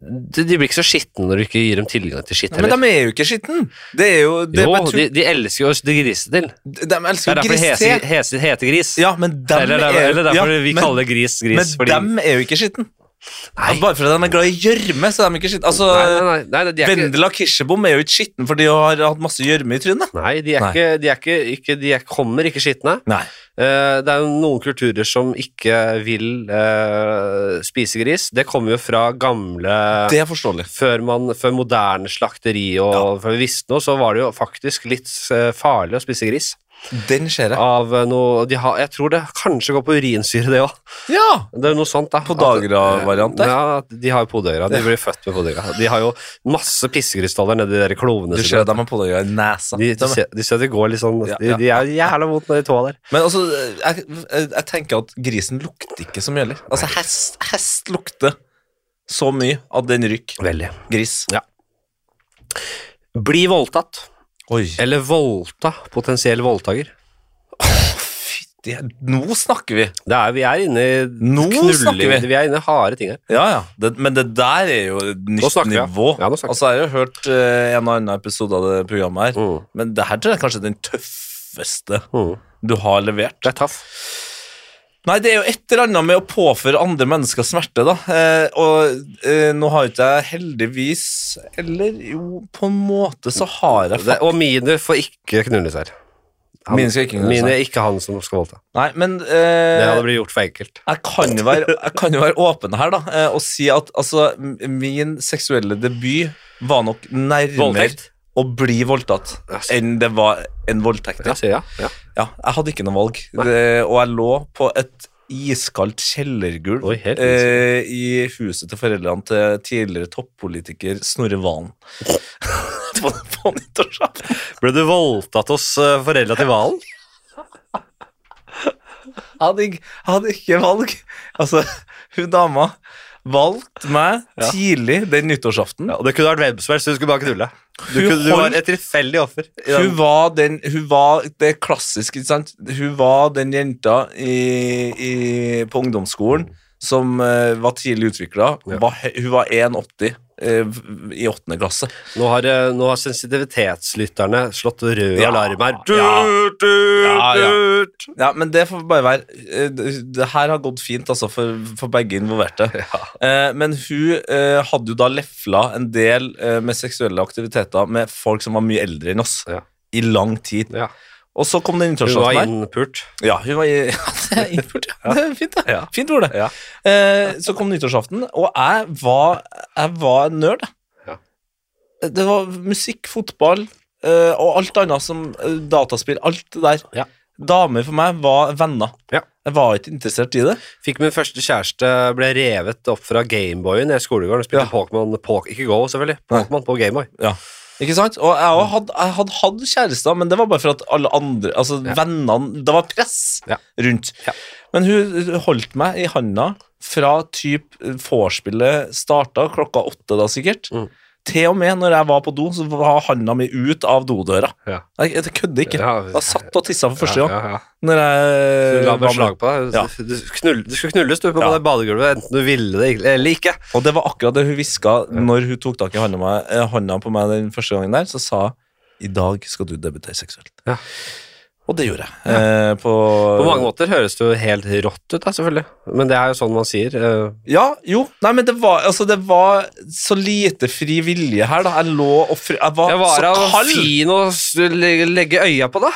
A: de, de blir ikke så skitne når du ikke gir dem tilgang til skitt
B: Men
A: heller.
B: de er jo ikke skitten. Det er jo det er
A: jo,
B: bare tu-
A: de, de elsker jo å grise til.
B: de,
A: Det er
B: elsker jo
A: derfor det
B: gris
A: heter hese, heter gris.
B: Ja, men dem
A: eller,
B: er
A: eller,
B: jo-
A: eller derfor
B: ja,
A: vi
B: men-
A: kaller gris gris.
B: Men
A: fordi-
B: dem er jo ikke skitten. Altså,
A: Nei.
B: Bare fordi de er glad i gjørme, så er de ikke skitten. Altså,
A: nei, nei, nei, nei, de er ikke,
B: Vendela Kirsebom er jo ikke skitten fordi hun har hatt masse gjørme i trynet.
A: nei, de, er
B: Nei.
A: ikke, de, er ikke, ikke, de er, kommer ikke skitne.
B: Nei.
A: Eh, Det er jo noen kulturer som ikke vil eh, spise gris. Det kommer jo fra gamle
B: Det er forståelig.
A: før, man, før moderne slakteri og før vi visste noe, så var det jo faktisk litt eh, farlig å spise gris.
B: Den ser jeg.
A: Av eh, noe de har, Jeg tror det kanskje går på urinsyre, det òg.
B: Ja!
A: Det er noe sånt, da.
B: På
A: At-
B: Dagra-variant der.
A: Ja, at de har jo podøyra. De blir født med podøyra. De har jo masse pissekrystaller nedi de der klovene
B: Du ser at de har pålegga i nesa.
A: De, du, ser, du ser at de går litt sånn
B: Ja,
A: De,
B: ja.
A: de er jævla vondt nedi tåa der.
B: Men altså, jeg, jeg, jeg tenker at grisen lukter ikke så mye heller. Altså, hest, hest lukter så mye at den ryker.
A: Veldig.
B: Gris.
A: Bli voldtatt.
B: Oi.
A: Eller voldta potensiell voldtaker.
B: Fytti Nå snakker vi!
A: Det er, vi er inne i
B: Nå snakker vi.
A: Vi er inne i harde ting her.
B: Ja, ja. Det, men det der er jo et
A: Nå
B: nytt
A: snakker vi, ja.
B: nivå.
A: Ja, nå snakker vi.
B: altså, jeg har jo hørt eh, en og annen episode av det programmet her,
A: Mm.
B: men det her tror jeg er kanskje den tøffeste
A: Mm.
B: du har levert.
A: Det er taff.
B: Nei, det er jo et eller annet med å påføre andre mennesker smerte, da. Eh, og eh, nå har ikke jeg heldigvis Eller jo, på en måte så har jeg
A: Det, og mine får ikke knulles her. Han-
B: Mine skal ikke knulles
A: Mine
B: her.
A: er ikke han som skal voldta.
B: Nei, men
A: Det
B: eh,
A: hadde blitt gjort for enkelt.
B: jeg, kan jo være, jeg kan jo være åpen her, da, eh, og si at altså, m- min seksuelle debut var nok nærmere
A: Voldtekt?
B: å bli voldtatt
A: Altså.
B: enn det var en voldtekt.
A: Ja,
B: Ja,
A: sier jeg. Ja.
B: jeg hadde ikke noe valg, det, og jeg lå på et iskaldt kjellergulv
A: Oi, helt
B: eh, i huset til foreldrene til tidligere toppolitiker Snorre Valen. på, på nyttårsaften.
A: Ble du voldtatt hos
B: eh,
A: foreldra til hvalen?
B: Jeg hadde, ikke- jeg hadde ikke valg. Altså, hun dama valgte meg tidlig den nyttårsaften.
A: Ja, og det kunne vært hvem som helst, du skulle bare knulle. Du,
B: Hun
A: kunne, du var
B: holdt-
A: et tilfeldig offer. i den-
B: Hun var den Hun var det klassiske, ikke sant? Hun var den jenta i, i, på ungdomsskolen som eh, var tidlig utvikla.
A: Mm. Ja.
B: Hun var 1,80 eh, v- i åttende klasse.
A: Nå, har, eh, nå har sensitivitetslytterne slått rød
B: Ja,
A: alarm her.
B: ja.
A: Tut, tut,
B: Ja, ja.
A: tut.
B: Ja, men det får bare være eh, det- Det her har gått fint, altså, for, for begge involverte. Eh, men hun eh, hadde jo da lefla en del eh, med seksuelle aktiviteter med folk som var mye eldre enn oss.
A: Ja.
B: I lang tid.
A: Ja.
B: Og så kom
A: Hun
B: den
A: var
B: internasjonale.
A: innpult.
B: Ja, hun var i, det er innført, ja. Det er fint, det.
A: Ja.
B: Fint ord, det.
A: Ja.
B: Eh, så kom nyttårsaften, og jeg var, jeg var en nerd. jeg.
A: Ja.
B: Det var musikk, fotball eh, og alt annet som eh, dataspill. Alt det der.
A: Ja.
B: Damer for meg var venner.
A: Ja.
B: Jeg var ikke interessert i det.
A: Fikk min første kjæreste, ble revet opp fra Gameboyen i skolegården og spilte
B: Ja.
A: Pokémon Pok- Ikke Go, selvfølgelig.
B: Nei.
A: Pokémon på Gameboy.
B: Ikke sant? Og jeg også hadde, jeg hadde hatt kjærester, men det var bare for at alle andre Altså
A: Ja.
B: vennene Det var press
A: Ja.
B: rundt.
A: Ja.
B: Men hun holdt meg i handa fra typ eh, vorspielet starta klokka åtte, da sikkert,
A: Mm.
B: til og med når jeg var på do, så var handa mi ut av dodøra.
A: Ja.
B: Jeg, jeg kødder ikke.
A: Ja.
B: Jeg satt og tissa for første gang.
A: Ja, ja, ja.
B: Når jeg
A: Du la
B: var med.
A: beslag på deg.
B: Ja.
A: Du, knull, du skulle knulles du på
B: Ja.
A: det badegulvet, enten du ville det eller ikke.
B: Og det var akkurat det hun hviska når hun tok tak i handa, meg, eh, handa på meg den første gangen der. Så sa hun, i dag skal du debutere seksuelt.
A: Ja.
B: Og det gjorde jeg. Eh, på,
A: På mange måter høres det jo helt rått ut, da, selvfølgelig. Men det er jo sånn man sier. eh,
B: Ja, jo. Nei, men det var, altså, det var så lite fri vilje her, da. Jeg lå og fri... Jeg var,
A: Jeg var
B: så
A: av
B: kald!
A: fin å s- le- legge øya på, da.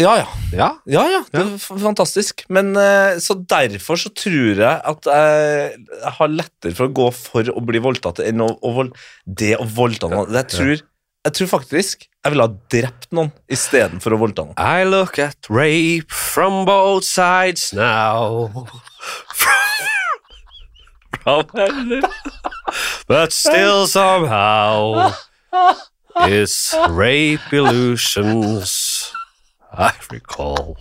B: Ja, ja.
A: Ja.
B: Ja, ja. Det var f- fantastisk. Men eh, så derfor så tror jeg at jeg, jeg har lettere for å gå for å bli voldtatt enn å, å vold... Det å voldta noen jeg tror, jeg tror faktisk jeg ville ha drept noen istedenfor å voldta noen.
A: I look at rape from both sides now. From heaven. But still somehow It's rape illusions I recall.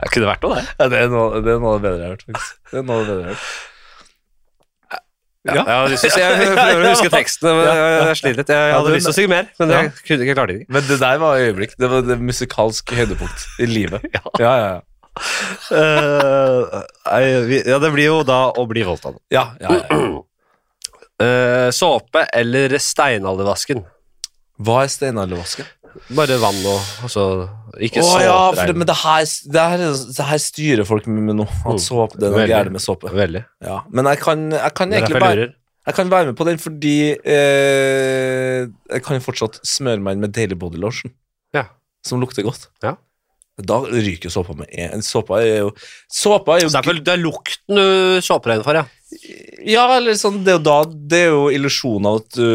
A: Det kunne vært noe, det.
B: Ja, det, er noe, det er noe av det bedre jeg har hørt, faktisk. Det er noe av det bedre jeg har hørt.
A: Ja. Jeg, hadde lyst til å si, jeg prøver å huske tekstene, men jeg, jeg sliter litt. Jeg hadde
B: du-
A: lyst til å synge mer, men jeg kunne ikke klare det.
B: Men det der var øyeblikk. Det var det musikalske høydepunkt i livet. Ja, ja, ja.
A: Eh, nei, vi- ja, det blir jo da å bli voldtatt.
B: ja, ja, ja.
A: Eh, såpe eller steinaldervasken?
B: Hva er steinaldervasken?
A: Bare vann og altså, Ikke
B: Å
A: såpe.
B: ja, for det, men det her, det, her, det her styrer folk med med nå. At såpe, det er noe
A: Mm. Veldig.
B: gærent med såpe.
A: Veldig.
B: Ja, men jeg kan, jeg kan
A: Det er
B: egentlig
A: derfor jeg
B: bare
A: lurer.
B: Jeg kan være med på den fordi eh, Jeg kan jo fortsatt smøre meg inn med Daily Body Lotion,
A: Ja.
B: som lukter godt.
A: Ja.
B: Da ryker såpa med en. Såpa er jo Såpa er jo
A: Så det er vel det er lukten du såper deg inn for, ja.
B: Ja, eller sånn Det er jo da Det er jo illusjonen eh, av at du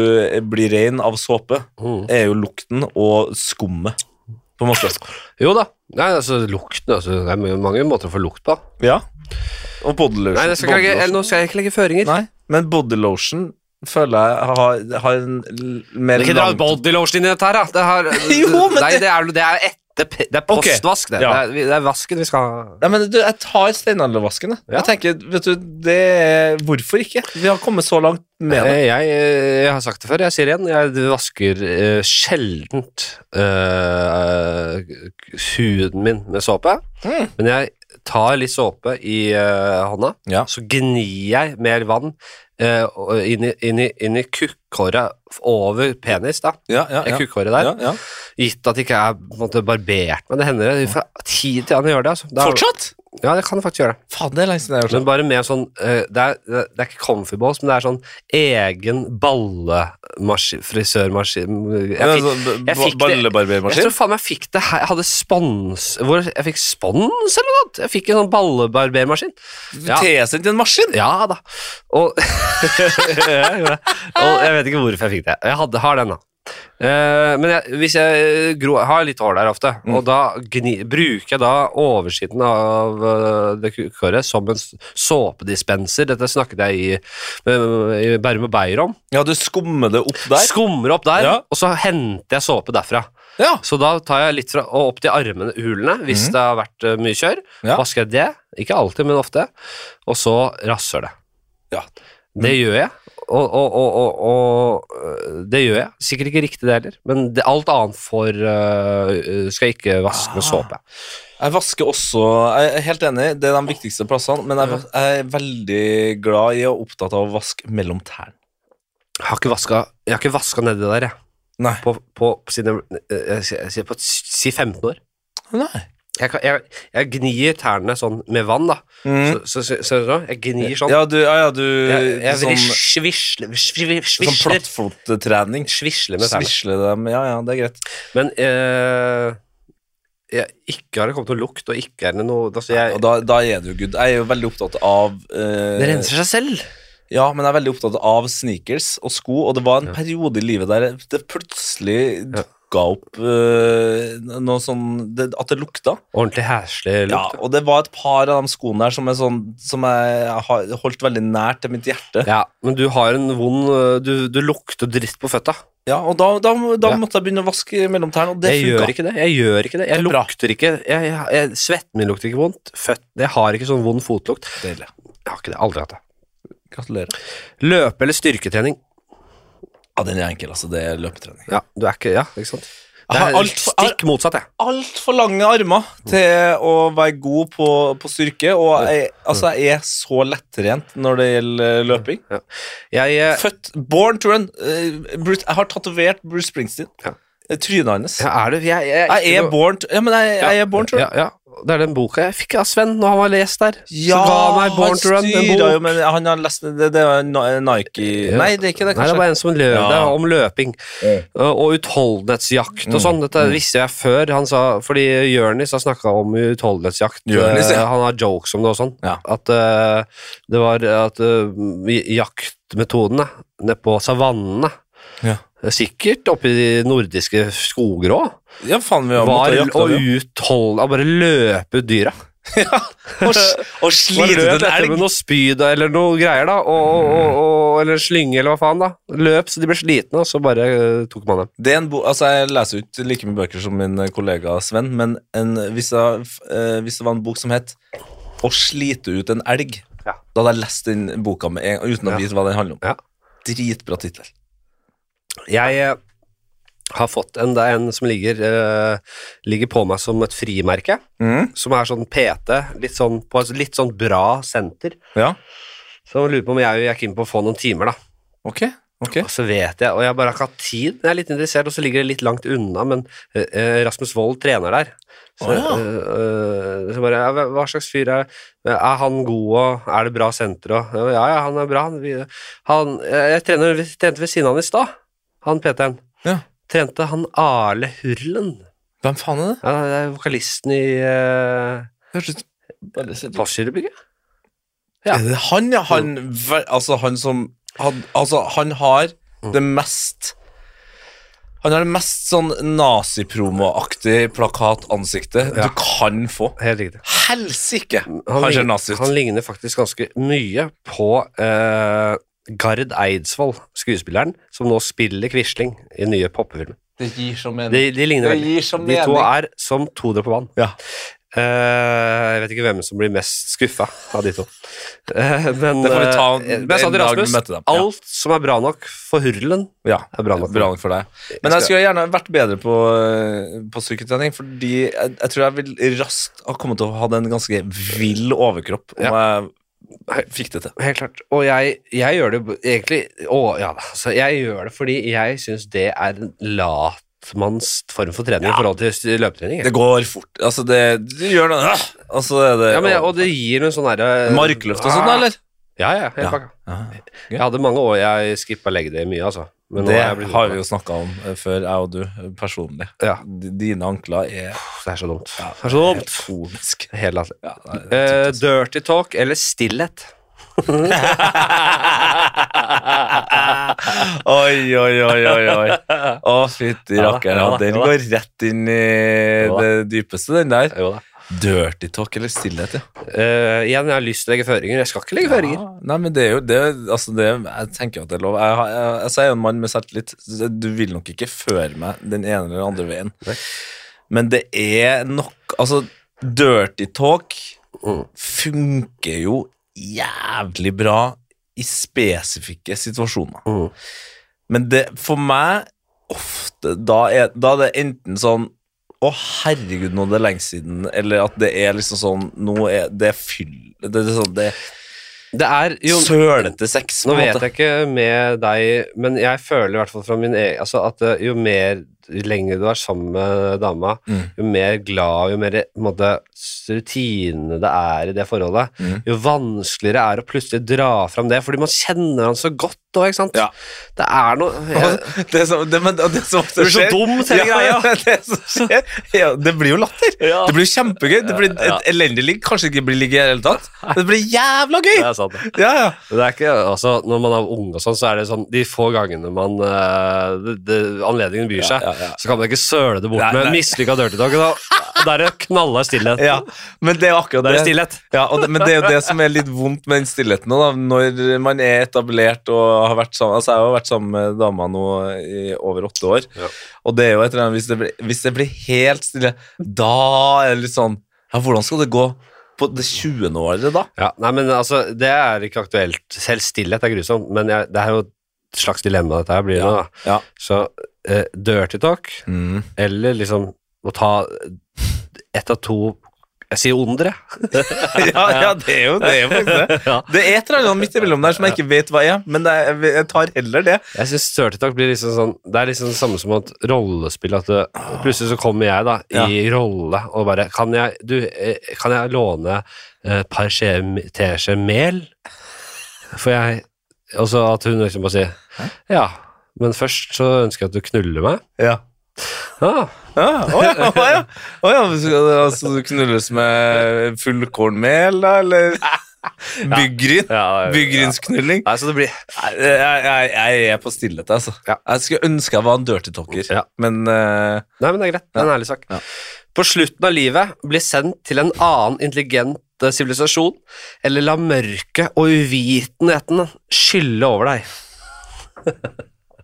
B: blir ren av såpe,
A: Mm.
B: er jo lukten og skummet, på på en måte.
A: Jo da. Nei, altså, lukten altså, Det er mye- mange måter å få lukt på.
B: Ja. Og body lotion.
A: Nei, det skal jeg
B: body
A: ikke,
B: lotion.
A: eller, nå skal jeg ikke legge føringer.
B: Nei, men body lotion føler jeg har, har en l-
A: Det
B: mer
A: er ikke dra
B: lang-
A: bodylotion inn i dette her, da. Det har,
B: Jo, men
A: nei,
B: det-
A: det er, det er etter p- Det er
B: Ok,
A: postvask, det.
B: ja.
A: Det, er, vi- det er vasken vi skal ha.
B: Nei, men du, jeg tar steinaldervasken, jeg.
A: Ja.
B: Jeg tenker, vet du, det er Hvorfor ikke? Vi har kommet så langt med det.
A: Eh, Jeg, eh, jeg har sagt det før, jeg sier det igjen. Jeg vasker eh, sjeldent eh, k- huden min med såpe.
B: Mm.
A: Men jeg tar litt såpe i eh, hånda,
B: Ja.
A: så gnir jeg mer vann eh, og- inn i, inn i, inn i kukkhåret f- over penis. da
B: Ja, ja,
A: Det kukkhåret der.
B: ja.
A: Gitt at jeg ikke er på en måte, barbert, men det hender det. Fra tid til annen gjør det. Altså. Da-
B: Fortsatt?
A: Ja, det kan jeg faktisk gjøre.
B: Faen, det er lenge siden jeg har
A: Men
B: gjort det.
A: bare med sånn eh, det, er, det er ikke comfy balls, men det er sånn egen balefrisørmaskin
B: Ja,
A: Jeg, fikk-
B: sånn b-
A: jeg fikk det- jeg
B: Ballebarbermaskin?
A: tror faen meg jeg fikk det her Jeg hadde spons hvor, Jeg fikk spons eller noe? annet. Jeg fikk en sånn ballebarbermaskin. Ja.
B: Tilsendt en maskin?
A: Ja da. Og, jeg gjorde det. og jeg vet ikke hvorfor jeg fikk det. Jeg hadde, har den, da. Eh, men jeg, hvis jeg gro, har litt hår der ofte, og da gni, bruker jeg da oversiden av eh, det kukkhåret som en s- såpedispenser. Dette snakket jeg i, eh, i Bærum og Beyer om.
B: Ja, du skummer det opp der?
A: Skummer opp der,
B: Ja.
A: og så henter jeg såpe derfra.
B: Ja.
A: Så da tar jeg litt fra, og opp til armene, hulene, hvis det har vært eh, mye kjør.
B: Ja.
A: Vasker jeg det, ikke alltid, men ofte, og så rasser det.
B: Ja. Mm.
A: Det gjør jeg, og, og, og, og, og øh, det gjør jeg. Sikkert ikke riktig det heller, men det, alt annet for, øh, skal jeg ikke vaske med
B: Ah.
A: såpe.
B: Jeg vasker også Jeg er helt enig, det er de viktigste plassene, men jeg, vas- jeg er veldig glad i og opptatt av å vaske mellom tærne.
A: Jeg har ikke vaska, jeg har ikke vaska nedi der, jeg.
B: Nei.
A: På, på, siden jeg, jeg, jeg, sier på si 15 år.
B: Nei.
A: Jeg, kan, jeg, jeg gnir tærne sånn med vann, da.
B: Mm.
A: Så, så, ser du nå? Jeg gnir sånn.
B: Ja, du, ja, ja, du
A: Jeg, jeg
B: sånn,
A: svisler, svisler,
B: sånn
A: svisler,
B: plattfottrening.
A: svisler med tærne.
B: Svisle dem. Ja, ja, det er greit.
A: Men øh, jeg, ikke har det kommet noe lukt, og ikke er det noe altså jeg,
B: Og da, da er du good. Jeg er jo veldig opptatt av eh,
A: Det renser seg selv.
B: Ja, men jeg er veldig opptatt av sneakers og sko, og det var en
A: Ja.
B: periode i livet der det plutselig
A: Ja.
B: dukka opp eh, noe sånn det, At det lukta.
A: Ordentlig heslig
B: Ja,
A: lukt.
B: og det var et par av de skoene der som, er sånn, som jeg har holdt veldig nært til mitt hjerte.
A: Ja. men du har en vond øh, Du, du lukter dritt på føtta.
B: Ja, og da, da, da
A: Ja.
B: måtte jeg begynne å vaske mellom tærne, og det
A: Jeg gjør
B: funka.
A: ikke det. Jeg gjør ikke det. Jeg
B: Det er bra.
A: lukter ikke jeg, jeg, jeg, Svetten min lukter ikke vondt. Føtt, jeg har ikke sånn vond fotlukt.
B: Deilig.
A: Jeg har ikke det. Aldri hatt det.
B: Gratulerer.
A: Løpe- eller styrketrening.
B: Ja, den er enkel, altså. Det er løpetrening.
A: Ja, du er ikke Ja, ikke sant? Det
B: Jeg har
A: er
B: alt for-
A: stikk motsatt, jeg.
B: Altfor lange armer til å være god på, på styrke, og jeg, altså, jeg er så lettrent når det gjelder løping.
A: Jeg, eh,
B: Født Born to run. Eh, Bruce, jeg har tatovert Bruce Springsteen.
A: Ja.
B: Eh, Trynet hans.
A: ja, er du Jeg, jeg,
B: Jeg er
A: ikke noe-
B: born to, ja, men jeg, jeg er born to run.
A: ja, ja. Det er den boka jeg fikk av Sven når han var lest der.
B: Ja,
A: så ga han meg Born to Run.
B: han
A: En
B: styrer
A: bok.
B: jo, men han har lest det, det er Ni- Nike Nei, det er ikke det,
A: Nei, det er
B: kanskje.
A: bare en som løp
B: Ja.
A: det er om løping
B: Mm.
A: uh, og utholdenhetsjakt og sånn. Dette visste jeg før, han sa, fordi Jørnis har snakka om utholdenhetsjakt.
B: Jonis, ja.
A: Uh, Han har jokes om det og sånn.
B: Ja.
A: At uh, det var at uh, i- jaktmetodene nede på savannene eh,
B: Ja.
A: Sikkert oppe i de nordiske skoger òg.
B: Ja, faen, vi har
A: Var
B: måttet
A: å
B: jakte av det.
A: utholde å Bare løpe ut dyra.
B: Og, s- og slite
A: Slite
B: ut en
A: etter med
B: elg.
A: noe spyd da, eller noe greier, da. Og, og, og, eller en slynge, eller hva faen, da. Løp så de ble slitne, og så bare eh, tok man dem.
B: Det er en bo altså, jeg leser jo ikke like mye bøker som min eh, kollega Sven, men en, hvis, jeg, f- eh, hvis det var en bok som het 'Å slite ut en elg',
A: Ja.
B: da hadde jeg lest den boka med en, uten
A: Ja.
B: å vite hva den handler om.
A: Ja.
B: Dritbra tittel.
A: Jeg eh, har fått en, det er en som ligger, eh, ligger på meg som et frimerke, som er sånn PT, litt sånn, på et litt sånn bra senter.
B: Ja,
A: Så jeg lurer på om jeg er keen på å få noen timer, da.
B: ok. ok.
A: Og så vet jeg, og jeg har bare ikke hatt tid, jeg er litt interessert, og så ligger det litt langt unna, men eh, eh, Rasmus Wold trener der. Så,
B: Å, ja.
A: eh, eh, så bare, ja, hva- hva slags fyr er eh, Er han god, og er det bra senter, og Ja, ja, han er bra. Han, vi- han, jeg jeg trener, vi trente ved siden av han i stad, han PT-en.
B: Ja.
A: Trente han Arle Hurlen,
B: Hvem faen er det?
A: ja, det er vokalisten i uh,
B: Hørtes ut veldig kjent ut.
A: Postgirobygget. Ja.
B: Ja. Er det han, ja? Han,
A: Mm.
B: ver- altså, han som han, Altså, han har det mest Han har det mest sånn nazipromoaktig plakatansiktet
A: Ja.
B: du kan få.
A: Helt riktig.
B: Helsike!
A: Han,
B: Han ser
A: lign-
B: nazi
A: han
B: ut.
A: ligner faktisk ganske mye på eh, Gard Eidsvoll, skuespilleren, som nå spiller Quisling i nye poppefilmer.
B: Det gir så mening.
A: De, de ligner
B: Det
A: veldig.
B: gir så
A: De to
B: mening.
A: er som to dråper vann.
B: Ja.
A: Eh, jeg vet ikke hvem som blir mest skuffa av de to. Eh, men
B: Det får vi ta
A: eh, men jeg sa
B: en
A: til
B: dag vi
A: Rasmus,
B: møter dem. Ja.
A: alt som er bra nok for hurlen,
B: Ja,
A: er bra nok.
B: bra nok for deg. Men jeg skulle gjerne vært bedre på, øh, på styrketrening, fordi jeg, jeg tror jeg vil raskt ha kommet til å ha en ganske vill overkropp om jeg fikk det til.
A: Helt klart. Og jeg, jeg gjør det b- egentlig Å, ja da. Så jeg gjør det fordi jeg syns det er en latmanns form for trening i forhold til st- løpetrening. jeg.
B: Det går fort. Altså, det du gjør noe øh, Og så er det
A: Ja, men, jeg- Ah! og det gir en sånn derre
B: Markløft og sånn, da, eller?
A: Ja, ja. Helt
B: Ja.
A: pakka.
B: Ja.
A: Jeg hadde mange år jeg skippa leg day mye, altså. Ah, Men nå
B: Det
A: er jeg blitt-
B: har vi jo snakka om eh, før, jeg og du, eh, personlig.
A: Ja.
B: D- Dine ankler er
A: Pff, Det er så dumt.
B: Det er så dumt.
A: Helt latterlig.
B: Ja, nei, det er
A: Eh,
B: tynt, altså.
A: dirty talk eller stillhet?
B: oi, oi, oi, oi. oi. Å, fytti
A: Ja da,
B: rakkeren.
A: ja da,
B: den
A: ja da.
B: går rett inn i
A: Ja da.
B: det dypeste, den der.
A: Jo da.
B: Dirty talk eller stillhet, ja.
A: Eh, igjen, jeg har lyst til å legge føringer. Jeg skal ikke legge føringer.
B: Ja, Nei, men det er jo det, altså det Jeg tenker jo at det er lov. Jeg, har- jeg, altså jeg er jo en mann med selvtillit. så Du vil nok ikke føre meg den ene eller den andre veien.
A: Nei.
B: Men det er nok Altså, dirty talk
A: Mm.
B: funker jo jævlig bra i spesifikke situasjoner.
A: Mm.
B: Men det, for meg, ofte, da er, da er det enten sånn å, herregud, nå er det lenge siden. Eller at det er liksom sånn Nå er det er fyll Det, det, er sånn, det,
A: Det er jo
B: sølete sex.
A: Nå vet jeg ikke med deg, men jeg føler i hvert fall fra min egen altså at eh, jo mer jo lenger du er sammen med dama,
B: Mm.
A: jo mer glad, jo mer på en måte, s- rutine det er i det forholdet,
B: Mm.
A: jo vanskeligere er det å plutselig dra fram det, fordi man kjenner han så godt òg, ikke sant?
B: Ja.
A: Det er noe jeg,
B: Det som, det, men, det som ofte
A: Du er så
B: skjer-
A: dum, sier
B: ja,
A: greia.
B: Det som skjer ja, Det blir jo latter.
A: Ja.
B: Det blir jo kjempegøy. Det blir et
A: Ja.
B: elendig ligg. Kanskje ikke blir ligg i det hele tatt. men Det blir jævla gøy!
A: Det er sant. det.
B: Ja, ja.
A: Men Det er ikke, altså, når man er ung, og sånn, så er det sånn de få gangene man eh, det, det, anledningen byr seg,
B: ja, ja.
A: så kan man ikke søle det bort
B: Nei,
A: med
B: nei.
A: en mislykka dirty talk. Da, da er det knallhard stillhet.
B: ja. Men det er jo akkurat
A: Da er
B: det.
A: det stillhet.
B: Ja, og det, men det er jo det som er litt vondt med den stillheten nå, da. Når man er etablert og har vært sammen Altså, jeg har jo vært sammen med dama nå i over åtte år,
A: Ja.
B: og det er jo et eller annet hvis det, blir, hvis det blir helt stille, da er det litt sånn Ja, hvordan skal det gå på det 20. året, da?
A: Ja, nei, men altså, Det er ikke aktuelt. Selv stillhet er grusomt, men jeg, det er jo et slags dilemma dette her blir nå. da.
B: Ja.
A: Så eh, dirty talk,
B: Mm.
A: eller liksom å ta ett av to Jeg sier ondere.
B: ja, ja, det er jo det. Er jo faktisk det.
A: Ja.
B: Det er et eller annet midt imellom der som jeg ikke vet hva er, men det er, jeg tar heller det.
A: Jeg synes dirty talk blir liksom sånn Det er liksom det samme som at rollespill at det, Plutselig så kommer jeg da i rolle og bare Kan jeg, du, eh, kan jeg låne eh, et par skje- teskjeer mel? For jeg Og så at hun liksom bare sier Ja, men først så ønsker jeg at du knuller meg.
B: Ja.
A: Ja,
B: Å ah, å ja, å ja. Å ja. Skal det altså knulles med fullkornmel, da, eller byggryn?
A: ja,
B: Byggrynsknulling?
A: Nei, så det blir
B: Jeg, jeg, jeg er på stillhet, altså.
A: Ja.
B: Jeg skulle ønske jeg var en dirty talker,
A: Ja.
B: men eh,
A: Nei, men det er greit. Det er en ærlig sak.
B: Ja.
A: På slutten av livet bli sendt til en annen intelligent eh, sivilisasjon, eller la mørket og uvitenheten skylle over deg.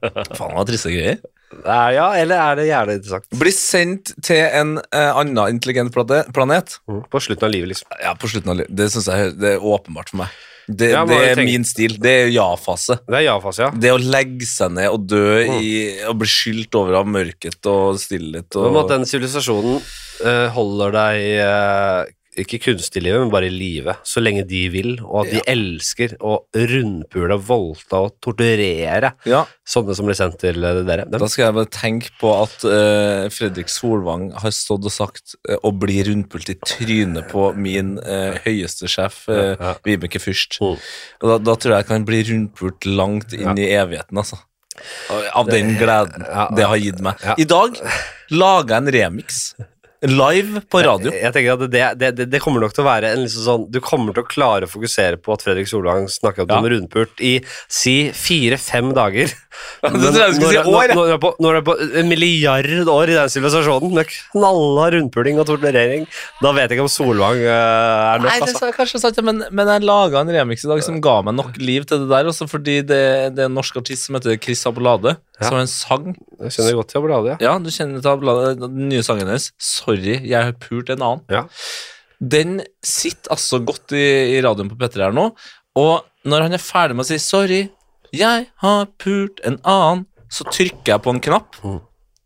B: faen, det var triste greier.
A: Er, ja, eller er det gjerne interessant?
B: Bli sendt til en eh, annen intelligent plate- planet.
A: På slutten av livet, liksom.
B: Ja, på slutten av livet. Det synes jeg det er åpenbart for meg. Det,
A: Ja, men
B: det
A: jeg
B: er
A: tenker-
B: min stil. Det er ja-fase.
A: Det er ja-fase, ja.
B: Det å legge seg ned og dø i og bli skylt over av mørket og stillhet og
A: Om at den sivilisasjonen eh, holder deg eh, ikke kunstig i livet, men bare i live, så lenge de vil, og at de elsker å rundpule, voldta og torturere
B: Ja,
A: sånne som blir sendt til eh, dere. Dem.
B: da skal jeg bare tenke på at eh, Fredrik Solvang har stått og sagt eh, å bli rundpult i trynet på min eh, høyeste sjef, eh,
A: Ja, ja.
B: Vibeke Fürst.
A: Mm.
B: Og da, da tror jeg jeg kan bli rundpult langt inn i evigheten, altså. Av den gleden
A: ja.
B: det har gitt meg.
A: Ja.
B: I dag lager jeg en remix Live på radio.
A: Jeg tenker at det, det, det, det kommer nok til å være en liksom sånn Du kommer til å klare å fokusere på at Fredrik Solvang snakker om
B: Ja.
A: rundpult i si fire-fem dager.
B: Ja, det tror jeg du skulle si
A: når,
B: år, jeg.
A: når, når, er på, når er på en milliard år i den sivilisasjonen med knalla rundpuling og torturering, da vet jeg ikke om Solvang eh, er nok.
B: Nei, det
A: altså.
B: er kanskje sant, ja, men, men jeg laga en remix i dag som ga meg nok liv til det der, også fordi det, det er en norsk artist som heter Chris Abelade, som har en sang
A: Jeg skjønner godt til å blade, ja.
B: Ja, du kjenner til Abelade, den nye sangen hennes. 'Sorry, jeg har pult en annen'.
A: Ja.
B: Den sitter altså godt i, i radioen på Petter her nå, og når han er ferdig med å si 'sorry, jeg har pult en annen', så trykker jeg på en knapp
A: Mm.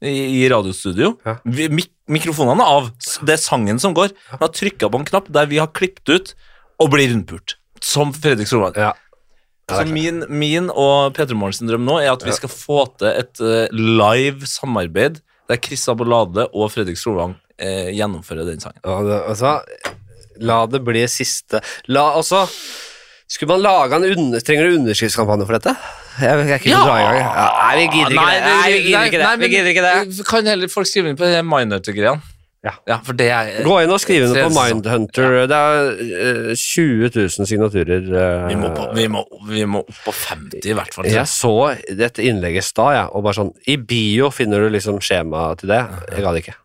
B: i, i radiostudio.
A: Ja.
B: Vi, mik mikrofonene er av, s- det er sangen som går. Men jeg trykker på en knapp der vi har klippet ut og blir rundpult. Som Fredrik Solvang.
A: Ja.
B: Så min, min og Peter Morgens drøm nå er at vi skal få til et eh, live samarbeid der Chris Abolade og Fredrik Solvang eh, gjennomfører den sangen.
A: Ja, det, altså, la det bli siste La altså Skulle man lage en under, Trenger du underskriftskampanje for dette? Jeg, jeg, jeg kunne
B: Ja!
A: dra i gang. jeg. Ja, nei, vi gidder ikke det. Nei, vi gidder ikke det.
B: nei,
A: vi
B: men
A: gidder ikke det.
B: Kan heller folk skrive inn på det minor-greia?
A: Ja.
B: for det er
A: Gå inn og skriv under på
B: Tre-
A: Mindhunter. Det er eh, 20 000 signaturer. eh,
B: vi, må på, vi, må, vi må opp på 50 i hvert fall.
A: Jeg så dette innlegget i stad, jeg, og bare sånn I bio finner du liksom skjema til det. Jeg ga det ikke.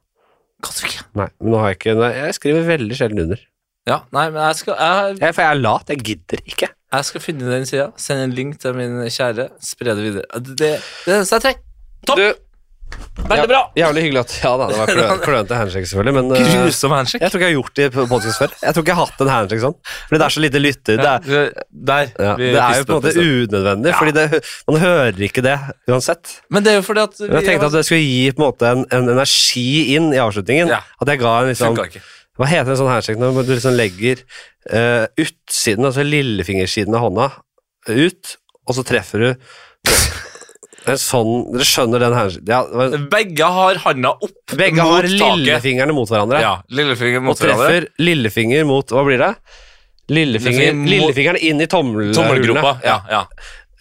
B: Kan du ikke?
A: Nei, men nå har jeg ikke nei, Jeg skriver veldig sjelden under.
B: Ja, nei, men jeg skal, jeg,
A: Jeg, for jeg er lat. Jeg gidder ikke.
B: jeg skal finne den sida, sende en link til min kjære, spre det videre. Det, det er det eneste jeg trenger. Topp!
A: Du,
B: Veldig bra!
A: Ja, jævlig hyggelig at Ja da, det var klø- klønete handshake, selvfølgelig, men eh,
B: Grusom handshake.
A: Jeg tror ikke jeg har gjort det på podcast før. Jeg tror ikke jeg har hatt en handshake sånn. Fordi det er så lite lytter. Det er,
B: Der.
A: ja,
B: vi
A: det er jo på en
B: pisset opp i
A: måte
B: sted.
A: unødvendig, fordi det, man hører ikke det uansett.
B: Men det er jo fordi at vi
A: Men jeg tenkte at det skulle gi på en måte en, en energi inn i avslutningen.
B: Ja.
A: At jeg ga en liksom
B: Funka ikke.
A: Hva heter en sånn handshake når du liksom legger eh, utsiden, altså lillefingersiden av hånda, ut, og så treffer du en sånn Dere skjønner den handshaken? Ja, det var-
B: Begge har handa opp
A: begge
B: mot
A: har
B: taket.
A: lillefingrene mot hverandre.
B: Ja, lillefinger
A: og
B: mot hverandre.
A: treffer lillefinger mot Hva blir det? Lillefinger,
B: Lillefinger mot-
A: lillefingeren inn i
B: Tommelgropa.
A: tommelhulene.
B: Ja, ja.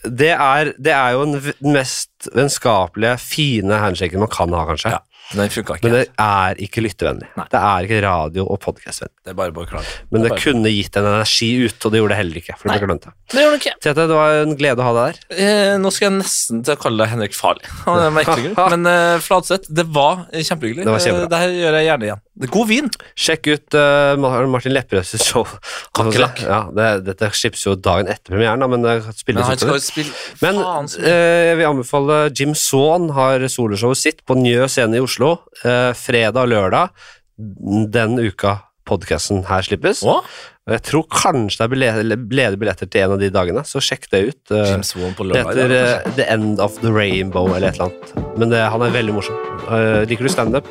A: Det, er, det er jo den v- mest vennskapelige, fine handshaken man kan ha, kanskje.
B: ja. Den funka ikke.
A: Men
B: Det,
A: det er ikke lyttevennlig.
B: Nei.
A: Det er ikke radio- og podkastvennlig.
B: er bare å beklage.
A: Men det
B: Bare-
A: kunne gitt en energi ut, og det gjorde det heller ikke. For det ble glemt.
B: Det gjør den ikke.
A: Tete, det var en glede å ha deg der.
B: Eh, nå skal jeg nesten til å kalle deg Henrik Farley. av en merkelig grunn. Men eh, Fladseth, det var eh, kjempehyggelig.
A: Det var kjempebra.
B: Eh, det her gjør jeg gjerne igjen. Det er god vin.
A: Sjekk ut eh, Ma- Martin Lepperøds show.
B: Kakerlakk.
A: Ja, det, dette slippes jo dagen etter premieren, da, men eh, det spilles
B: Men
A: ut på
B: han skal
A: det.
B: jo spille
A: Men
B: Faen, så-
A: eh, jeg vil anbefale Jim Swan har soloshowet sitt på Njø scene i Oslo eh, fredag og lørdag. Den uka podkasten her slippes.
B: Å?
A: Og jeg tror kanskje det er bille- eller ledige billetter til en av de dagene, så sjekk det ut. Eh,
B: James Wan på
A: det
B: lørdag.
A: heter
B: ja, kanskje.
A: eh, The End of the Rainbow eller et eller annet. Men det, han er veldig morsom. Eh, liker du standup?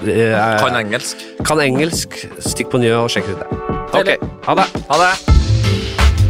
A: Uh,
B: Kan engelsk.
A: kan engelsk? Stikk på Njø og sjekk ut det. Ok, ha det.
B: Ha det.